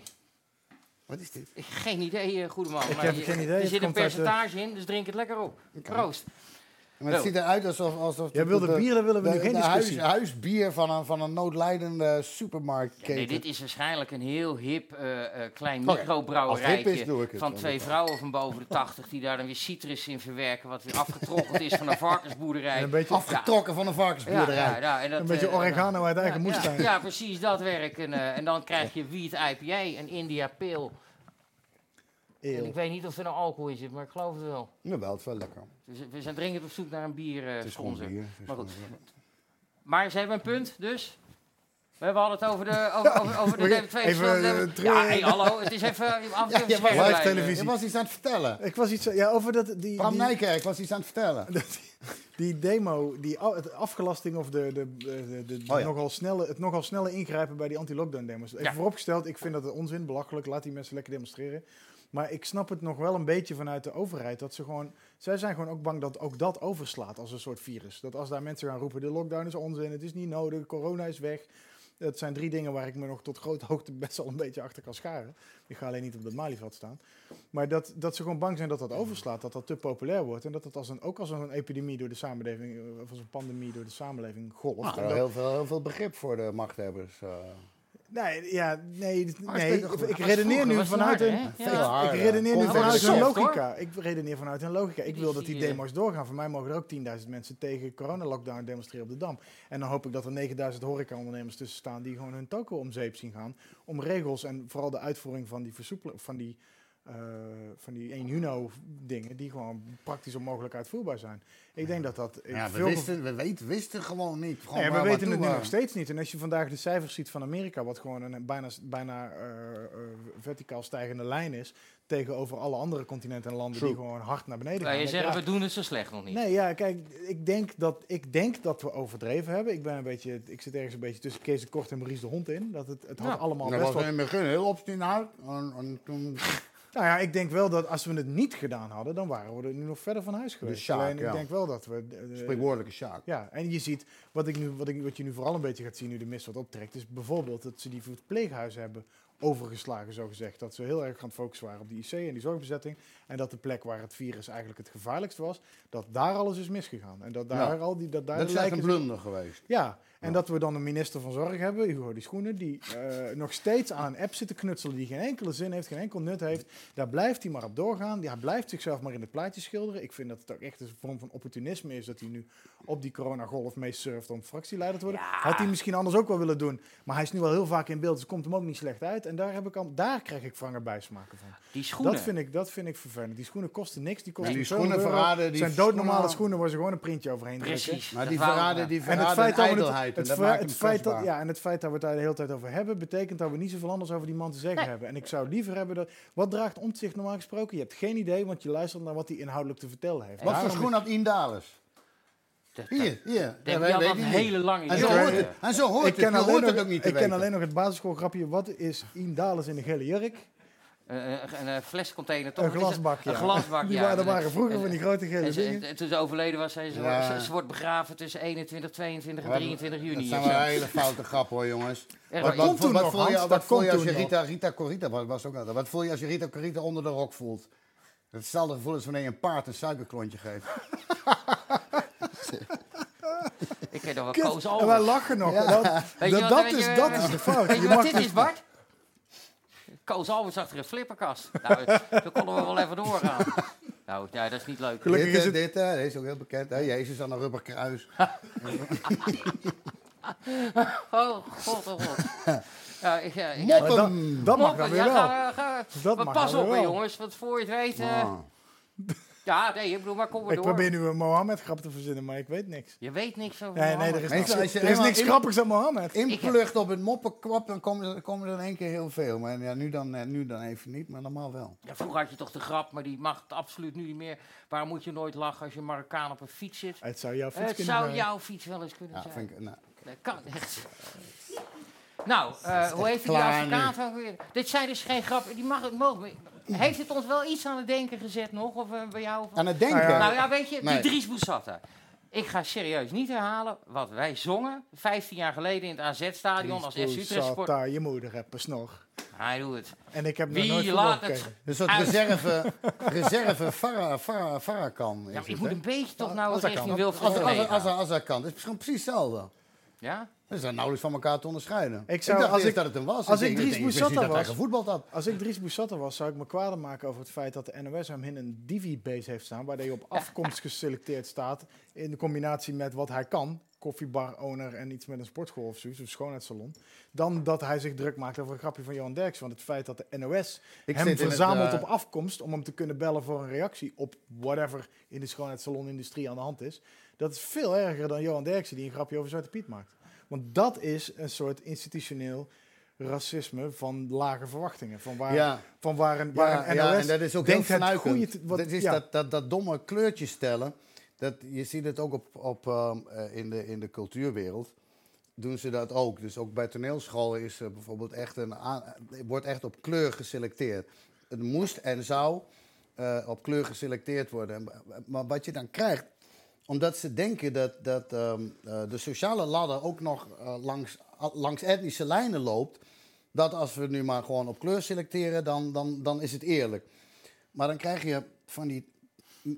S4: Wat is dit?
S3: Ik- Geen idee, eh, goede man.
S5: Ik
S3: maar
S5: heb
S3: je-
S5: geen idee,
S3: Er
S5: het
S3: zit een
S5: komt uit eh, de-
S3: percentage in, dus drink het lekker op. Proost.
S4: Maar het
S3: Wel.
S4: ziet eruit alsof... alsof
S5: *laughs* Jij wilde
S4: de-
S5: bier, daar willen we
S4: de-
S5: nu geen
S4: de huis-
S5: discussie.
S4: huisbier van een, van een noodlijdende supermarktketen.
S3: Nee, dit is waarschijnlijk een heel hip eh, eh, klein
S5: Oh
S4: Oké,
S3: microbrouwerijtje
S4: als het hip is, doe ik het,
S3: van
S4: want
S3: twee
S4: ik-
S3: vrouwen van boven de 80 die daar dan weer citrus in verwerken, wat weer afgetroggeld is
S5: *laughs*
S3: van een varkensboerderij.
S5: En een beetje,
S4: Afgetrokken van een
S3: ja,
S4: varkensboerderij.
S3: ja, ja, en dat,
S5: een beetje
S3: eh,
S5: oregano uit eigen
S3: ja,
S5: moestuin.
S3: ja, ja, precies dat werk. En, eh, en dan krijg je wheat IPA, een India Pale. En
S5: Eeuw.
S3: ik weet niet of er nou alcohol in zit, maar ik geloof het wel.
S4: Jawel, het is wel lekker.
S3: Dus we zijn dringend op zoek naar een
S4: Het
S3: bier eh,
S4: is
S3: sponsor.
S4: gewoon bier. Het is
S3: Maar goed.
S4: gewoon-
S3: Maar ze hebben een punt, dus. We hebben al het over de,
S5: *laughs*
S3: over, over, over de
S5: Even,
S3: twee verschillende-
S5: eh, terug.
S3: Ja, hey, hallo, het is even af en toe
S4: Ja,
S3: een
S4: je was,
S3: scherm bij,
S5: live
S3: eh.
S5: televisie.
S4: je was iets aan het vertellen.
S5: Ik was iets, ja, over dat, die, die,
S4: Bram Nijkerk was iets aan het vertellen.
S5: die demo, die a- het afgelasting of de, de, de, de- de
S4: Oh ja.
S5: nogal snelle, het nogal snelle ingrijpen bij die anti-lockdown demos. Even
S3: Ja.
S5: vooropgesteld, ik vind dat onzin, belachelijk, laat die mensen lekker demonstreren. Maar ik snap het nog wel een beetje vanuit de overheid. Dat ze gewoon, zij zijn gewoon ook bang dat ook dat overslaat als een soort virus. Dat als daar mensen gaan roepen, de lockdown is onzin, het is niet nodig, corona is weg. Dat zijn drie dingen waar ik me nog tot grote hoogte best wel een beetje achter kan scharen. Ik ga alleen niet op dat Malieveld staan. Maar dat, dat ze gewoon bang zijn dat dat overslaat, dat dat te populair wordt. En dat dat als een, ook als een epidemie door de samenleving, eh, of als een pandemie door de samenleving golft.
S4: Nou,
S5: En dat-
S4: heel, veel, heel veel begrip voor de machthebbers. eh.
S5: Nee, ja, nee, d-
S4: Maar is
S5: nee
S4: toch
S5: ik,
S4: goed?
S5: ik
S3: Maar het
S5: redeneer
S3: vroeger
S5: nu
S3: was het
S5: vanuit
S3: harder,
S5: een...
S3: hè?
S4: Veel
S3: Ja.
S5: Ik
S4: harder.
S5: redeneer nu
S4: Content
S5: vanuit
S4: is
S5: een
S3: soft,
S5: logica. Ik redeneer vanuit een logica. Ik
S3: Die
S5: wil dat
S3: zie
S5: die
S3: je.
S5: demo's doorgaan. Voor mij mogen er ook 10.000 mensen tegen corona-lockdown demonstreren op de Dam. En dan hoop ik dat er 9.000 horecaondernemers tussen staan... die gewoon hun toko om zeep zien gaan. Om regels en vooral de uitvoering van die versoepelen... van die, eh, van die 1 Juno dingen... die gewoon praktisch onmogelijk uitvoerbaar zijn. Ik denk dat dat... eh,
S4: Ja, we
S5: veel gev-
S4: wisten, we weten, wisten gewoon niet. Gewoon
S5: ja,
S4: waar
S5: we weten het nu
S4: naartoe
S5: nog
S4: we-
S5: steeds niet. En als je vandaag de cijfers ziet van Amerika, wat gewoon een bijna, bijna eh, eh, verticaal stijgende lijn is, tegenover alle andere continenten en landen
S4: True.
S5: die gewoon hard naar beneden
S3: Wij
S5: gaan.
S3: zeggen,
S5: Ja,
S3: we doen het zo slecht nog niet.
S5: Nee, ja, kijk, ik denk, dat, ik denk dat we overdreven hebben. Ik, ben een beetje, ik zit ergens een beetje tussen Kees de Kort en Maurice de Hond in. Dat het, het had
S3: Ja,
S5: allemaal
S4: Dat
S5: best
S4: was
S5: wel...
S4: in het begin heel obstinaat. En, en toen
S5: Nou ja, ik denk wel dat als we het niet gedaan hadden, dan waren we er nu nog verder van huis geweest.
S4: Sjaak,
S5: Alleen,
S4: ja.
S5: ik denk wel dat we... eh,
S4: spreekwoordelijke Sjaak.
S5: Ja, en je ziet, wat, ik nu, wat, ik, wat je nu vooral een beetje gaat zien nu de mist wat optrekt, is bijvoorbeeld dat ze die verpleeghuizen hebben overgeslagen, zogezegd. Dat ze heel erg gaan focussen waren op die IC en die zorgbezetting. En dat de plek waar het virus eigenlijk het gevaarlijkst was, dat daar alles is misgegaan. En dat daar
S4: Ja.
S5: al die... Dat, daar
S4: Dat
S5: de
S4: is echt
S5: lijken
S4: een
S5: zijn-
S4: blunder geweest.
S5: ja, en
S4: Ja.
S5: dat we dan een minister van Zorg hebben, Hugo de Schoenen, die eh, nog steeds aan een app zit te knutselen die geen enkele zin heeft, geen enkel nut heeft. Daar blijft hij maar op doorgaan. Ja, Hij blijft zichzelf maar in het plaatje schilderen. Ik vind dat het ook echt een vorm van opportunisme is dat hij nu op die coronagolf mee surft om fractieleider te worden. Had hij misschien anders ook wel willen doen, maar hij is nu wel heel vaak in beeld, dus komt hem ook niet slecht uit. En daar, heb ik al, daar krijg ik vanger bijsmaken van.
S3: Die schoenen.
S5: Dat vind, ik, dat vind ik vervelend. Die schoenen kosten niks, die kosten
S4: die
S5: een
S4: schoenen
S5: euro.
S4: verraden, die
S5: zijn doodnormale
S4: schoenen-
S5: schoenen... waar ze gewoon een printje overheen drukken.
S3: Precies.
S4: Maar
S3: dat
S4: die
S3: wou ik-
S4: verraden,
S3: ja.
S4: die
S5: En het
S4: verraden
S5: feit,
S4: en
S5: dat we
S4: ijdelheid.
S5: het,
S4: en
S5: het,
S4: dat
S5: fe-
S4: maakt
S5: het
S4: hem
S5: feit dat,
S4: kwetsbaar.
S5: ja, en het feit dat we het daar de hele tijd over hebben, betekent dat we niet zoveel anders over die man te zeggen hebben. En ik zou liever hebben dat. Wat draagt omzicht normaal gesproken? Je hebt geen idee, want je luistert naar wat hij inhoudelijk te vertellen heeft.
S4: Wat voor
S5: Daarom
S4: schoen had Indales?
S3: Dat- dat-
S4: Hier, hier.
S3: die
S4: wij
S3: had
S4: weten
S3: een
S4: het
S3: hele
S4: niet.
S3: lange
S4: En zo
S3: jurk.
S4: hoort het. En zo hoort
S5: is- Ik
S4: het. Je
S5: ken,
S4: hoort
S5: alleen nog,
S4: het ook niet te
S5: ik ken
S4: weten.
S5: alleen nog het basisschoolgrapje. Wat is Indales in de gele jurk?
S3: Een, een- een, eh, flescontainer toch?
S5: Een
S3: Wat is dat?
S5: glasbak, ja.
S3: Een glasbak,
S5: *laughs* Die
S3: ja.
S5: waren, er
S3: En-
S5: waren vroeger
S3: en-
S5: van die grote
S3: en
S5: gele
S3: ze-
S5: dingen.
S3: en toen ze overleden was, zei ze,
S4: Ja.
S3: ze, ze wordt begraven tussen 21, 22 en
S4: Ja,
S3: 23 juni.
S4: Dat
S3: of
S4: zijn
S3: zo.
S4: wel hele foute grappen hoor, jongens.
S3: Echt
S4: Wat,
S3: waar.
S4: wat,
S5: Komt toen
S4: wat
S5: nog,
S4: voel je,
S5: Hans,
S4: wat
S5: dat
S4: voel je
S5: komt
S4: als je
S5: toen nog.
S4: Rita, Rita Corita was, was ook altijd. Wat voel je als je Rita Corita onder de rok voelt? Hetzelfde gevoel als wanneer je een paard een suikerklontje geeft.
S3: Ik ken nog wel
S5: Kut,
S3: Koos
S5: en wij
S3: Albers.
S5: lachen nog. Dat,
S3: Weet je
S5: dat,
S3: wat-
S5: dat
S3: weet je- eh,
S5: is, dat is de fout.
S3: Weet je
S5: Je
S3: wat
S5: mag
S3: dit
S5: dus-
S3: is, Bart? Koos Albers achter een flipperkast. Nou, *laughs* daar konden we wel even doorgaan. Nou, ja, dat is niet leuk.
S5: Gelukkig
S4: dit,
S5: is
S4: eh,
S5: het-
S4: dit, eh, deze is ook heel bekend. Hè? Jezus aan een rubberkruis.
S3: Oh, god, oh,
S5: *laughs*
S3: god. Ja, ik, eh, ik-
S5: Maar dat, dat mag dan
S3: ja,
S5: weer wel.
S3: ga- ga-
S5: Dat
S3: maar
S5: mag
S3: pas
S5: dan
S3: op,
S5: weer
S3: hè,
S5: wel.
S3: jongens, want voor je het weet... eh,
S4: Ah.
S3: ja, nee, ik bedoel, maar kom maar
S5: Ik
S3: door.
S5: probeer nu een Mohammed-grap te verzinnen, maar ik weet niks.
S3: Je weet niks over
S5: Nee, nee,
S3: Mohammed.
S5: er is,
S4: Mensen,
S5: niks,
S4: als je
S5: er is
S4: eenmaal
S5: niks
S4: in-
S5: grappigs aan Mohammed.
S4: Inplucht op het moppenkwap, dan komen er, komen er in één keer heel veel. Maar ja, nu, dan, eh, nu dan even niet, maar normaal wel.
S3: Ja, vroeger had je toch de grap, maar die mag het absoluut nu niet meer. Waarom moet je nooit lachen als je Marokkaan op een fiets zit?
S4: Eh,
S5: Het zou jouw fiets
S3: Het
S5: kunnen
S3: zou
S5: zijn.
S3: jouw fiets wel eens kunnen
S4: Ja,
S3: zijn.
S4: vind ik, nou,
S3: Dat kan echt. Nou, eh, hoe heeft die
S4: klaar
S3: advocaat ook weer? Dit zijn dus geen grappen. Die mag het mogen. Heeft het ons wel iets aan het denken gezet nog? Of eh, bij jou? Of,
S4: aan het denken.
S5: Nou
S3: Nou ja, weet je,
S4: Nee.
S3: die Dries Boussata. Ik ga serieus niet herhalen wat wij zongen 15 jaar geleden in het AZ-stadion als FC Utrecht
S5: Zat
S3: Sport.
S5: daar je moeder hebben nog.
S3: Hij doet het.
S5: En ik heb nog
S3: Wie
S5: nooit voetbal
S3: laat het?
S5: gekeken.
S4: Dus dat
S3: Uit.
S4: reserve, reserve Farah, Farah, Farah kan.
S3: Ja,
S4: Is
S3: maar ik
S4: het,
S3: moet
S4: hè?
S3: een beetje toch
S4: Als-
S3: nou
S4: als dat
S3: richting
S4: kan. Als-
S3: Wilfred
S4: als-
S3: Genee
S4: als- als-
S3: gaan.
S4: Als dat kan. Het is misschien precies hetzelfde.
S3: Ja?
S4: We zijn nauwelijks van elkaar te onderscheiden.
S5: Ik zou-
S4: dacht
S5: als
S4: eerst
S5: ik-
S4: dat het hem was.
S5: als ik
S4: denk-
S5: Dries
S4: denk- wist niet
S5: Boussata
S4: dat hij
S5: was-
S4: gevoetbald had.
S5: Als ik Dries Boussatta was, zou ik me kwaad maken over het feit dat de NOS hem in een divi-base heeft staan. Waar hij op afkomst geselecteerd staat. In de combinatie met wat hij kan. Koffiebar-owner en iets met een sportschool of zoiets. Of schoonheidssalon. Dan dat hij zich druk maakt over een grapje van Johan Derks. Want het feit dat de NOS
S4: Ik
S5: hem
S4: zit in het,
S5: verzamelt
S4: eh,
S5: op afkomst. Om hem te kunnen bellen voor een reactie op whatever in de schoonheidssalon-industrie aan de hand is. Dat is veel erger dan Johan Derksen die een grapje over Zwarte Piet maakt. Want dat is een soort institutioneel racisme van lage verwachtingen. Van waar,
S4: Ja.
S5: van waar een, waar
S4: Ja,
S5: een
S4: ja,
S5: NOS
S4: en dat is ook heel
S5: denkt het
S4: fnuikend.
S5: goede... te- wat-
S4: dat is
S5: ja.
S4: dat, dat, dat domme kleurtje stellen. Dat, je ziet het ook op, op, ehm, eh, in, de, in de cultuurwereld. Doen ze dat ook. Dus ook bij toneelscholen is er bijvoorbeeld echt een aan- wordt echt op kleur geselecteerd. Het moest en zou eh, op kleur geselecteerd worden. En- Maar wat je dan krijgt, omdat ze denken dat, dat ehm, eh, de sociale ladder ook nog eh, langs, a- langs etnische lijnen loopt. Dat als we nu maar gewoon op kleur selecteren, dan, dan, dan is het eerlijk. Maar dan krijg je van die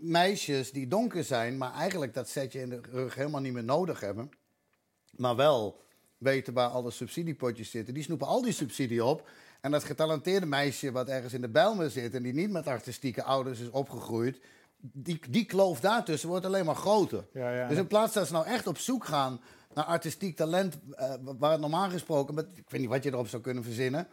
S4: meisjes die donker zijn, maar eigenlijk dat setje in de rug helemaal niet meer nodig hebben. Maar wel weten waar alle subsidiepotjes zitten. Die snoepen al die subsidie op. En dat getalenteerde meisje wat ergens in de Bijlmer zit en die niet met artistieke ouders is opgegroeid. Die, die kloof daartussen wordt alleen maar groter.
S5: Ja, ja.
S4: Dus in plaats dat ze nou echt op zoek gaan naar artistiek talent, eh, waar het normaal gesproken, met, ik weet niet wat je erop zou kunnen verzinnen,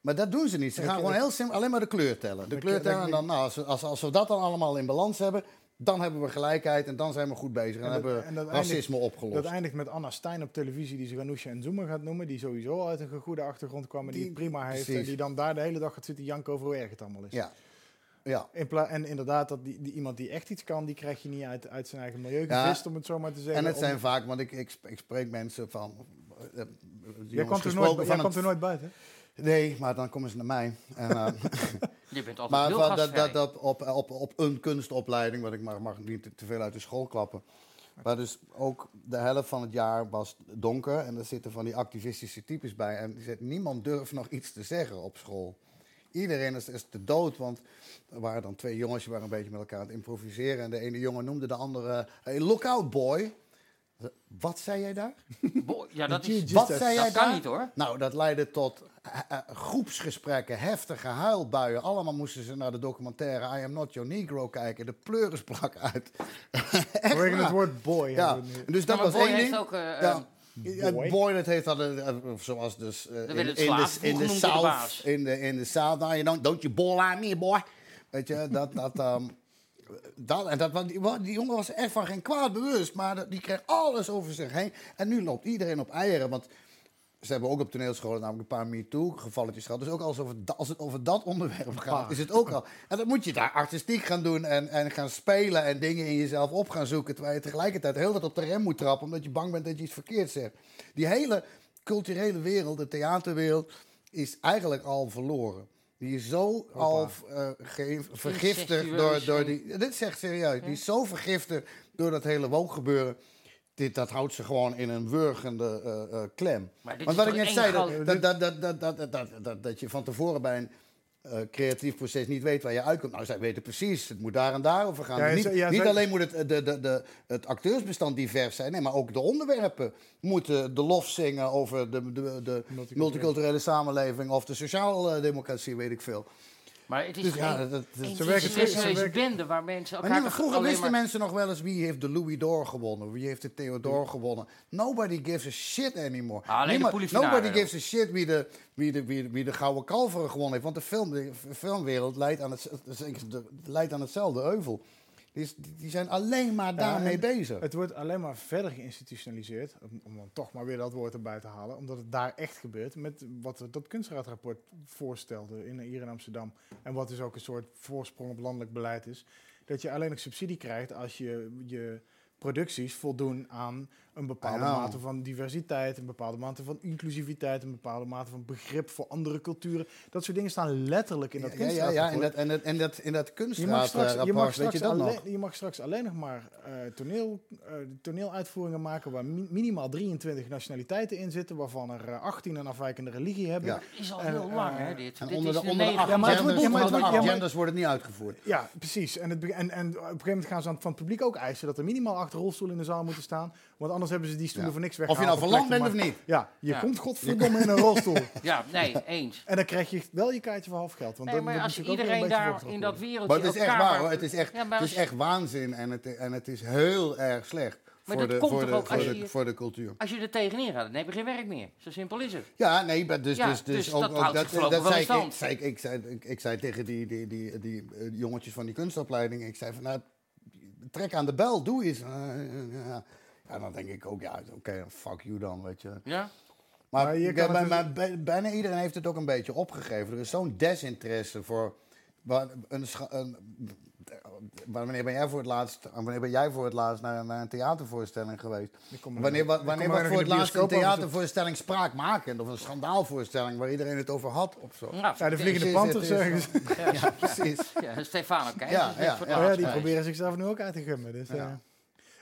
S4: maar dat doen ze niet. Ze gaan gewoon heel simpel alleen maar de kleur tellen. De kleur tellen en dan, nou, als, we- als, als we dat dan allemaal in balans hebben, dan hebben we gelijkheid en dan zijn we goed bezig en,
S5: En dat-
S4: hebben we
S5: en dat eindigt-
S4: racisme opgelost.
S5: Dat eindigt met Anna Stein op televisie, die ze Ganoushka en Zoomer gaat noemen. Die sowieso al uit een goede achtergrond kwam en die,
S4: Die-
S5: het prima heeft.
S4: precies.
S5: En die dan daar de hele dag gaat zitten janken over hoe erg het allemaal is.
S4: Ja. Ja.
S5: In pla- en inderdaad, dat die, die, iemand die echt iets kan, die krijg je niet uit, uit zijn eigen milieu
S4: Ja.
S5: gevist, om het zo maar te zeggen.
S4: En het
S5: Om-
S4: zijn vaak, want ik, ik, sp- ik spreek mensen van. eh, eh,
S5: jij
S4: jongens
S5: komt er
S4: gesproken
S5: nooit, jij
S4: van
S5: komt er
S4: het-
S5: nooit buiten.
S4: Nee, maar dan komen ze naar mij. En, eh,
S3: Je bent altijd
S4: maar
S3: heel
S4: van dat,
S3: gastvrij.
S4: dat, dat op, op, op een kunstopleiding, want ik mag, mag niet te- te veel uit de school klappen. Maar dus ook de helft van het jaar was donker en er zitten van die activistische types bij. En die zegt, niemand durft nog iets te zeggen op school. Iedereen is, is te dood, want er waren dan twee jongens die waren een beetje met elkaar aan het improviseren. En de ene jongen noemde de andere, hey, lookout boy. Wat zei jij daar?
S3: Boy, ja, dat is...
S4: Wat zei jij
S3: dat kan
S4: daar?
S3: niet hoor.
S4: Nou, dat leidde tot eh, eh, groepsgesprekken, heftige huilbuien. Allemaal moesten ze naar de documentaire I Am Not Your Negro kijken. De pleuris brak uit. *laughs* Echt
S5: Vanwege
S4: waar.
S5: het woord boy.
S4: Ja,
S5: hebben we nu.
S4: en dus dat
S3: Ja, maar
S4: was
S3: Boy
S4: één
S3: heeft
S4: ding.
S3: ook, eh,
S4: ja. Ja,
S5: Boy.
S4: boy, dat heet dan, eh, eh, zoals dus eh,
S3: werd
S4: in,
S3: het
S4: in de,
S3: slaaf
S4: in de
S3: genoemd door de
S4: South,
S3: baas.
S4: in de, in de South, nou, you don't, don't you ball on me, boy. Weet je, dat,
S3: *laughs*
S4: dat, ehm, dat, en dat, want die, wa- die jongen was echt van geen kwaad bewust, maar dat- die kreeg alles over zich heen. En nu loopt iedereen op eieren, want ze hebben ook op toneelscholen namelijk een paar MeToo-gevalletjes gehad. Dus ook als, over da- als het over dat onderwerp gaat, is het ook al. En dan moet je daar artistiek gaan doen en, en gaan spelen en dingen in jezelf op gaan zoeken. Terwijl je tegelijkertijd heel dat op de rem moet trappen, omdat je bang bent dat je iets verkeerd zegt. Die hele culturele wereld, de theaterwereld, is eigenlijk al verloren. Die is zo al eh, ge- vergiftigd door,
S3: Incestueus
S4: door
S3: en-
S4: die... Dit zegt serieus. Die is zo vergiftigd door dat hele woongebeuren. Dit, dat houdt ze gewoon in een wurgende eh, eh, klem.
S3: Maar dit
S4: Want
S3: is
S4: wat ik
S3: toch
S4: net
S3: één
S4: zei,
S3: groot-
S4: dat, dat, dat, dat, dat, dat, dat, dat, dat je van tevoren bij een eh, creatief proces niet weet waar je uitkomt. Nou, zij weten precies, het moet daar en daar over gaan. Dus
S5: Ja, ja,
S4: niet
S5: zij- ja,
S4: niet
S5: zij-
S4: alleen moet het, eh, de, de, de, het acteursbestand divers zijn, nee, maar ook de onderwerpen moeten de lof zingen over de, de, de multiculturele samenleving of de sociaaldemocratie, weet ik veel.
S3: Maar het is
S4: Dus ja,
S3: een,
S4: dat- dat-
S3: een
S4: ze
S5: werken terug, ze
S3: serieuze
S5: werken-
S3: bende waar mensen elkaar
S4: Maar nu,
S3: toch
S4: vroeger
S3: alleen
S4: wisten
S3: maar-
S4: mensen nog wel eens wie heeft de Louis d'Or gewonnen, wie heeft de Theodore gewonnen. Nobody gives a shit anymore.
S3: Ah, alleen de
S4: Niemand-
S3: Poelievenaren,
S4: nobody
S3: joh.
S4: gives a shit wie de, wie de, wie de, wie de gouden kalveren gewonnen heeft. Want de, film, de filmwereld leidt aan, het, leidt aan hetzelfde euvel. Die, is- die zijn alleen maar daarmee
S5: en
S4: bezig.
S5: Het wordt alleen maar verder geïnstitutionaliseerd, om, om dan toch maar weer dat woord erbij te halen, omdat het daar echt gebeurt met wat dat kunstraadrapport voorstelde in, hier in Amsterdam. En wat dus ook een soort voorsprong op landelijk beleid is, dat je alleen nog subsidie krijgt als je je producties voldoen aan Een bepaalde
S4: I know.
S5: mate van diversiteit, een bepaalde mate van inclusiviteit, een bepaalde mate van begrip voor andere culturen. Dat soort dingen staan letterlijk in dat
S4: ja, ja, ja, en dat, en dat, en dat, en dat
S5: je mag, straks, je, mag
S4: kunstraadrapport, eh, weet
S5: straks
S4: je dat
S5: alleen,
S4: nog?
S5: je mag straks alleen nog maar eh, toneel, eh, toneeluitvoeringen maken waar mi- minimaal 23 nationaliteiten in zitten, waarvan er eh, 18 een afwijkende religie hebben.
S4: Ja.
S3: Het is al
S5: En,
S3: heel lang,
S5: eh,
S3: hè, dit.
S4: En
S3: dit
S4: onder
S3: is
S4: de, onder de
S3: negende-
S4: acht
S5: Ja, maar het wordt-
S4: genders,
S5: ja,
S4: onder
S5: maar het
S4: de
S5: wordt-
S4: acht
S5: ja, maar-
S4: genders wordt het niet uitgevoerd.
S5: Ja, precies. En, het, be- en, en op een gegeven moment gaan ze aan, van het publiek ook eisen dat er minimaal acht rolstoelen in de zaal moeten staan. Want anders hebben ze die stoelen
S4: Ja.
S5: voor niks
S4: Of je
S5: weggehaald.
S4: nou verlamd
S5: plek
S4: bent
S5: te
S4: of niet.
S5: maken. Ja, je
S3: Ja.
S5: komt
S4: *laughs*
S5: godverdomme in een rolstoel.
S3: Ja, nee, eens.
S5: En dan krijg je wel je kaartje voor half geld. Want
S3: Nee,
S5: dat-
S3: maar
S5: dat
S3: als
S5: moet natuurlijk ook
S3: iedereen
S5: wel een
S3: daar
S5: beetje voorgetrapt
S3: in dat wereldje
S5: worden.
S4: Maar het is echt
S3: elkaar-
S4: waar hoor. Het is echt,
S3: Ja, maar
S4: het is
S3: als-
S4: echt waanzin en het, en het is heel erg slecht
S3: Maar
S4: voor
S3: dat
S4: de,
S3: komt
S4: voor,
S3: toch
S4: de,
S3: ook
S4: voor,
S3: als
S4: de,
S3: je-
S4: voor de cultuur.
S3: Als je er tegenin gaat, dan heb je geen werk meer. Zo simpel is het.
S4: Ja, nee, maar dus,
S3: Ja,
S4: dus, dus,
S3: dus
S4: ook,
S3: dat
S4: ook
S3: houdt het voorlopig wel
S4: zei
S3: in
S4: ik, ik,
S3: stand.
S4: zei, ik, ik zei, ik, ik zei tegen die, die, die, die, eh, jongetjes van die kunstopleiding, ik zei van nou, trek aan de bel, doe eens. Eh, eh, ja. Ja, dan denk ik ook, ja, oké, fuck you dan, weet je.
S3: Ja?
S4: Maar,
S5: Maar je
S4: ja,
S5: kan het
S4: maar-
S5: dus-
S4: maar bij- bijna iedereen heeft het ook een beetje opgegeven. Er is zo'n desinteresse voor. Waar, een, scha- een, waar- wanneer ben jij voor het laatst, wanneer ben jij voor het laatst naar, naar een theatervoorstelling geweest?
S5: Ik kom er-
S4: Wanneer, wa-
S5: ik kom
S4: wanneer
S5: er
S4: was
S5: nog
S4: voor
S5: in
S4: het
S5: de
S4: laatst een
S5: bioscoop over zitten.
S4: theatervoorstelling spraakmakend of een schandaalvoorstelling waar iedereen het over had of zo?
S3: Nou,
S5: Ja, de vliegende
S4: Precies,
S5: panter
S4: het is eh,
S5: zeggen ze.
S4: zo. Ja, precies.
S3: *laughs* Ja, Stefano Keijs
S4: Ja,
S3: is net
S4: ja,
S3: voor
S4: ja.
S3: het
S5: Oh Ja,
S3: laatst
S5: die
S3: geweest.
S5: proberen zichzelf nu ook uit te gummen. Dus, eh,
S4: Ja.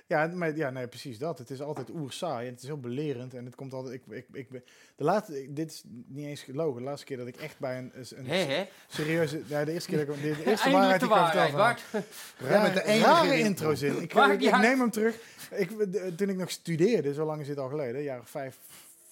S5: ja. maar, ja, nee, precies dat. Het is altijd oerzaai en het is heel belerend. En het komt altijd... Ik, ik, ik, ben- de laatste, ik- dit is niet eens gelogen. De laatste keer dat ik echt bij een, een
S3: Hé, hé.
S5: serieuze... Ja, de eerste keer dat ik... De, de
S3: *laughs*
S5: eerste
S3: Eindelijk
S5: waarheid
S3: de
S5: die ik kan
S3: waarheid,
S5: vertellen
S3: Bart.
S5: van-
S4: Jij bent de enige
S5: Rare
S4: die-
S5: intro zin. Ik,
S3: Waar
S5: ik,
S3: die
S5: ik
S3: haak-
S5: neem hem terug. Ik, de- toen ik nog studeerde, zo lang is dit al geleden, jaren 5,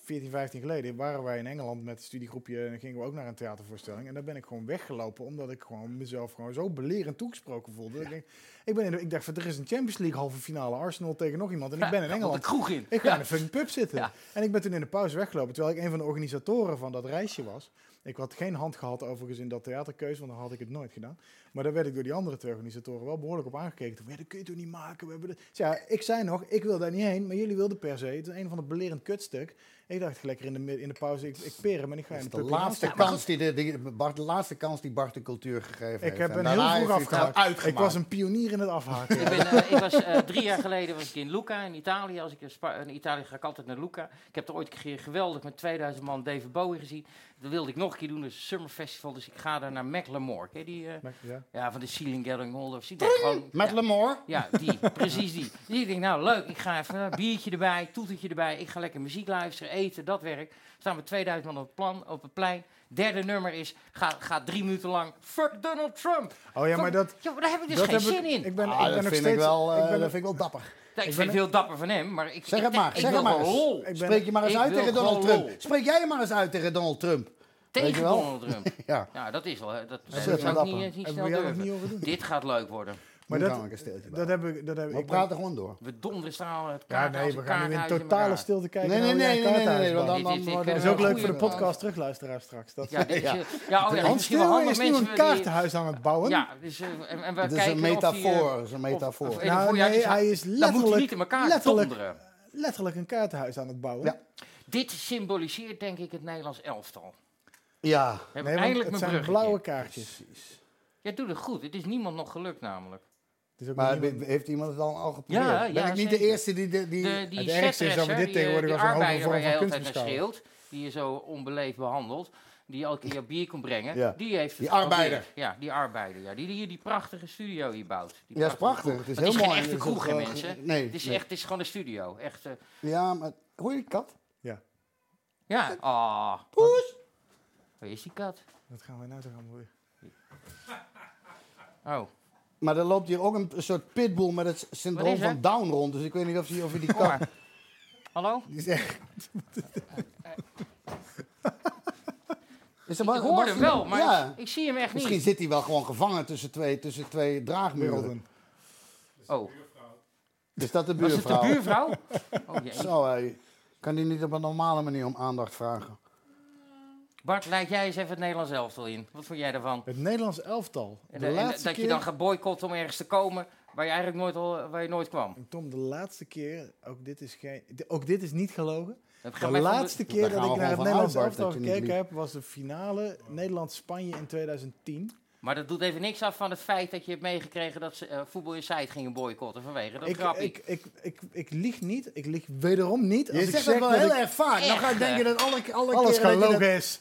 S5: 14, 15 geleden, waren wij in Engeland met een studiegroepje en gingen we ook naar een theatervoorstelling. En daar ben ik gewoon weggelopen, omdat ik gewoon mezelf gewoon zo belerend toegesproken voelde. Ik, denk, ik, ben in de- ik dacht, van, er is een Champions League halve finale, Arsenal tegen nog iemand. En
S3: *laughs*
S5: ik ben
S3: Ja,
S5: in
S3: op de
S5: Engeland.
S3: kroeg in.
S5: Ik ga in een fucking pub zitten.
S3: Ja.
S5: En ik ben toen in de pauze weggelopen, terwijl ik een van de organisatoren van dat reisje was. Ik had geen hand gehad overigens in dat theaterkeuze, want dan had ik het nooit gedaan. Maar daar werd ik door die andere twee organisatoren wel behoorlijk op aangekeken. Toen, ja, dat kun je toch niet maken? We hebben de... Dus ja, ik zei nog, ik wil daar niet heen, maar jullie wilden per se. Het is een van de belerend kutstuk. Ik dacht lekker in de, mid- in de pauze, ik, ik peer hem en ik ga
S4: Dat
S5: in
S4: is
S5: de
S4: de
S5: pub
S4: laatste
S5: hiernaast staan.
S4: kans die de, die Bart, de laatste kans die Bart de cultuur gegeven heeft.
S5: Ik heb
S4: En
S5: een
S4: daarna
S5: heel vroeg
S4: heeft hij het
S5: afgehaakt. Ik
S4: uitgemaakt.
S5: was een pionier in het afhaken.
S3: Ik, ben, eh, ik was eh, drie jaar geleden was ik in Lucca in Italië. Als ik in, Spa- in Italië ga ik altijd naar Lucca. Ik heb er ooit een keer geweldig met 2000 man David Bowie gezien. Dat wilde ik nog een keer doen, dat is een Summer Festival. Dus ik ga daar naar Macklemore. Ken je die? eh,
S5: Maar- ja.
S3: ja, van de Ceiling Gathering Holders. Die daar gewoon-
S4: Met
S3: ja,
S4: Lemore?
S3: ja, die, precies die. Dus ik denk, nou leuk, ik ga even een biertje erbij, toetertje erbij. Ik ga lekker muziek luisteren, eten, dat werk. Staan we 2000 man op het, plan, op het plein. Derde nummer is, gaat ga drie minuten lang, fuck Donald Trump.
S5: Oh ja, maar dat...
S3: Ja, maar daar heb ik dus
S5: dat
S3: geen
S5: heb ik-
S3: zin in.
S5: Ik ben,
S4: Ah,
S5: ik
S4: dat,
S5: ben nog
S4: vind
S5: steeds...
S4: ik wel, eh,
S5: ik ben,
S4: dat vind ik wel dapper.
S3: Ja, Nou, ik, vind het heel dapper van hem, maar ik,
S4: Zeg
S3: ik,
S4: het maar,
S3: ik
S4: zeg
S3: wil
S4: het maar
S3: gewoon
S4: eens.
S3: lol.
S5: Ik ben-
S4: Spreek je maar eens
S3: ik
S4: uit
S3: wil
S4: tegen Donald
S3: gewoon
S4: Trump.
S3: lol.
S4: Spreek jij maar eens uit tegen Donald Trump. *laughs* Weet je
S3: Tegen
S4: wel?
S3: Donald Trump.
S4: Ja.
S3: *laughs* Nou, dat is wel... Dat, dat
S4: is
S3: zou
S4: wel
S3: ik
S4: dapper.
S3: niet, eh, niet
S5: Hebben
S3: snel
S5: we jou nog
S3: durven.
S5: niet over doen?
S3: Dit gaat leuk worden.
S5: maar
S4: Nu
S5: dat,
S4: gaan we een steeltje
S5: dat heb ik... Dat heb ik
S4: Maar
S5: ik ben-
S4: praat er gewoon door.
S3: We donderen stralen het
S5: Ja,
S3: kaarthuis
S5: nee, we
S3: en
S5: gaan nu in
S3: kaarthuis
S5: totale
S3: elkaar.
S5: stilte kijken.
S4: Nee, nee,
S5: naar hoe jij
S4: nee,
S5: een
S4: nee, nee, nee,
S5: kaarthuis
S4: want
S5: bouwt.
S4: dan, dan,
S3: Dit- dit
S4: dan-
S3: kunnen
S5: Dat
S3: we
S5: is ook
S3: een
S5: leuk voor de
S3: goeie-
S5: podcast terugluisteraars straks. Dat
S3: Ja, dit,
S4: Ja.
S3: ja. ja, oh ja, dat is
S5: Hans
S3: misschien wel
S5: Steeuwen
S3: handig.
S5: is nu
S3: Mensen
S5: een
S3: willen die-
S5: kaarthuis aan het bouwen.
S3: Ja, dus, eh, en, en we
S4: Het
S3: kijken
S4: is een
S3: of die, eh,
S4: metafoor. Het is een
S3: of-
S4: metafoor.
S3: of-
S5: Nou,
S3: oh ja,
S5: nee,
S3: dus-
S5: hij is
S3: Dan moet hij
S5: letterlijk-
S3: niet in elkaar
S5: letterlijk-
S3: donderen.
S5: Letterlijk een kaarthuis aan het bouwen.
S4: Ja.
S3: Dit symboliseert denk ik het Nederlands elftal.
S4: Ja.
S3: We hebben
S5: Nee, want
S3: eindelijk
S5: het
S3: mijn
S5: zijn
S3: bruggetje.
S5: blauwe kaartjes.
S3: Ja, doe het goed. Het is niemand nog gelukt namelijk.
S5: Het is ook
S4: Maar
S5: nog
S4: he-
S5: niemand-
S4: heeft iemand het al, al geprobeerd?
S3: Ja,
S4: ben
S3: ja,
S4: ik niet de
S3: zeker.
S4: eerste die... die, die
S3: De, die
S5: Het ergste is dat we
S3: setdresser, die,
S5: dit
S3: eh,
S5: tegenwoordig
S3: die
S5: als een hogere
S3: arbeider waar
S5: vorm
S3: jij
S5: van
S3: altijd
S5: kunst
S3: naar
S5: beschouwen.
S3: schreeuwt, die je zo onbeleefd behandelt, die je elke keer jouw bier kon brengen,
S4: Ja.
S3: die heeft het
S4: Die
S3: geprobeerd.
S4: arbeider.
S3: Ja, die arbeider. Ja. Die die hier die prachtige studio hier bouwt. Die
S4: ja, is prachtig.
S3: kroeg.
S4: Het is
S3: Want
S4: heel mooi.
S3: Het is geen echte
S4: Het is
S3: kroeg, hè,
S4: ook, eh,
S3: mensen.
S4: Nee.
S3: Het is,
S4: nee.
S3: echt, het is gewoon een studio. Echt, eh,
S4: Ja, maar... Hoor je die kat?
S5: Ja,
S3: ja, ah. Poes! Waar is die kat?
S5: wat gaan wij nou toch allemaal weer?
S3: Oh,
S4: Maar er loopt hier ook een soort pitbull met het syndroom
S3: Wat is er?
S4: van Down rond. Dus ik weet niet of je, of je die
S3: kom
S4: kat...
S3: maar. Hallo?
S4: Die is echt... Is er
S3: Ik
S4: wat-
S3: hoor
S4: wat-
S3: hem wel, maar
S4: Ja.
S3: ik, ik zie hem echt
S4: Misschien
S3: niet.
S4: zit hij wel gewoon gevangen tussen twee, tussen twee draagmuren.
S5: Werelden.
S3: Oh,
S4: Is dat de
S3: was het de
S4: buurvrouw?
S3: buurvrouw? Oh, jee.
S4: Zo, hé. Kan die niet op een normale manier om aandacht vragen?
S3: Bart, leid jij eens even het Nederlands elftal in. Wat vond jij daarvan?
S5: Het Nederlands elftal.
S3: En de-
S5: De
S3: en
S5: laatste
S3: dat je dan
S5: keer...
S3: gaat boycotten om ergens te komen waar je eigenlijk nooit, al, waar je nooit kwam.
S5: Tom, de laatste keer, ook dit is, geen, di- ook dit is niet gelogen.
S3: Dat gaan
S5: De
S3: wij van de-
S5: laatste
S4: Daar
S5: keer
S4: gaan
S5: dat ik
S4: we
S5: naar het
S4: gewoon
S5: Nederlands
S4: vanuit, Bart,
S5: elftal
S4: dat je niet
S5: gekeken
S4: liep.
S5: heb, was de finale Nederland-Spanje in 2010.
S3: Maar dat doet even niks af van het feit dat je hebt meegekregen dat ze eh, voetbal in site gingen boycotten vanwege dat
S5: Ik,
S3: grappie.
S5: ik, ik, ik, ik lieg niet. Ik lieg wederom niet. Als
S4: Je
S5: ik
S4: zegt
S5: zeg
S4: dat wel heel
S5: ik-
S4: erg vaak. Dan ga ik
S3: Echt,
S4: denken dat alle, alle
S5: Alles
S4: keren dat je dat-
S5: gelogen is.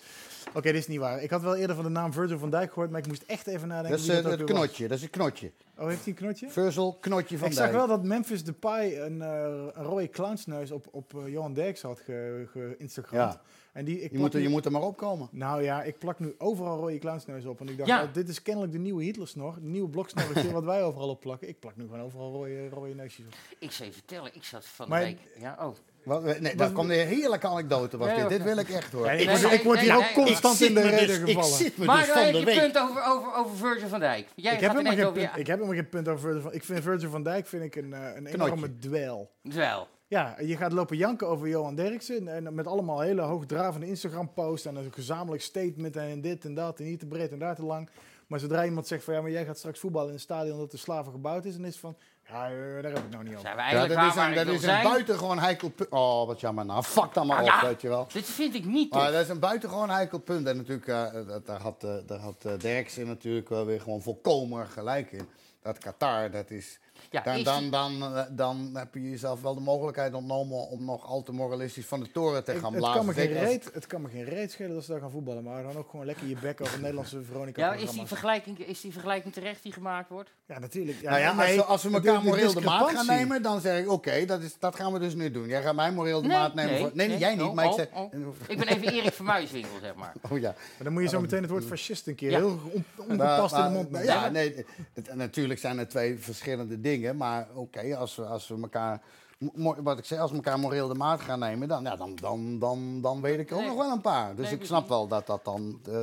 S5: Oké, dit is niet waar. Ik had wel eerder van de naam Virgil van Dijk gehoord, maar ik moest echt even nadenken.
S4: Dat is
S5: wie
S4: eh,
S5: ook
S4: het
S5: weer was.
S4: knotje, dat is het knotje.
S5: Oh, heeft hij een knotje?
S4: Versel, knotje van
S5: ik zag
S4: Dijk.
S5: wel dat Memphis Depay een, eh, een rode clownsneus op, op eh, Johan Derks had geïnstagramd.
S4: Ja.
S5: En die, ik
S4: Je
S5: plak
S4: moet, er,
S5: nu-
S4: je moet er maar opkomen.
S5: Nou ja, ik plak nu overal rode clownsneus op. En ik dacht,
S3: Ja.
S5: oh, dit is kennelijk de nieuwe Hitlersnor. De nieuwe
S3: *laughs*
S5: bloksnorretje wat wij overal op plakken. Ik plak nu gewoon overal rode, rode neusjes op.
S3: Ik zal je vertellen, ik zat van
S5: Maar-
S3: de week... Ja, oh.
S4: Wat, eh, nee, dat komt een heerlijke anekdote. Was
S3: Nee,
S4: dit.
S3: hoor.
S4: dit wil ik echt hoor.
S5: Ja, ik,
S3: Nee,
S5: word-
S3: nee,
S5: ik word hier
S3: nee,
S5: ook
S3: nee,
S5: constant in de reden
S4: dus, ik
S5: gevallen.
S4: zit me
S3: Maar
S4: dus
S3: dan
S4: van
S3: heb
S4: de
S3: je
S4: week.
S3: punt over, over, over Virgil van Dijk. Jij
S5: Ik heb,
S3: gaat
S5: helemaal
S3: ineens
S5: geen
S3: over
S5: punt, ik
S3: je...
S5: heb helemaal geen punt over Virgil van Ik vind Virgil van Dijk vind ik een, eh, een enorme dwel.
S3: Wel.
S5: Ja, en je gaat lopen janken over Johan Derksen. En en met allemaal hele hoogdravende Instagram-posts. En een gezamenlijk statement. En dit en dat. En hier te breed en daar te lang. Maar zodra iemand zegt van ja, maar jij gaat straks voetballen in een stadion dat de slaven gebouwd is. Dan is het van ja, eh, daar heb ik nou niet over.
S3: Zijn we
S4: Ja,
S3: eigenlijk
S4: dat is
S3: waar waar
S4: een,
S3: ik
S4: dat
S3: wil
S4: is een
S3: zijn?
S4: buitengewoon heikel punt. Oh, wat jammer nou. Fuck dan maar
S3: Ah,
S4: op,
S3: ja.
S4: weet je wel.
S3: Dit vind ik niet
S4: Maar
S3: tof.
S4: dat is een buitengewoon heikel punt. En natuurlijk, eh, dat, daar had, eh, daar had eh, Derksen natuurlijk wel weer gewoon volkomen gelijk in. Dat Qatar, dat is...
S3: Ja,
S4: dan,
S3: is-
S4: dan, dan, eh, dan heb je jezelf wel de mogelijkheid ontnomen om nog al te moralistisch van de toren te
S5: Ik-
S4: gaan
S5: het,
S4: blazen.
S5: kan me geen
S4: Zeker als-
S5: reet, het kan me geen reet schelen dat ze daar gaan voetballen. Maar dan ook gewoon lekker je bek over Nederlandse Veronica.
S3: Ja, is die, vergelijking, is die vergelijking terecht die gemaakt wordt?
S5: ja natuurlijk. Ja,
S4: Nou ja, als,
S5: nee,
S4: we- als we
S5: de-
S4: elkaar moreel de maat gaan
S5: discrepantie.
S4: nemen, dan zeg ik, oké, dat, is- dat gaan we dus nu doen. Jij gaat mij moreel de maat nemen. voor- nee, jij niet,
S3: Oh,
S4: maar ik
S3: oh,
S4: zeg...
S3: oh. Ik ben even Erik van Muiswinkel, zeg maar.
S4: Oh ja.
S5: Maar dan moet je zo meteen het woord fascist een keer
S3: Ja.
S5: heel on- ongepast in
S4: Maar-
S5: de mond
S4: maar-
S5: nemen.
S4: Nou, Ja, nee, het- natuurlijk zijn er twee verschillende dingen. Maar oké, als, we, als we elkaar... mo- Wat ik zei, als we elkaar moreel de maat gaan nemen, dan, ja, dan, dan, dan, dan weet ik ook
S3: Nee.
S4: nog wel een paar. Dus
S3: Nee,
S4: ik snap wel dat dat dan... eh,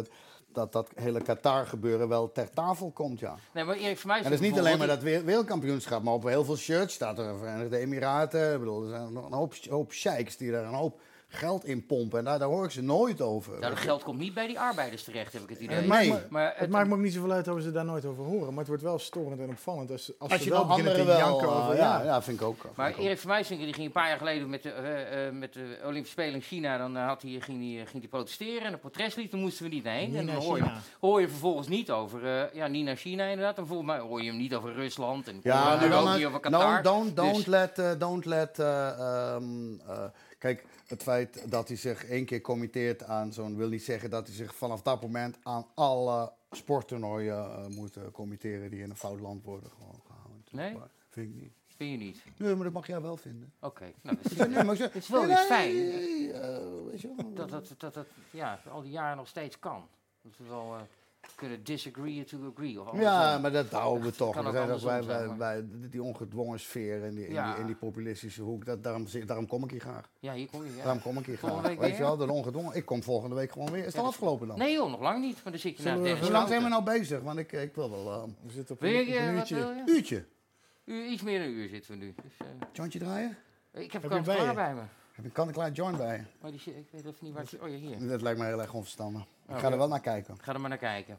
S4: dat dat hele Qatar-gebeuren wel ter tafel komt, ja.
S3: Nee, maar Erik van
S4: En
S3: Muiswinkel...
S4: dat is niet alleen maar
S3: bijvoorbeeld,
S4: dat wereld- wereldkampioenschap, maar op heel veel shirts staat er Verenigde Emiraten. Ik bedoel, er zijn nog een hoop, hoop sheiks die daar een hoop geld in pompen. En daar, daar hoor ik ze nooit over. Eh,
S3: Nou, dat geld komt niet bij die arbeiders terecht, heb ik het
S5: En
S3: idee.
S5: het,
S4: Nee.
S5: maakt me,
S3: Maar
S5: het,
S3: het-
S5: maakt me ook niet zoveel uit dat we ze daar nooit over horen. Maar het wordt wel storend en opvallend als, als,
S4: Als
S5: ze
S4: je
S5: wel
S4: dan
S5: beginnen te
S4: anderen wel...
S5: janken
S4: eh,
S5: over...
S4: ja,
S5: ja,
S4: ja, vind ik ook. vind
S3: Maar
S4: ik ook.
S3: Erik van Muiswinkel die ging een paar jaar geleden met de, eh, eh, met de Olympische Spelen in China. Dan eh, had hij, ging hij ging hij protesteren en een protestlied. Toen moesten we niet heen. en
S5: Nina
S3: dan hoor je,
S5: China.
S3: hoor je vervolgens niet over. eh, ja, niet naar China inderdaad. Dan volgens mij hoor je hem niet over Rusland. En
S4: Ja,
S3: dan
S4: nu
S3: ook
S4: dan
S3: niet
S4: het-
S3: over
S4: don't,
S3: Qatar.
S4: don't, don't
S3: Dus-
S4: let, eh, don't let eh, ehm, eh, kijk, het feit dat hij zich één keer committeert aan zo'n, wil niet zeggen dat hij zich vanaf dat moment aan alle sporttoernooien eh, moet eh, committeren die in een fout land worden gewoon gehouden.
S3: Nee?
S4: Maar Vind ik niet.
S3: Vind je niet?
S4: Nee, maar dat mag jij wel
S3: *laughs*
S4: vinden.
S3: Oké. Nou, dat is, eh,
S4: Nee, maar
S3: het is wel weer fijn
S4: eh, weet je wel.
S3: *laughs* dat dat, dat, dat ja, al die jaren nog steeds kan. Dat we wel eh, kunnen disagree to agree. Of eh,
S4: Ja,
S3: andersom.
S4: maar dat houden
S3: *laughs*
S4: we
S3: Dat
S4: toch.
S3: kan
S4: We
S3: ook
S4: zijn toch
S3: andersom
S4: bij,
S3: zijn,
S4: bij,
S3: maar-
S4: bij die ongedwongen sfeer en die, en
S3: Ja.
S4: die, en die populistische hoek. Dat, daarom, zit- daarom kom ik hier graag.
S3: ja, hier kom je. ja.
S4: Daarom kom ik hier
S3: Volgende
S4: graag. Weet
S3: week
S4: je
S3: weer?
S4: wel, dat ongedwongen. Ik kom volgende week gewoon weer. Is het
S3: Ja,
S4: al
S3: dat-
S4: afgelopen dan?
S3: Nee joh, nog lang niet. Maar dan zit je naar
S5: Zullen we-
S3: dertig
S4: Hoe lang zijn we
S3: minuten.
S4: nou bezig? Want ik, ik wil wel eh, een
S5: We zitten op
S3: Wil
S5: een,
S3: je,
S5: op een
S3: eh, wat
S5: uurtje.
S3: wil je?
S4: uurtje. nou-
S3: U- iets meer dan een uur zitten we nu. Dus, eh,
S4: Jointje draaien?
S3: ik heb,
S5: je
S3: kant
S5: bij
S3: klaar
S5: je?
S3: bij me.
S4: Heb je kan ik klaar joint bij?
S3: Maar die, shit- ik weet even niet waar... die- Oh ja, hier.
S4: Dat lijkt me heel erg onverstandig. Ik
S3: Oh,
S4: ga
S3: ja.
S4: er wel naar kijken.
S3: Ga er maar naar kijken.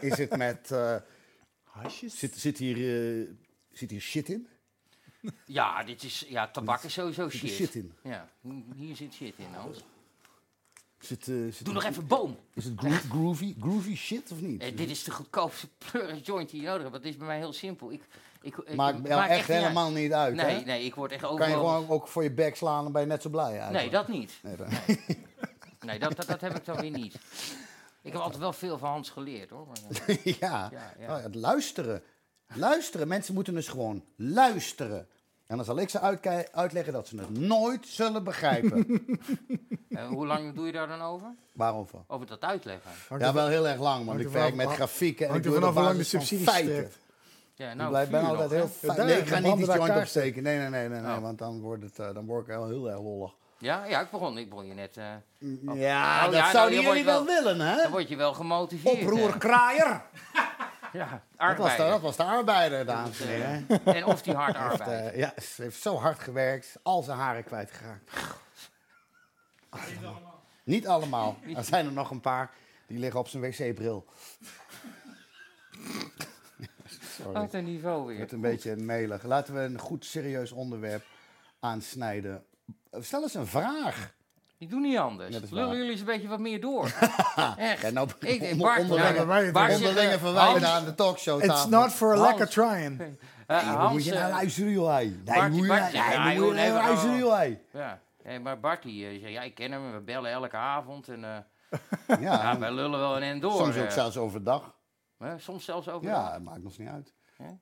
S4: Is het met. eh,
S5: Hasjes?
S4: zit, zit, hier, eh, zit hier shit in?
S3: Ja, dit is... Ja, tabak is sowieso
S4: Zit er
S3: shit.
S4: shit in?
S3: Ja, hm, hier zit shit in, Hans.
S4: Zit, eh, zit
S3: Doe nog even boom.
S4: Is het groove- groovy, groovy shit of niet?
S3: Eh, dit is de goedkoopste *laughs* pleurig joint die je nodig hebt. Want het is bij mij heel simpel. Ik, ik, ik,
S4: Maakt jou echt,
S3: niet uit.
S4: helemaal niet uit. hè?
S3: Nee, nee, ik word echt
S4: Kan je
S3: overal...
S4: gewoon ook voor je bek slaan en ben je net zo blij eigenlijk.
S3: Nee, dat niet.
S4: Nee, dat-
S3: Nee, dat, dat, dat heb ik dan weer niet. Ik heb altijd wel veel van Hans geleerd, hoor. Maar, eh,
S4: *laughs* ja.
S3: Ja, ja.
S4: Nou, het luisteren. Luisteren. Mensen moeten dus gewoon luisteren. En dan zal ik ze uitkei- uitleggen dat ze het nooit zullen
S3: *laughs*
S4: begrijpen.
S3: eh, hoe lang doe je daar dan over?
S4: Waarover?
S3: Over dat uitleggen.
S5: Hangt
S4: Ja,
S5: er
S4: wel heel erg lang, want
S5: hangt
S4: ik
S5: er
S4: werk
S5: vanaf-
S4: met grafieken en ik
S5: hangt er
S4: doe het op
S5: vanaf hoe lang de
S4: basis van
S5: subsidies
S4: feiten.
S5: strekt.
S3: Ja,
S4: Ik
S3: nou,
S4: blijf
S3: vuur
S4: bijna
S3: nog,
S4: altijd
S3: hè?
S4: heel
S5: Ja,
S4: fijn.
S5: daar
S4: Nee, ik ga niet
S5: branden
S4: die
S5: we
S4: joint
S5: elkaar.
S4: opsteken. Nee, nee, nee, nee, nee
S3: Oh.
S4: want dan, wordt het, eh, dan word ik wel heel erg lollig.
S3: Ja, ja, ik begon, ik begon je net... eh,
S4: Ja,
S3: Oh,
S4: dat
S3: ja, nou,
S4: zouden
S3: je
S4: jullie wel
S3: wordt
S4: willen, hè?
S3: Dan word je wel gemotiveerd. hè.
S4: Oproerkraaier!
S3: Ja,
S4: Dat was, de,
S3: arbeider.
S4: dat was de arbeider, dames en heren.
S3: En of die
S4: *laughs*
S3: hard arbeidt.
S4: Eh, ja, ze heeft zo hard gewerkt, al zijn haren kwijtgeraakt. Niet allemaal. Er zijn er nog een paar die liggen op zijn wc-bril. Sorry. eh,
S3: Wat een niveau weer.
S4: Het een beetje melig. Laten we een goed serieus onderwerp aansnijden. Eh, Stel eens een vraag.
S3: Ik doe niet anders.
S4: Ja, dat is
S3: Lullen
S4: waar.
S3: jullie eens een beetje wat meer
S4: *laughs*
S3: door. Echt.
S4: Ja, nou,
S3: Ik-
S4: on-
S3: ik- Bart,
S4: onderling,
S5: ja,
S4: Bart,
S5: wij-
S3: Bart zegt,
S4: onderling
S3: eh,
S4: verwijden
S3: Hans-
S4: aan de talkshow
S5: It's not for a
S3: Hans.
S5: lack of trying.
S3: Eh,
S4: moet
S3: Hans,
S4: je nou
S3: eh,
S4: luisteren, joh, hij. Nee,
S3: Bart-
S4: moet je
S3: Bart-
S4: nou-
S3: ja,
S4: nee,
S3: joh,
S4: moet je
S3: nee,
S4: nou
S3: we gaan
S4: luisteren,
S3: wel.
S4: joh, hij.
S3: ja. Hey, maar Bart die eh, zei, ja, ik ken hem en we bellen elke avond. En, eh, ja,
S4: Ja,
S3: wij lullen wel een en door.
S4: soms ook
S3: eh.
S4: zelfs overdag.
S3: Hè, soms zelfs over.
S4: Ja, het maakt ons niet uit.
S3: Ja.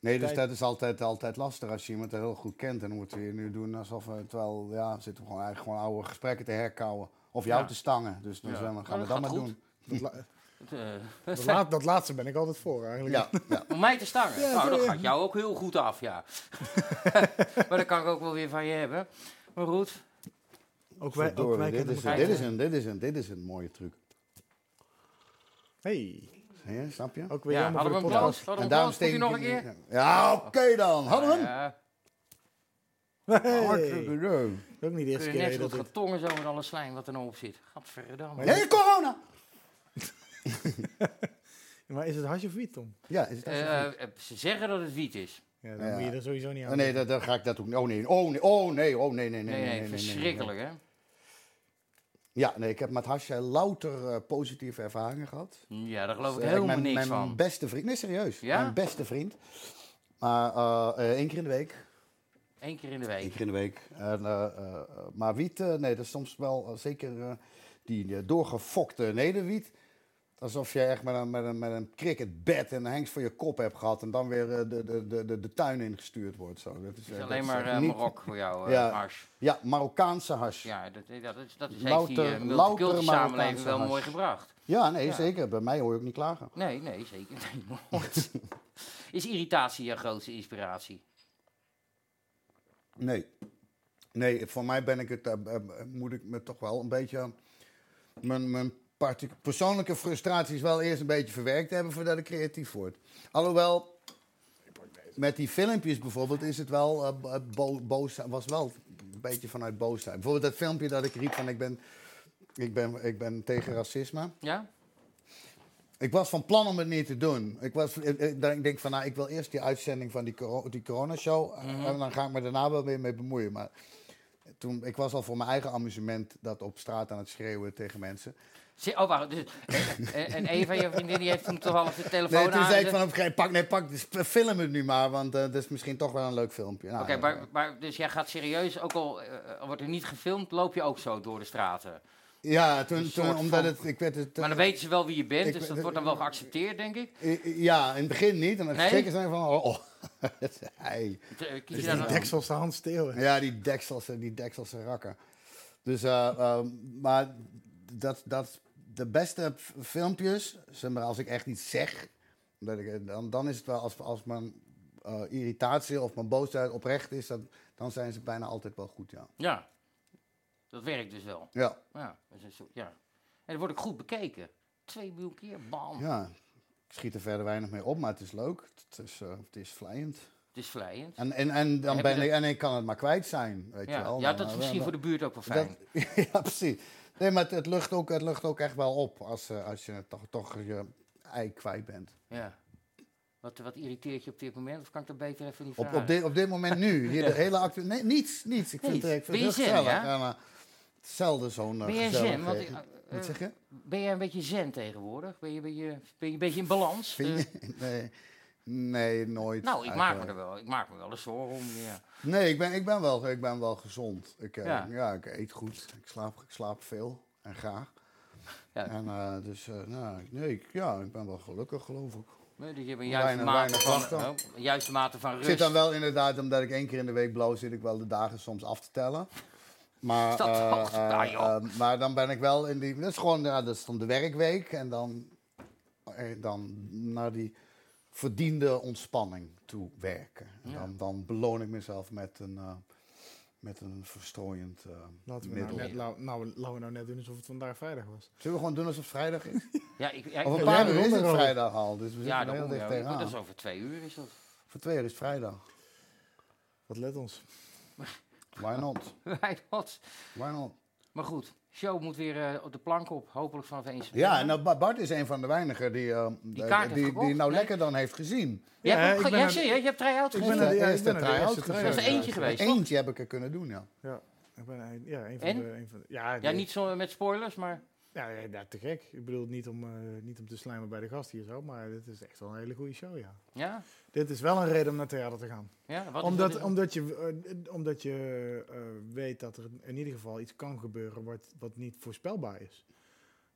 S4: Nee, dus dat is altijd, altijd lastig als je iemand heel goed kent. En dan moeten we hier nu doen alsof we, terwijl, ja, zitten we gewoon eigenlijk gewoon oude gesprekken te herkouwen. Of jou
S3: Ja.
S4: te stangen. Dus dan
S3: Ja.
S4: gaan we
S3: Nou,
S4: dat
S3: dat
S4: dan maar
S3: gaat goed.
S4: doen.
S3: *laughs*
S5: Dat, la-
S3: Eh,
S5: dat la- dat laatste ben ik altijd voor eigenlijk.
S4: Ja, ja.
S3: om mij te stangen.
S5: Ja,
S3: nou, dat
S5: ja.
S3: gaat jou ook heel goed af, ja. maar dat kan ik ook wel weer van je hebben. Maar goed,
S5: Ook wij, ook
S4: Door,
S5: wij
S4: dit,
S5: kennen
S4: is,
S5: elkaar.
S3: elkaar.
S4: dit, is een, dit, is een, dit is een mooie truc.
S5: Hey,
S4: Zie je, snap je?
S5: ook weer
S3: ja,
S5: jammer
S3: hadden we
S5: voor de
S3: hem
S5: podcast.
S3: close? Hadden we
S4: En
S3: hem
S4: daarom
S3: close? Moet hij nog een keer?
S4: Ja, oké dan. Hadden we hem?
S3: Ja,
S5: Hey.
S4: Hartstikke leuk.
S5: Dat is ook niet de
S3: kun
S5: eerste
S3: je
S5: keer
S3: net
S5: dat
S3: zo goed
S5: dit-
S3: gaan tongen zo met alle slijm wat er nou op zit. Gadverdamme.
S4: Nee, corona!
S5: Maar is het hash of wiet, Tom?
S4: Ja, is het
S3: Eh, eh, ze zeggen dat het wiet is.
S5: Ja, dan
S4: Ja.
S5: moet je er sowieso niet aan.
S4: Oh, nee, dat, dat ga ik dat ook niet. Oh nee, oh nee, oh nee, oh nee, nee, nee.
S3: Nee, nee, verschrikkelijk, hè?
S4: Ja, nee, ik heb met hash eh, louter eh, positieve ervaringen gehad.
S3: Ja, daar geloof ik
S4: Eh,
S3: helemaal
S4: mijn,
S3: niks
S4: mijn
S3: van.
S4: beste vriend, nee serieus,
S3: Ja?
S4: mijn beste vriend. Maar eh, eh, één keer in de week.
S3: Eén keer in de
S4: Eén
S3: week.
S4: keer in de week. En, eh, eh, eh, maar wiet, eh, nee, dat is soms wel eh, zeker eh, die eh, doorgefokte nederwiet. Alsof je echt met een, met een, met een cricketbed en een hengst voor je kop hebt gehad. En dan weer eh, de, de, de, de, de tuin ingestuurd wordt. Zo. Dat is,
S3: Het
S4: eh,
S3: is
S4: dat
S3: alleen
S4: is
S3: maar
S4: echt
S3: eh,
S4: niet-
S3: Marok voor jou, eh
S4: Ja.
S3: Mars.
S4: Ja, Marokkaanse hash. Ja,
S3: Ja, dat, eh, dat is, dat is heeft die
S4: Louter-
S3: eh,
S4: louter
S3: multiculturele
S4: Marokkaanse
S3: samenleving wel
S4: hash.
S3: mooi gebracht.
S4: nee,
S3: Ja.
S4: zeker. Bij mij hoor je ook niet klagen.
S3: Nee, nee, zeker nee,
S4: *laughs*
S3: nooit. Is irritatie je grootste inspiratie?
S4: Nee. Nee, voor mij ben ik het, eh, eh, moet ik me toch wel een beetje. aan- Mijn, mijn partic- persoonlijke frustraties wel eerst een beetje verwerkt hebben voordat ik creatief word. Alhoewel, met die filmpjes bijvoorbeeld is het wel. eh, bo- bo- boos, was wel een beetje vanuit boosheid. Bijvoorbeeld dat filmpje dat ik riep van ik ben, ik ben, ik ben tegen racisme.
S3: Ja?
S4: Ik was van plan om het niet te doen. Ik, was, ik, ik- ik denk van, nou, ik wil eerst die uitzending van die, coro- die corona-show. eh,
S3: Mhm.
S4: En dan ga ik me daarna wel weer mee bemoeien. Maar toen, ik was al voor mijn eigen amusement dat op straat aan het schreeuwen tegen mensen.
S3: Zi- Oh, wacht. Dus, eh, eh, en Eva, je vriendin, die heeft toen toevallig de telefoon
S4: Nee, toen
S3: aan.
S4: zei ik
S3: dus-
S4: van, op een gegeven moment, pak, nee, pak, dus film het nu maar. Want eh dat is misschien toch wel een leuk filmpje. Nou,
S3: Oké,
S4: eh,
S3: maar, maar dus jij gaat serieus, ook al eh, eh, wordt er niet gefilmd, loop je ook zo door de straten.
S4: Ja, toen,
S3: een soort
S4: toen omdat
S3: van-
S4: het... Ik werd het eh,
S3: Maar dan weten ze wel wie je bent,
S4: ik
S3: dus
S4: ben-
S3: dat wordt dan wel geaccepteerd, denk ik.
S4: eh, eh, Ja, in het begin niet. En dan
S3: Nee?
S4: schrikken ze van, oh, *laughs* oh. Hey.
S3: Eh, Kies
S5: Dus
S3: je
S5: die
S3: daar dan...
S5: deksels de hand steeuwen.
S4: Ja, die dekselse, die dekselse rakken. Dus, eh, ehm, maar dat, dat, de beste f- filmpjes, zeg maar, als ik echt iets zeg, dat ik, eh, dan, dan is het wel als, als mijn eh, irritatie of mijn boosheid oprecht is, dat, dan zijn ze bijna altijd wel goed, ja.
S3: Ja, dat werkt dus wel.
S4: Ja,
S3: Ja, dat is een soort- ja. En dat wordt ook goed bekeken. Twee miljoen keer, bam.
S4: ja. Ik schiet er verder weinig mee op, maar het is leuk. Het is, eh, het is vlijend.
S3: Het is vlijend.
S4: En, en, en, dan
S3: Heb
S4: ben
S3: je
S4: ik, en ik kan het maar kwijt zijn, weet je
S3: Ja,
S4: wel.
S3: ja,
S4: Dan,
S3: dat is
S4: eh,
S3: misschien
S4: dan-
S3: voor de buurt ook wel fijn.
S4: Dat, *laughs* ja, precies. Nee, maar het, het lucht ook, het lucht ook echt wel op als, eh, als je toch, toch je ei kwijt bent.
S3: Ja. Wat, wat irriteert je op dit moment? Of kan ik dat beter even niet
S4: Op,
S3: vragen?
S4: op, dit, op dit moment nu,
S3: *laughs*
S4: hier de hele actu... Nee, niets, niets. Ik vind,
S3: Niets.
S4: het, eh, ik vind het
S3: Ben
S4: heel
S3: je zen,
S4: gezellig.
S3: ja?
S4: Ja, maar het is zelden zo'n eh,
S3: ben jij zen? Want,
S4: gezelligheid.
S3: eh, eh,
S4: Wat zeg je? *laughs*
S3: ben jij een beetje zen tegenwoordig? Ben je, een beetje- ben je een beetje in balans?
S4: Vind
S3: Eh,
S4: je? eh, Nee, nee, nooit.
S3: nou, ik maak, me
S4: eigenlijk.
S3: er wel, ik maak me wel eens zorgen om. Ja.
S4: Nee, ik ben, ik ben, wel, ik ben wel gezond. Ik, eh,
S3: Ja.
S4: ja. ik eet goed. Ik slaap, ik slaap veel en graag.
S3: Ja.
S4: En eh, dus, eh, nou, nee, ik, ja, ik ben wel gelukkig, geloof ik.
S3: Nee, Dus je hebt een
S4: Weinig-
S3: juiste mate
S4: weinig
S3: van,
S4: klachten.
S3: oh, een juiste mate van
S4: Ik
S3: rust.
S4: zit dan wel inderdaad, omdat ik één keer in de week blauw zit, ik wel de dagen soms af te tellen. Maar,
S3: Is dat
S4: eh,
S3: toch?
S4: eh,
S3: Nou, joh.
S4: eh, maar dan ben ik wel in die. Dat is gewoon ja, dat is dan de werkweek en dan, eh, dan naar die verdiende ontspanning toe werken. En
S3: Ja.
S4: Dan, dan beloon ik mezelf met een, eh, met een verstrooiend eh,
S5: Laten we nou
S4: middel.
S5: net, nou, nou, laten we nou net doen alsof het vandaag vrijdag was.
S4: Zullen we gewoon doen alsof het vrijdag is?
S3: Ja, ik, ja, ik-
S4: *laughs* Of een
S5: Ja,
S4: paar
S5: we
S4: uur is
S5: ronden
S4: het
S5: erover.
S4: vrijdag al, dus
S3: ja,
S4: we
S3: dus
S4: zitten er heel
S3: daarom,
S4: dicht
S3: ja, dat is
S4: tegenaan.
S3: over twee uur is dat. *laughs*
S4: Voor twee uur is vrijdag.
S5: Wat let ons.
S4: Why not?
S3: Wij wat.
S4: Why not?
S3: Maar goed, show moet weer eh, op de plank op. Hopelijk vanaf 1 september.
S4: Ja, en nou, Ba- Bart is een van de weinigen die, eh,
S3: Die
S4: eh,
S3: kaart heeft
S4: die, die,
S3: gekocht,
S4: nou
S3: nee.
S4: lekker dan heeft gezien.
S3: Je
S5: Ja,
S3: hebt, ook
S5: ik
S3: ge-
S5: ben nou-
S3: je
S5: aan-
S3: hebt, zie je, je hebt try-out
S5: Ik
S3: gezien.
S5: ben aan de-
S4: Eerste-
S5: ik ben aan de
S4: eerste
S5: eerste
S4: try-out.
S5: try-out.
S3: Er is er eentje geweest, toch?
S4: Eentje heb ik er kunnen doen, ja.
S5: Ja. Ik ben, nou- ja, een van
S3: En?
S5: de... Een van de- ja,
S3: Ja,
S5: de-
S3: niet zo met spoilers, maar...
S5: Ja, ja, ja, te gek. Ik bedoel, niet om, eh, niet om te slijmen bij de gast hier zo, maar dit is echt wel een hele goede show, ja.
S3: Ja,
S5: Dit is wel een reden om naar theater te gaan.
S3: ja wat is dat
S5: Omdat,
S3: in-
S5: omdat je, eh, omdat je eh, weet dat er in ieder geval iets kan gebeuren wat, wat niet voorspelbaar is.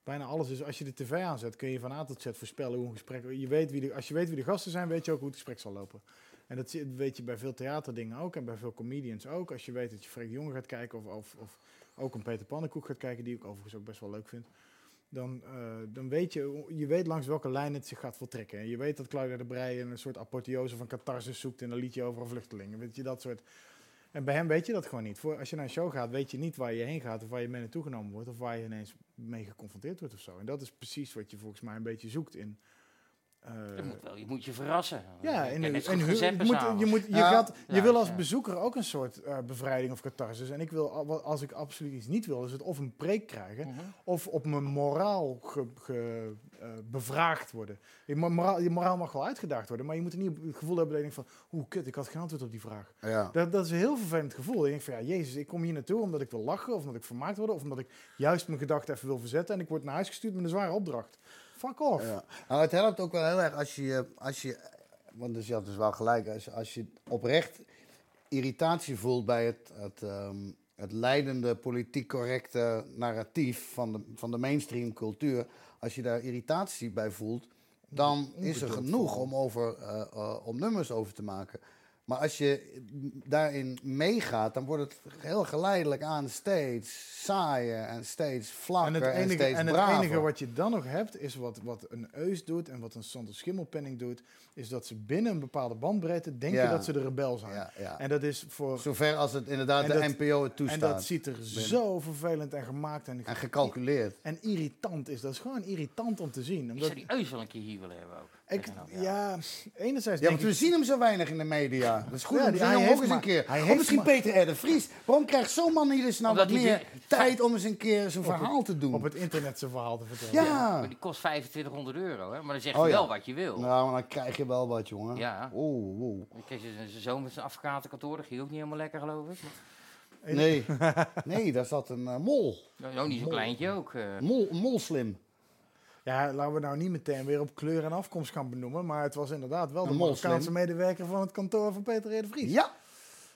S5: Bijna alles is, als je de tv aanzet, kun je van A tot Z voorspellen hoe een gesprek... Je weet wie de, als je weet wie de gasten zijn, weet je ook hoe het gesprek zal lopen. En dat zie- weet je bij veel theaterdingen ook en bij veel comedians ook. Als je weet dat je Freek de Jonge gaat kijken of, of, of ook een Peter Pannenkoek gaat kijken, die ik overigens ook best wel leuk vind. Dan, eh, dan weet je, je weet langs welke lijn het zich gaat voltrekken. En je weet dat Claudia de Breij een soort apotheose van catharsis zoekt in een liedje over een vluchteling. Weet je, dat soort... En bij hem weet je dat gewoon niet. Voor, als je naar een show gaat, weet je niet waar je heen gaat of waar je mee naartoe genomen wordt of waar je ineens mee geconfronteerd wordt of zo. En dat is precies wat je volgens mij een beetje zoekt in... eh,
S3: Je moet, wel, je moet je verrassen.
S5: ja,
S3: Ik
S5: en,
S3: ben net zo
S5: en,
S3: goed
S5: hu-
S3: gezegd
S5: het moet,
S3: s'avonds.
S5: je, moet, je,
S4: Ja.
S5: gaat, je
S3: Ja,
S5: wil als
S3: ja.
S5: bezoeker ook een soort eh, bevrijding of catharsis. En ik wil, al- wat- als ik absoluut iets niet wil, is het of een preek krijgen...
S3: Mhm.
S5: of op mijn moraal ge, ge- eh, bevraagd worden. Je mo- moraal, je moraal mag wel uitgedaagd worden... maar je moet er niet het gevoel hebben dat je denkt van... hoe kut, ik had geen antwoord op die vraag.
S4: Ja.
S5: Dat, dat is een heel vervelend gevoel. Je denkt van, ja, jezus, ik kom hier naartoe omdat ik wil lachen... of omdat ik vermaakt word... of omdat ik juist mijn gedachten even wil verzetten... en ik word naar huis gestuurd met een zware opdracht. Fuck off.
S4: Ja. Nou, het helpt ook wel heel erg als je, eh, als je want dus je had dus wel gelijk, als, als je oprecht irritatie voelt bij het, het, ehm, het leidende politiek correcte narratief van de, van de mainstream cultuur, als je daar irritatie bij voelt, dan is er genoeg om, over, eh, eh, om nummers over te maken. Maar als je daarin meegaat, dan wordt het heel geleidelijk aan steeds saaier en steeds
S5: En
S4: vlakker
S5: het,
S4: en,
S5: enige,
S4: eh, steeds
S5: en het
S4: braver.
S5: enige wat je dan nog hebt, is wat, wat een Eus doet en wat een Sander Schimmelpenning doet, is dat ze binnen een bepaalde bandbreedte denken
S4: Ja.
S5: dat ze de rebel zijn.
S4: Ja, ja.
S5: En dat is voor.
S4: Zover als het inderdaad
S5: En
S4: de
S5: dat-
S4: NPO het
S5: en
S4: toestaat.
S5: dat ziet er zo vervelend en gemaakt en,
S4: En gecalculeerd.
S5: en irritant is. Dat is gewoon irritant om te zien.
S3: Ik
S5: Omdat
S3: zou die Eus wel een keer hier willen hebben ook.
S5: ik,
S3: Tegen hem,
S5: ja, enerzijds
S4: Ja, want
S5: denk
S4: we
S5: ik.
S4: zien hem zo weinig in de media. Dat is goed,
S5: Ja,
S4: om
S5: die-
S4: zo'n
S5: hij
S4: jongen ook
S5: heeft
S4: eens een
S5: maar-
S4: keer.
S5: hij
S4: Of
S5: heeft
S4: misschien
S5: maar-
S4: Peter R. de Vries. Waarom krijgt zo'n man hier dus nou
S3: Omdat
S4: wat
S3: hij
S4: meer
S3: weer-
S4: tijd om eens een keer zijn verhaal te
S5: Op
S4: doen?
S5: het internet zijn verhaal te vertellen.
S4: Ja.
S3: Maar die kost 2500 euro, hè? maar dan zeg je
S4: Ah. Oh, ja.
S3: wel wat je wil.
S4: Nou, maar dan krijg je wel wat, jongen. Oh,
S3: Ja.
S4: Oeh, oeh.
S3: Ik kreeg zijn zoon met zijn advocatenkantoor, dat ging ook niet helemaal lekker, geloof ik.
S4: Nee.
S5: *laughs*
S4: nee, daar zat een eh, mol.
S3: Nou, nou, niet zo'n
S4: Mol.
S3: kleintje ook. eh.
S4: mol. Een molslim.
S5: Ja, laten we nou niet meteen weer op kleur en afkomst gaan benoemen. Maar het was inderdaad wel
S4: Een
S5: de
S4: moslim.
S5: Marokkaanse medewerker van het kantoor van Peter R. de Vries.
S4: Ja.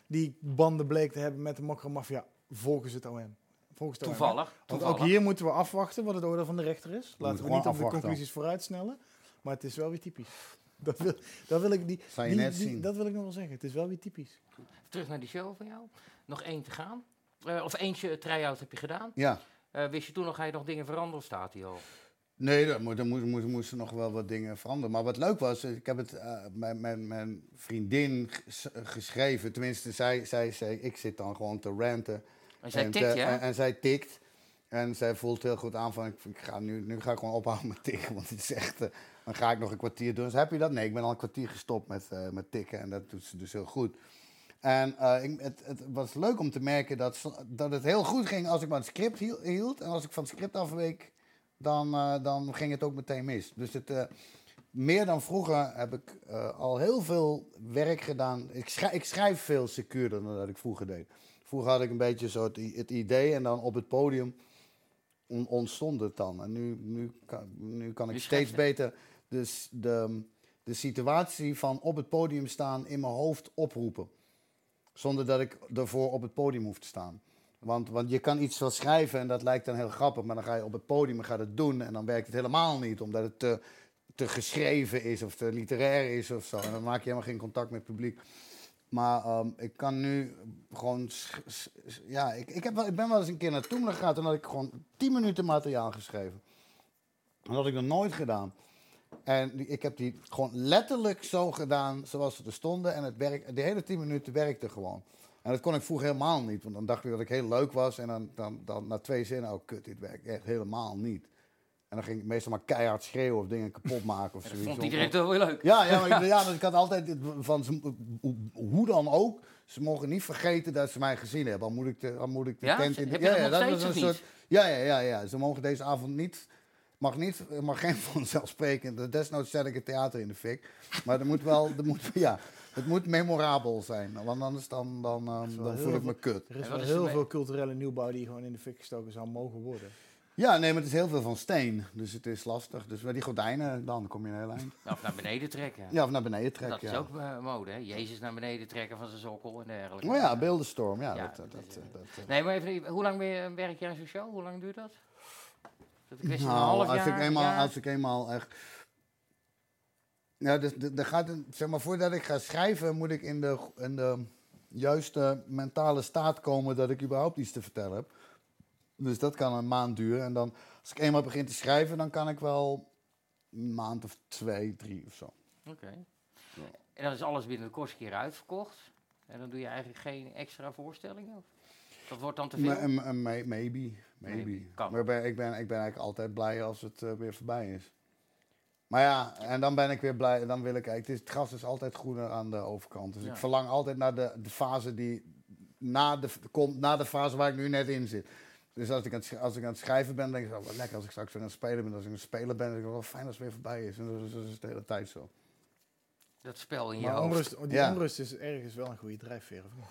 S5: die banden bleek te hebben met de mafia volgens het OM. Volgens het OM, hè?
S3: Toevallig.
S5: Want
S3: toevallig.
S5: ook hier moeten we afwachten wat het oordeel van de rechter is. Laten we
S4: gewoon
S5: niet op de
S4: afwachten.
S5: conclusies vooruitsnellen. Maar het is wel weer typisch. *laughs* Dat wil, dat wil ik die,
S4: Zal je
S5: die-
S4: net
S5: die-
S4: zien.
S5: Dat wil ik nog wel zeggen. Het is wel weer typisch.
S3: Terug naar die show van jou. Nog één te gaan. Eh, of eentje try-out heb je gedaan.
S4: Ja.
S3: Eh, wist je toen nog, ga je nog dingen veranderen, of staat hij al?
S4: Nee, daar mo- daar mo- mo- moesten nog wel wat dingen veranderen. Maar wat leuk was, ik heb het eh, mijn, mijn, mijn vriendin ges- geschreven. Tenminste, zij, zij, zij, ik zit dan gewoon te ranten.
S3: En zij
S4: te-
S3: tikt, ja?
S4: En, eh, en zij tikt. En zij voelt heel goed aan van, ik, ik ga nu, nu ga ik gewoon ophouden met tikken. Want het is echt, eh, dan ga ik nog een kwartier doen. Dus heb je dat? Nee, ik ben al een kwartier gestopt met, eh, met tikken. En dat doet ze dus heel goed. En eh, ik, het, het was leuk om te merken dat, ze- dat het heel goed ging als ik maar het script hiel- hield. En als ik van het script afweek, dan, eh, dan ging het ook meteen mis. Dus het, eh, meer dan vroeger heb ik eh, al heel veel werk gedaan. Ik, schrij- ik schrijf veel secuurder dan dat ik vroeger deed. Vroeger had ik een beetje zo het, i- het idee en dan op het podium on- ontstond het dan. En nu, nu, kan, nu kan ik
S3: Nu schrijf
S4: steeds
S3: je.
S4: beter dus de, de situatie van op het podium staan in mijn hoofd oproepen. Zonder dat ik ervoor op het podium hoef te staan. Want, want je kan iets wel schrijven en dat lijkt dan heel grappig. Maar dan ga je op het podium en ga dat doen. En dan werkt het helemaal niet. Omdat het te, te geschreven is of te literair is of zo. En dan maak je helemaal geen contact met het publiek. Maar ehm, ik kan nu gewoon... sch- sch- sch- Ja, ik, ik, heb wel, ik ben wel eens een keer naar Toemler gegaan. Toen had ik gewoon 10 minuten materiaal geschreven. Dat had ik nog nooit gedaan. En die- ik heb die gewoon letterlijk zo gedaan zoals ze er stonden. En het werk, de hele 10 minuten werkte gewoon. En dat kon ik vroeger helemaal niet. Want dan dacht ik dat ik heel leuk was. En dan, dan, dan na twee zinnen, oh kut, dit werkt echt helemaal niet. En dan ging ik meestal maar keihard schreeuwen of dingen kapot maken of
S3: Ja, dat
S4: eh, zoiets.
S3: vond iedereen toch wel leuk. *laughs*
S4: Ja, ja, maar ik, ja, want ik had altijd het van ze- hoe- hoe dan ook. Ze mogen niet vergeten dat ze mij gezien hebben. Al moet ik de, al moet ik de
S3: Ja?
S4: tent in.
S3: Heb je dat nog
S4: ja,
S3: steeds of niet?
S4: Ja, ja, ja, ja. Ze mogen deze avond niet Mag, niet, mag geen *laughs* vanzelfsprekend. Desnoods zet ik het theater in de fik. Maar er moet wel, er moet, ja, het moet memorabel zijn. Want anders dan, dan, ehm,
S5: wel
S4: dan
S5: heel
S4: voel ik
S5: veel-
S4: me kut.
S5: Er is
S3: En
S5: wel
S3: wat is
S5: heel
S3: ermee?
S5: veel culturele nieuwbouw die gewoon in de fik gestoken zou mogen worden.
S4: Ja, nee, maar het is heel veel van steen. Dus het is lastig. Dus met die gordijnen, dan kom je een heel eind.
S3: Of naar beneden trekken.
S4: Ja, of naar beneden trekken.
S3: dat is
S4: ja.
S3: ook eh, mode, hè? Jezus naar beneden trekken van zijn sokkel en dergelijke.
S4: Maar Oh ja, beeldenstorm. Ja,
S3: Ja,
S4: dat, dat,
S3: dat
S4: dat,
S3: is,
S4: dat, eh.
S3: Nee, maar even, hoe lang ben je- werk jij aan zo'n show? Hoe lang duurt dat? Dat is een
S4: Nou,
S3: half
S4: als
S3: jaar.
S4: ik eenmaal,
S3: jaar?
S4: als ik eenmaal echt. Ja, dus d- er gaat een, zeg maar, voordat ik ga schrijven, moet ik in de, go- in de juiste mentale staat komen dat ik überhaupt iets te vertellen heb. Dus dat kan een maand duren. En dan, als ik eenmaal begin te schrijven, dan kan ik wel een maand of twee, drie of zo.
S3: Oké. En dan is alles binnen de kortste keer uitverkocht. En dan doe je eigenlijk geen extra voorstellingen? Of? Dat wordt dan te veel?
S4: Ma- ma- ma- maybe, maybe.
S3: Maybe, kan.
S4: Maar ik ben, ik, ben, ik ben eigenlijk altijd blij als het eh, weer voorbij is. Maar ja, en dan ben ik weer blij. Dan wil ik eigenlijk. Het, is- het gras is altijd groener aan de overkant. Dus
S3: Ja.
S4: ik verlang altijd naar de, de fase die na de, komt, na de fase waar ik nu net in zit. Dus als ik, aan het, sch- als ik aan het schrijven ben, denk ik, oh, wat lekker als ik straks weer aan het spelen ben. Als ik een speler ben, denk ik, wel fijn als het weer voorbij is. En dat is, dat is de hele tijd zo.
S3: Dat spel in je
S5: Maar
S3: hoofd. *laughs*
S5: onrust, die
S4: Ja.
S5: onrust is ergens wel een goede drijfveer. of niet?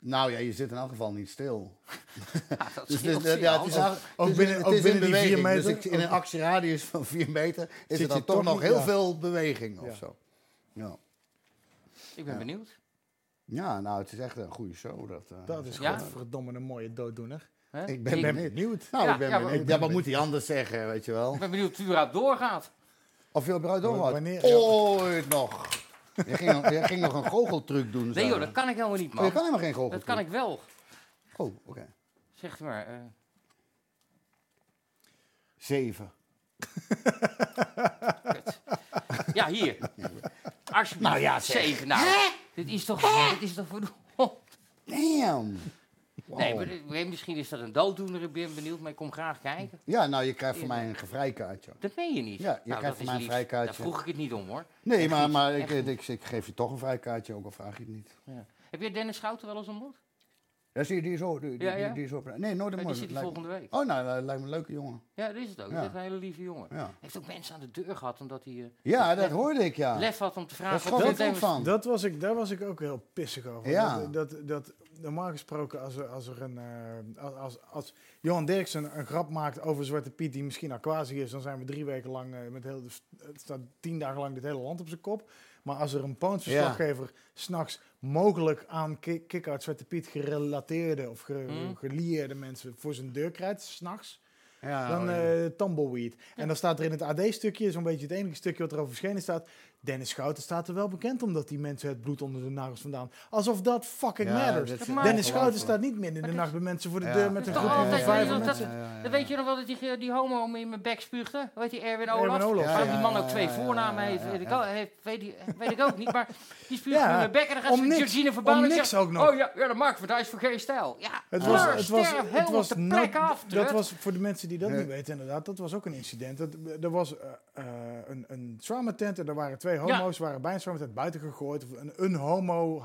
S4: Nou ja, je zit in elk geval niet stil.
S3: Ja, dat
S4: Dus
S3: scheelt
S4: het is-
S3: veel.
S4: ja, het
S3: Anders-
S4: is eigenlijk-
S5: ook
S4: het is
S5: binnen-
S4: in-
S5: ook
S4: het is in
S5: binnen die vier
S4: beweging. Dus
S5: meter?
S4: ik- in een actieradius van 4 meter is
S5: je
S4: er dan
S5: toch
S4: toch nog
S5: niet-
S4: heel
S5: ja.
S4: veel beweging
S5: Ja.
S4: of zo. Ja.
S3: Oh, ik ben
S4: ja.
S3: benieuwd.
S4: ja, nou, het is echt een goede show. Dat, eh,
S5: Dat is
S3: Ja?
S5: godverdomme een mooie dooddoener.
S3: hè?
S4: Ik ben
S5: Ik ben
S4: benieuwd.
S5: benieuwd.
S4: Nou,
S3: Ja,
S4: ik ben
S3: ja, maar-
S4: benieuwd. Ja, wat moet hij anders zeggen, weet je wel?
S3: ik ben benieuwd of het überhaupt doorgaat.
S4: Of je überhaupt nog wat?
S5: Wanneer- ja.
S4: Ooit nog. Je ging, je ging nog een goocheltruc doen.
S3: Nee
S4: zo.
S3: joh, dat kan ik helemaal niet,
S4: Oh, je
S3: man.
S4: kan helemaal geen
S3: Dat
S4: goocheltruc.
S3: kan ik wel.
S4: Oh, oké.
S3: Zeg maar. eh,
S4: Zeven.
S3: Kut. Ja, hier.
S4: *laughs*
S3: Alsjeblieft.
S4: Nou ja, zeg.
S3: zeven. Nou, dit is toch... Dit is toch *laughs* verdoemd.
S4: Damn.
S3: Nee,
S4: Wow.
S3: maar, ik weet, misschien is dat een dooddoener. Ik ben benieuwd, maar ik kom graag kijken.
S4: Ja, nou, je krijgt van mij een gevrijkaartje.
S3: Dat meen je niet.
S4: Ja, je
S3: Nou,
S4: krijgt
S3: dat is
S4: van mij een
S3: lief.
S4: vrijkaartje.
S3: Daar vroeg ik het niet om, hoor.
S4: Nee,
S3: Echt
S4: maar,
S3: goed,
S4: maar ik,
S3: echt goed.
S4: ik, ik geef je toch een vrijkaartje, ook al vraag je het niet.
S3: Ja. Heb je Dennis Schouten wel eens ontmoet?
S4: Ja, zie je, die is ook. Die, die-
S3: Ja, ja.
S4: die is ook nee, nooit
S3: Ja,
S4: een
S3: die zit er
S4: lijkt me-
S3: volgende week.
S4: Oh, nou, dat lijkt me een leuke jongen.
S3: Ja, dat is het ook.
S4: Ja.
S3: Dat is een hele lieve jongen. Hij
S4: Ja,
S3: heeft ook mensen aan de deur gehad, omdat hij eh,
S4: ja
S3: lef-
S4: dat hoorde ik, ja.
S3: lef had om te
S4: Daar
S3: vragen... wat
S4: schrok
S3: voor
S4: ik ook
S3: thema's-
S4: van.
S5: Dat was ik, daar was ik ook heel pissig over.
S4: Ja.
S5: Dat, dat, dat- normaal gesproken, als er, als er een. eh, als, als, als Johan Derksen een grap maakt over Zwarte Piet, die misschien al quasi is, dan zijn we drie weken lang. eh, met heel, het staat tien dagen lang dit hele land op zijn kop. Maar als er een poonsverslaggever s'nachts mogelijk aan ki- kick-out Zwarte Piet gerelateerde of ge,
S3: Hmm.
S5: gelieerde mensen voor zijn deur krijgt, s'nachts.
S4: Ja,
S5: Dan
S4: oh, ja.
S5: eh tumbleweed. En dan staat er in het AD-stukje, zo'n beetje het enige stukje wat erover verschenen staat. Dennis Schouten staat er wel bekend omdat die mensen het bloed onder de nagels vandaan. Alsof dat fucking
S4: Ja,
S5: matters.
S4: dat is-
S3: Dennis
S5: Dennis
S4: Ja,
S5: Schouten
S4: geloof
S5: staat niet midden in de nacht bij mensen voor de
S4: Ja.
S5: deur met een
S3: Dat is
S5: groepje
S3: toch
S5: van
S3: altijd
S5: vijf
S3: iemand
S5: mensen.
S3: dat-
S4: Ja, ja,
S3: Dan
S4: ja.
S3: weet je nog wel dat die, eh, die homo me in mijn bek spuugde? Weet die Erwin Olaf?
S5: Erwin Olaf.
S3: Waarom
S4: Ja,
S3: die
S4: ja,
S3: man ook
S4: ja,
S3: twee
S4: ja,
S3: voornamen
S4: ja, ja,
S3: heeft, weet, ik
S4: ja.
S3: al- heeft, weet, die- eh, weet ik ook niet. Maar die spuugt
S5: Ja,
S3: me in mijn bek en dan gaat
S5: om
S3: ze
S5: niks.
S3: Georgine
S5: Om
S3: Verbaan en
S5: niks
S3: zegt...
S5: ook nog.
S3: Oh ja, ja, dat maakt want hij is voor geen stijl. Ja,
S5: Het was,
S3: kleur,
S5: het was,
S3: sterf,
S5: het
S3: helemaal
S5: was
S3: op de plek
S5: not-
S3: af.
S5: dat
S3: Trut.
S5: was voor de mensen die dat
S4: Ja.
S5: niet weten, inderdaad, dat was ook een incident. Dat, er was eh, eh, een, een trauma tent en er waren twee homo's, waren bij een trauma tent buiten gegooid. Of Een, een homo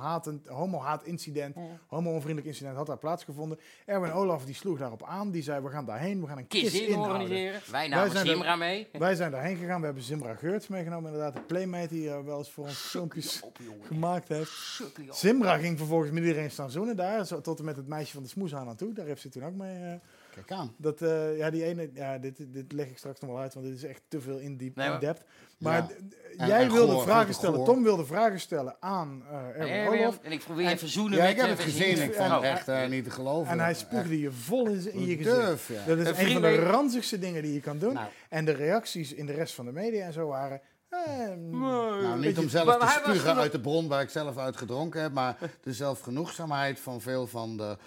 S5: haat incident, homo-onvriendelijk incident had daar plaatsgevonden. Erwin Olaf die sloeg daarop aan, die zei we gaan daarheen, we gaan een
S3: Kiss
S5: kiss
S3: in
S5: inhouden.
S3: organiseren. Wij namen
S5: zijn er-
S3: Simra mee.
S5: *laughs* Wij zijn daarheen gegaan, we hebben Zimbra Geurts meegenomen, inderdaad, de playmate die eh, wel eens voor ons filmpjes
S3: Op jongen.
S5: gemaakt heeft.
S3: Sukkel, joh.
S5: Simra ging vervolgens met iedereen staan zoenen daar, zo, tot en met het meisje van de smoes aan aan toe. Daar heeft ze toen ook mee. eh,
S4: Kijk aan.
S5: dat, eh, ja, die ene, ja, dit, dit leg ik straks nog wel uit, want dit is echt te veel in diep
S3: Nee, maar-
S5: in depth. Maar
S4: Ja.
S5: d- d-
S4: En-
S5: jij
S4: en
S5: wilde
S4: goor,
S5: vragen
S4: goor.
S5: stellen, Tom wilde vragen stellen aan eh Erwin
S3: Erwin,
S5: Roloff.
S3: En ik probeer even zoenen
S4: Ja,
S3: met...
S4: ik heb
S3: eh,
S4: het
S3: met-
S4: gezien. Ik vond het
S3: Oh,
S4: echt eh, niet te geloven.
S5: En hij spoegde je vol in, z- in je
S4: Echt
S5: gezicht.
S4: durf, ja.
S5: Dat is
S3: En
S5: een van de
S3: Eh, vrienden-
S5: ranzigste dingen die je kan doen.
S4: Nou.
S5: En de reacties in de rest van de media en zo waren... eh,
S4: Nou,
S5: weet
S4: niet
S5: je-
S4: om
S3: Maar
S4: zelf te
S3: hij was
S4: spugen
S3: toen-
S4: uit de bron waar ik zelf uit gedronken heb, maar de zelfgenoegzaamheid van veel van de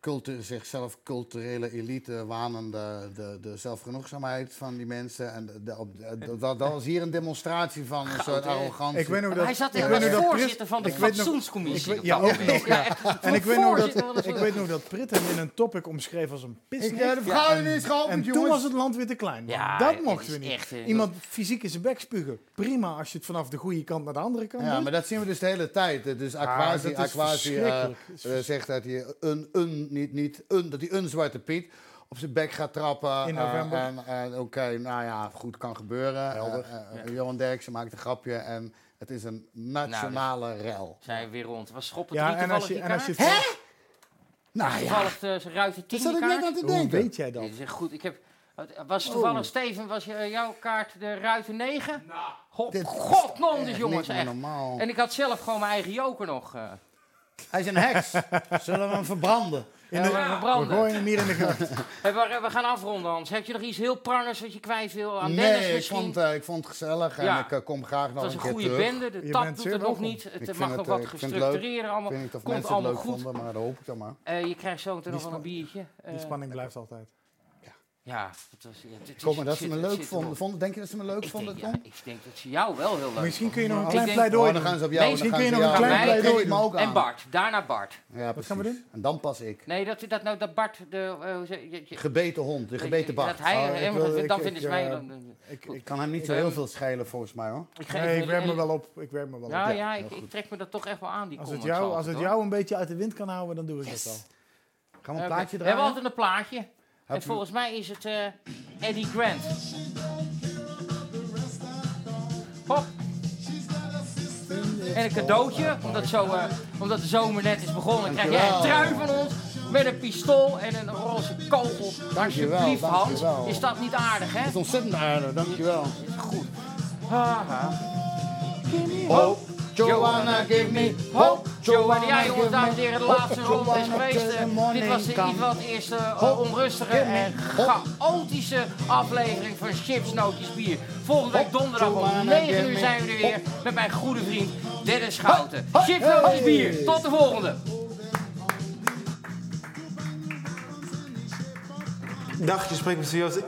S4: cultu- zichzelf culturele elite wanende, de, de zelfgenoegzaamheid van die mensen. En de, de- op- de- dat, dat was hier een demonstratie van een soort
S3: hè?
S4: arrogantie.
S5: Ik weet nog
S3: Maar
S5: dat,
S3: hij zat
S5: ik
S3: echt
S5: weet nog
S3: als
S5: dat Prins-
S3: voorzitter van de
S5: ik weet nog-
S3: fatsoenscommissie.
S5: ik weet-
S3: op
S5: ja,
S3: dat
S5: ook
S3: moment.
S5: *laughs* nog, ja.
S3: echt,
S5: En ik weet, nog
S3: voorzitter van
S5: dat,
S3: de-
S5: ik weet nog dat Prit hem in een topic omschreef als een pisneef.
S4: Ik heb de vrouwen niet geholpen,
S5: En toen
S4: jongens.
S5: was het land weer te klein. want
S3: Ja,
S5: dat
S3: het
S5: mochten
S3: is
S5: we niet.
S3: echt, eh,
S5: Iemand fysiek in zijn bek spugen. Prima als je het vanaf de goede kant naar de andere kant
S4: Ja,
S5: doet.
S4: maar dat zien we dus de hele tijd. Eh, Dus Aquasi,
S5: dat is
S4: Aquasi eh,
S5: verschrikkelijk.
S4: eh, zegt dat hij een, een, niet, niet een, dat hij een zwarte piet. op zijn bek gaat trappen.
S5: In
S4: eh,
S5: november.
S4: en en oké, nou ja, goed, kan gebeuren.
S5: Helder.
S4: Eh, eh, Johan Derksen maakt een grapje en het is een nationale
S3: Nou, dus-
S4: rel.
S3: Zijn weer rond. Was schoppen
S5: Ja, en als je... En als je Hè?
S4: Nou ja,
S3: Toevallig eh, ze ruikt de
S4: dat
S3: tien
S4: zat ik net aan
S3: kaart.
S4: te
S5: Hoe
S4: denken.
S5: weet jij dat?
S3: Dit is echt goed. Ik heb, was toevallig, Steven, was je- eh, jouw kaart de ruiten 9? Nou, Hop,
S4: Dit
S3: god, non,
S4: echt
S3: dus
S4: niet
S3: jongens,
S4: meer
S3: echt.
S4: normaal.
S3: En ik had zelf gewoon mijn eigen joker nog. eh
S4: Hij is een
S3: *laughs*
S4: heks. Zullen we hem verbranden?
S3: in
S5: de- We
S3: verbranden.
S5: gooien hem hier in de
S3: *laughs*
S5: gracht.
S3: Hey, we, we gaan afronden, Hans. Heb je nog iets heel prangers wat je kwijt wil aan Dennis
S4: nee, ik
S3: misschien?
S4: vond, eh, ik vond het gezellig en
S3: Ja.
S4: ik eh, kom graag nog
S5: Nou,
S3: het was
S4: een
S3: een
S4: keer
S3: goede
S4: terug.
S3: bende, de
S5: Je
S3: tap
S5: bent
S3: doet
S5: zeer
S3: het nog
S5: welkom.
S3: niet.
S4: Ik
S3: Het eh,
S4: vind
S3: mag
S4: het,
S3: nog
S4: eh,
S3: wat
S4: ik vind het
S3: gestructureren
S4: Ik
S3: allemaal.
S4: weet niet of
S3: Komt
S4: mensen het
S3: allemaal
S4: leuk
S3: goed.
S4: vonden, maar dat hoop ik dan maar.
S3: Eh, je krijgt zo meteen nog wel een
S5: span-
S3: biertje.
S5: Die
S3: Eh,
S5: spanning blijft altijd.
S3: ja, het was, het, het
S4: Kom
S3: is-
S4: maar, dat ze
S3: het
S4: me
S3: zit- het
S4: leuk
S3: zit
S4: vonden.
S3: erop.
S4: vonden. Denk je dat ze me leuk
S3: Ik denk,
S4: vonden,
S3: ja,
S4: Tom?
S3: ik denk dat ze jou wel heel leuk
S5: Misschien kun je nog een
S3: Ik
S5: klein
S3: denk-
S5: pleidooi
S4: Oh, dan
S5: doen.
S4: gaan ze op
S3: Nee,
S4: jou.
S5: misschien
S4: dan
S5: kun je
S4: gaan
S5: nog
S4: ze
S5: een
S4: jou-
S5: klein
S4: dan
S5: pleidooi
S4: trek ik me
S5: doen.
S4: ook aan.
S3: En Bart, daarna Bart.
S4: Ja, precies.
S5: gaan we doen?
S4: En dan pas ik.
S3: Nee, dat, dat nou dat Bart... De, eh, hoe zeg je- je-
S4: Gebeten hond, de gebeten
S3: Dat
S4: Bart.
S3: hij,
S5: Oh, ik
S3: hem-
S5: wil- ik-
S3: dan
S5: ik,
S3: vinden ze
S5: eh,
S3: mij... dan- dan-
S5: Ik,
S3: Goed.
S5: ik,
S4: Kan hem niet zo
S3: Ik,
S4: heel
S3: ehm,
S4: veel schelen volgens mij hoor.
S3: ik geef
S5: nee, ik
S3: jullie-
S5: werk me wel op. Ik werk me wel op.
S3: Ja,
S4: Ja,
S3: ja, ik,
S4: heel
S3: ik
S4: goed.
S3: trek me dat toch echt wel aan, die
S5: Als het,
S3: comments
S5: jou,
S3: altijd,
S5: als het
S3: hoor.
S5: jou een beetje uit de wind kan houden, dan doe ik dat wel.
S4: Gaan we
S3: Oké.
S4: een plaatje
S3: We hebben
S4: draaien?
S3: altijd een plaatje. En
S4: Heb je-
S3: volgens mij is het eh, Eddie Grant. Hop. En een cadeautje, omdat, zo, eh, omdat de zomer net is begonnen, krijg jij een
S4: Dankjewel.
S3: trui van ons met een pistool en een roze kogel.
S4: Dankjewel,
S3: Alsjeblieft Hans,
S4: dankjewel.
S3: is dat niet aardig hè?
S4: Het is ontzettend aardig, dankjewel.
S3: Is goed. Haha.
S4: Hope, Joanna, give me hope.
S3: Joanne,
S4: Joanna,
S3: ja jongens,
S4: give
S3: dames en
S4: me
S3: heren, de
S4: hope.
S3: laatste ronde is
S4: Joanna,
S3: geweest.
S4: till the
S3: Eh, Dit
S4: morning
S3: was de
S4: come.
S3: iets wat eerste eh,
S4: Hop,
S3: onrustige
S4: give me
S3: en
S4: hop.
S3: chaotische aflevering van Chips, Nootjes, Bier. Volgende week
S4: Hop,
S3: donderdag om
S4: Joanna,
S3: 9
S4: give
S3: uur
S4: me
S3: zijn we er weer met mijn goede vriend Dennis Schouten.
S4: hop,
S3: Chips, Nootjes,
S4: hey.
S3: Bier. Tot de volgende.
S6: Dag, je spreekt met Joost.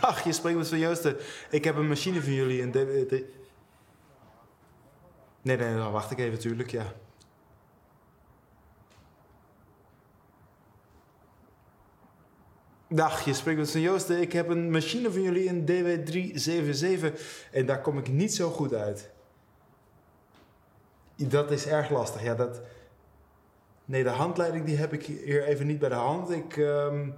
S6: Dag, je spreekt met Sir Joosten. Ik heb een machine van jullie. Een DVD. Nee, nee, dan wacht ik even, tuurlijk, ja. Dag, je spreekt met Sir Joosten. Ik heb een machine van jullie, een DW377. En daar kom ik niet zo goed uit. Dat is erg lastig. Ja, dat... Nee, de handleiding die heb ik hier even niet bij de hand. Ik, ehm,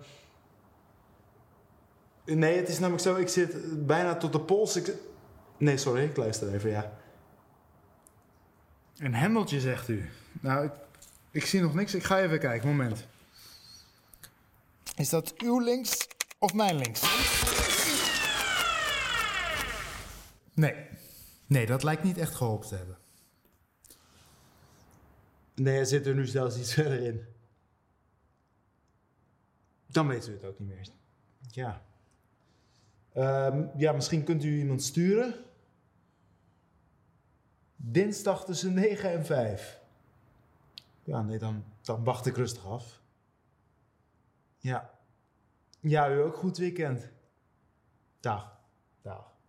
S6: Nee, het is namelijk zo, ik zit bijna tot de pols. Ik... Nee, sorry, ik luister even, ja.
S7: Een hendeltje, zegt u. Nou, ik, ik zie nog niks. Ik ga even kijken. Moment. Is dat uw links of mijn links? Nee. Nee, dat lijkt niet echt geholpen te hebben.
S6: Nee, er zit er nu zelfs iets *laughs* verder in. Dan weten we het ook niet meer. Ja. Ehm, ja, misschien kunt u iemand sturen. Dinsdag tussen 9 en 5. Ja, nee, dan, dan wacht ik rustig af. Ja. Ja, u ook goed weekend. Dag. Dag.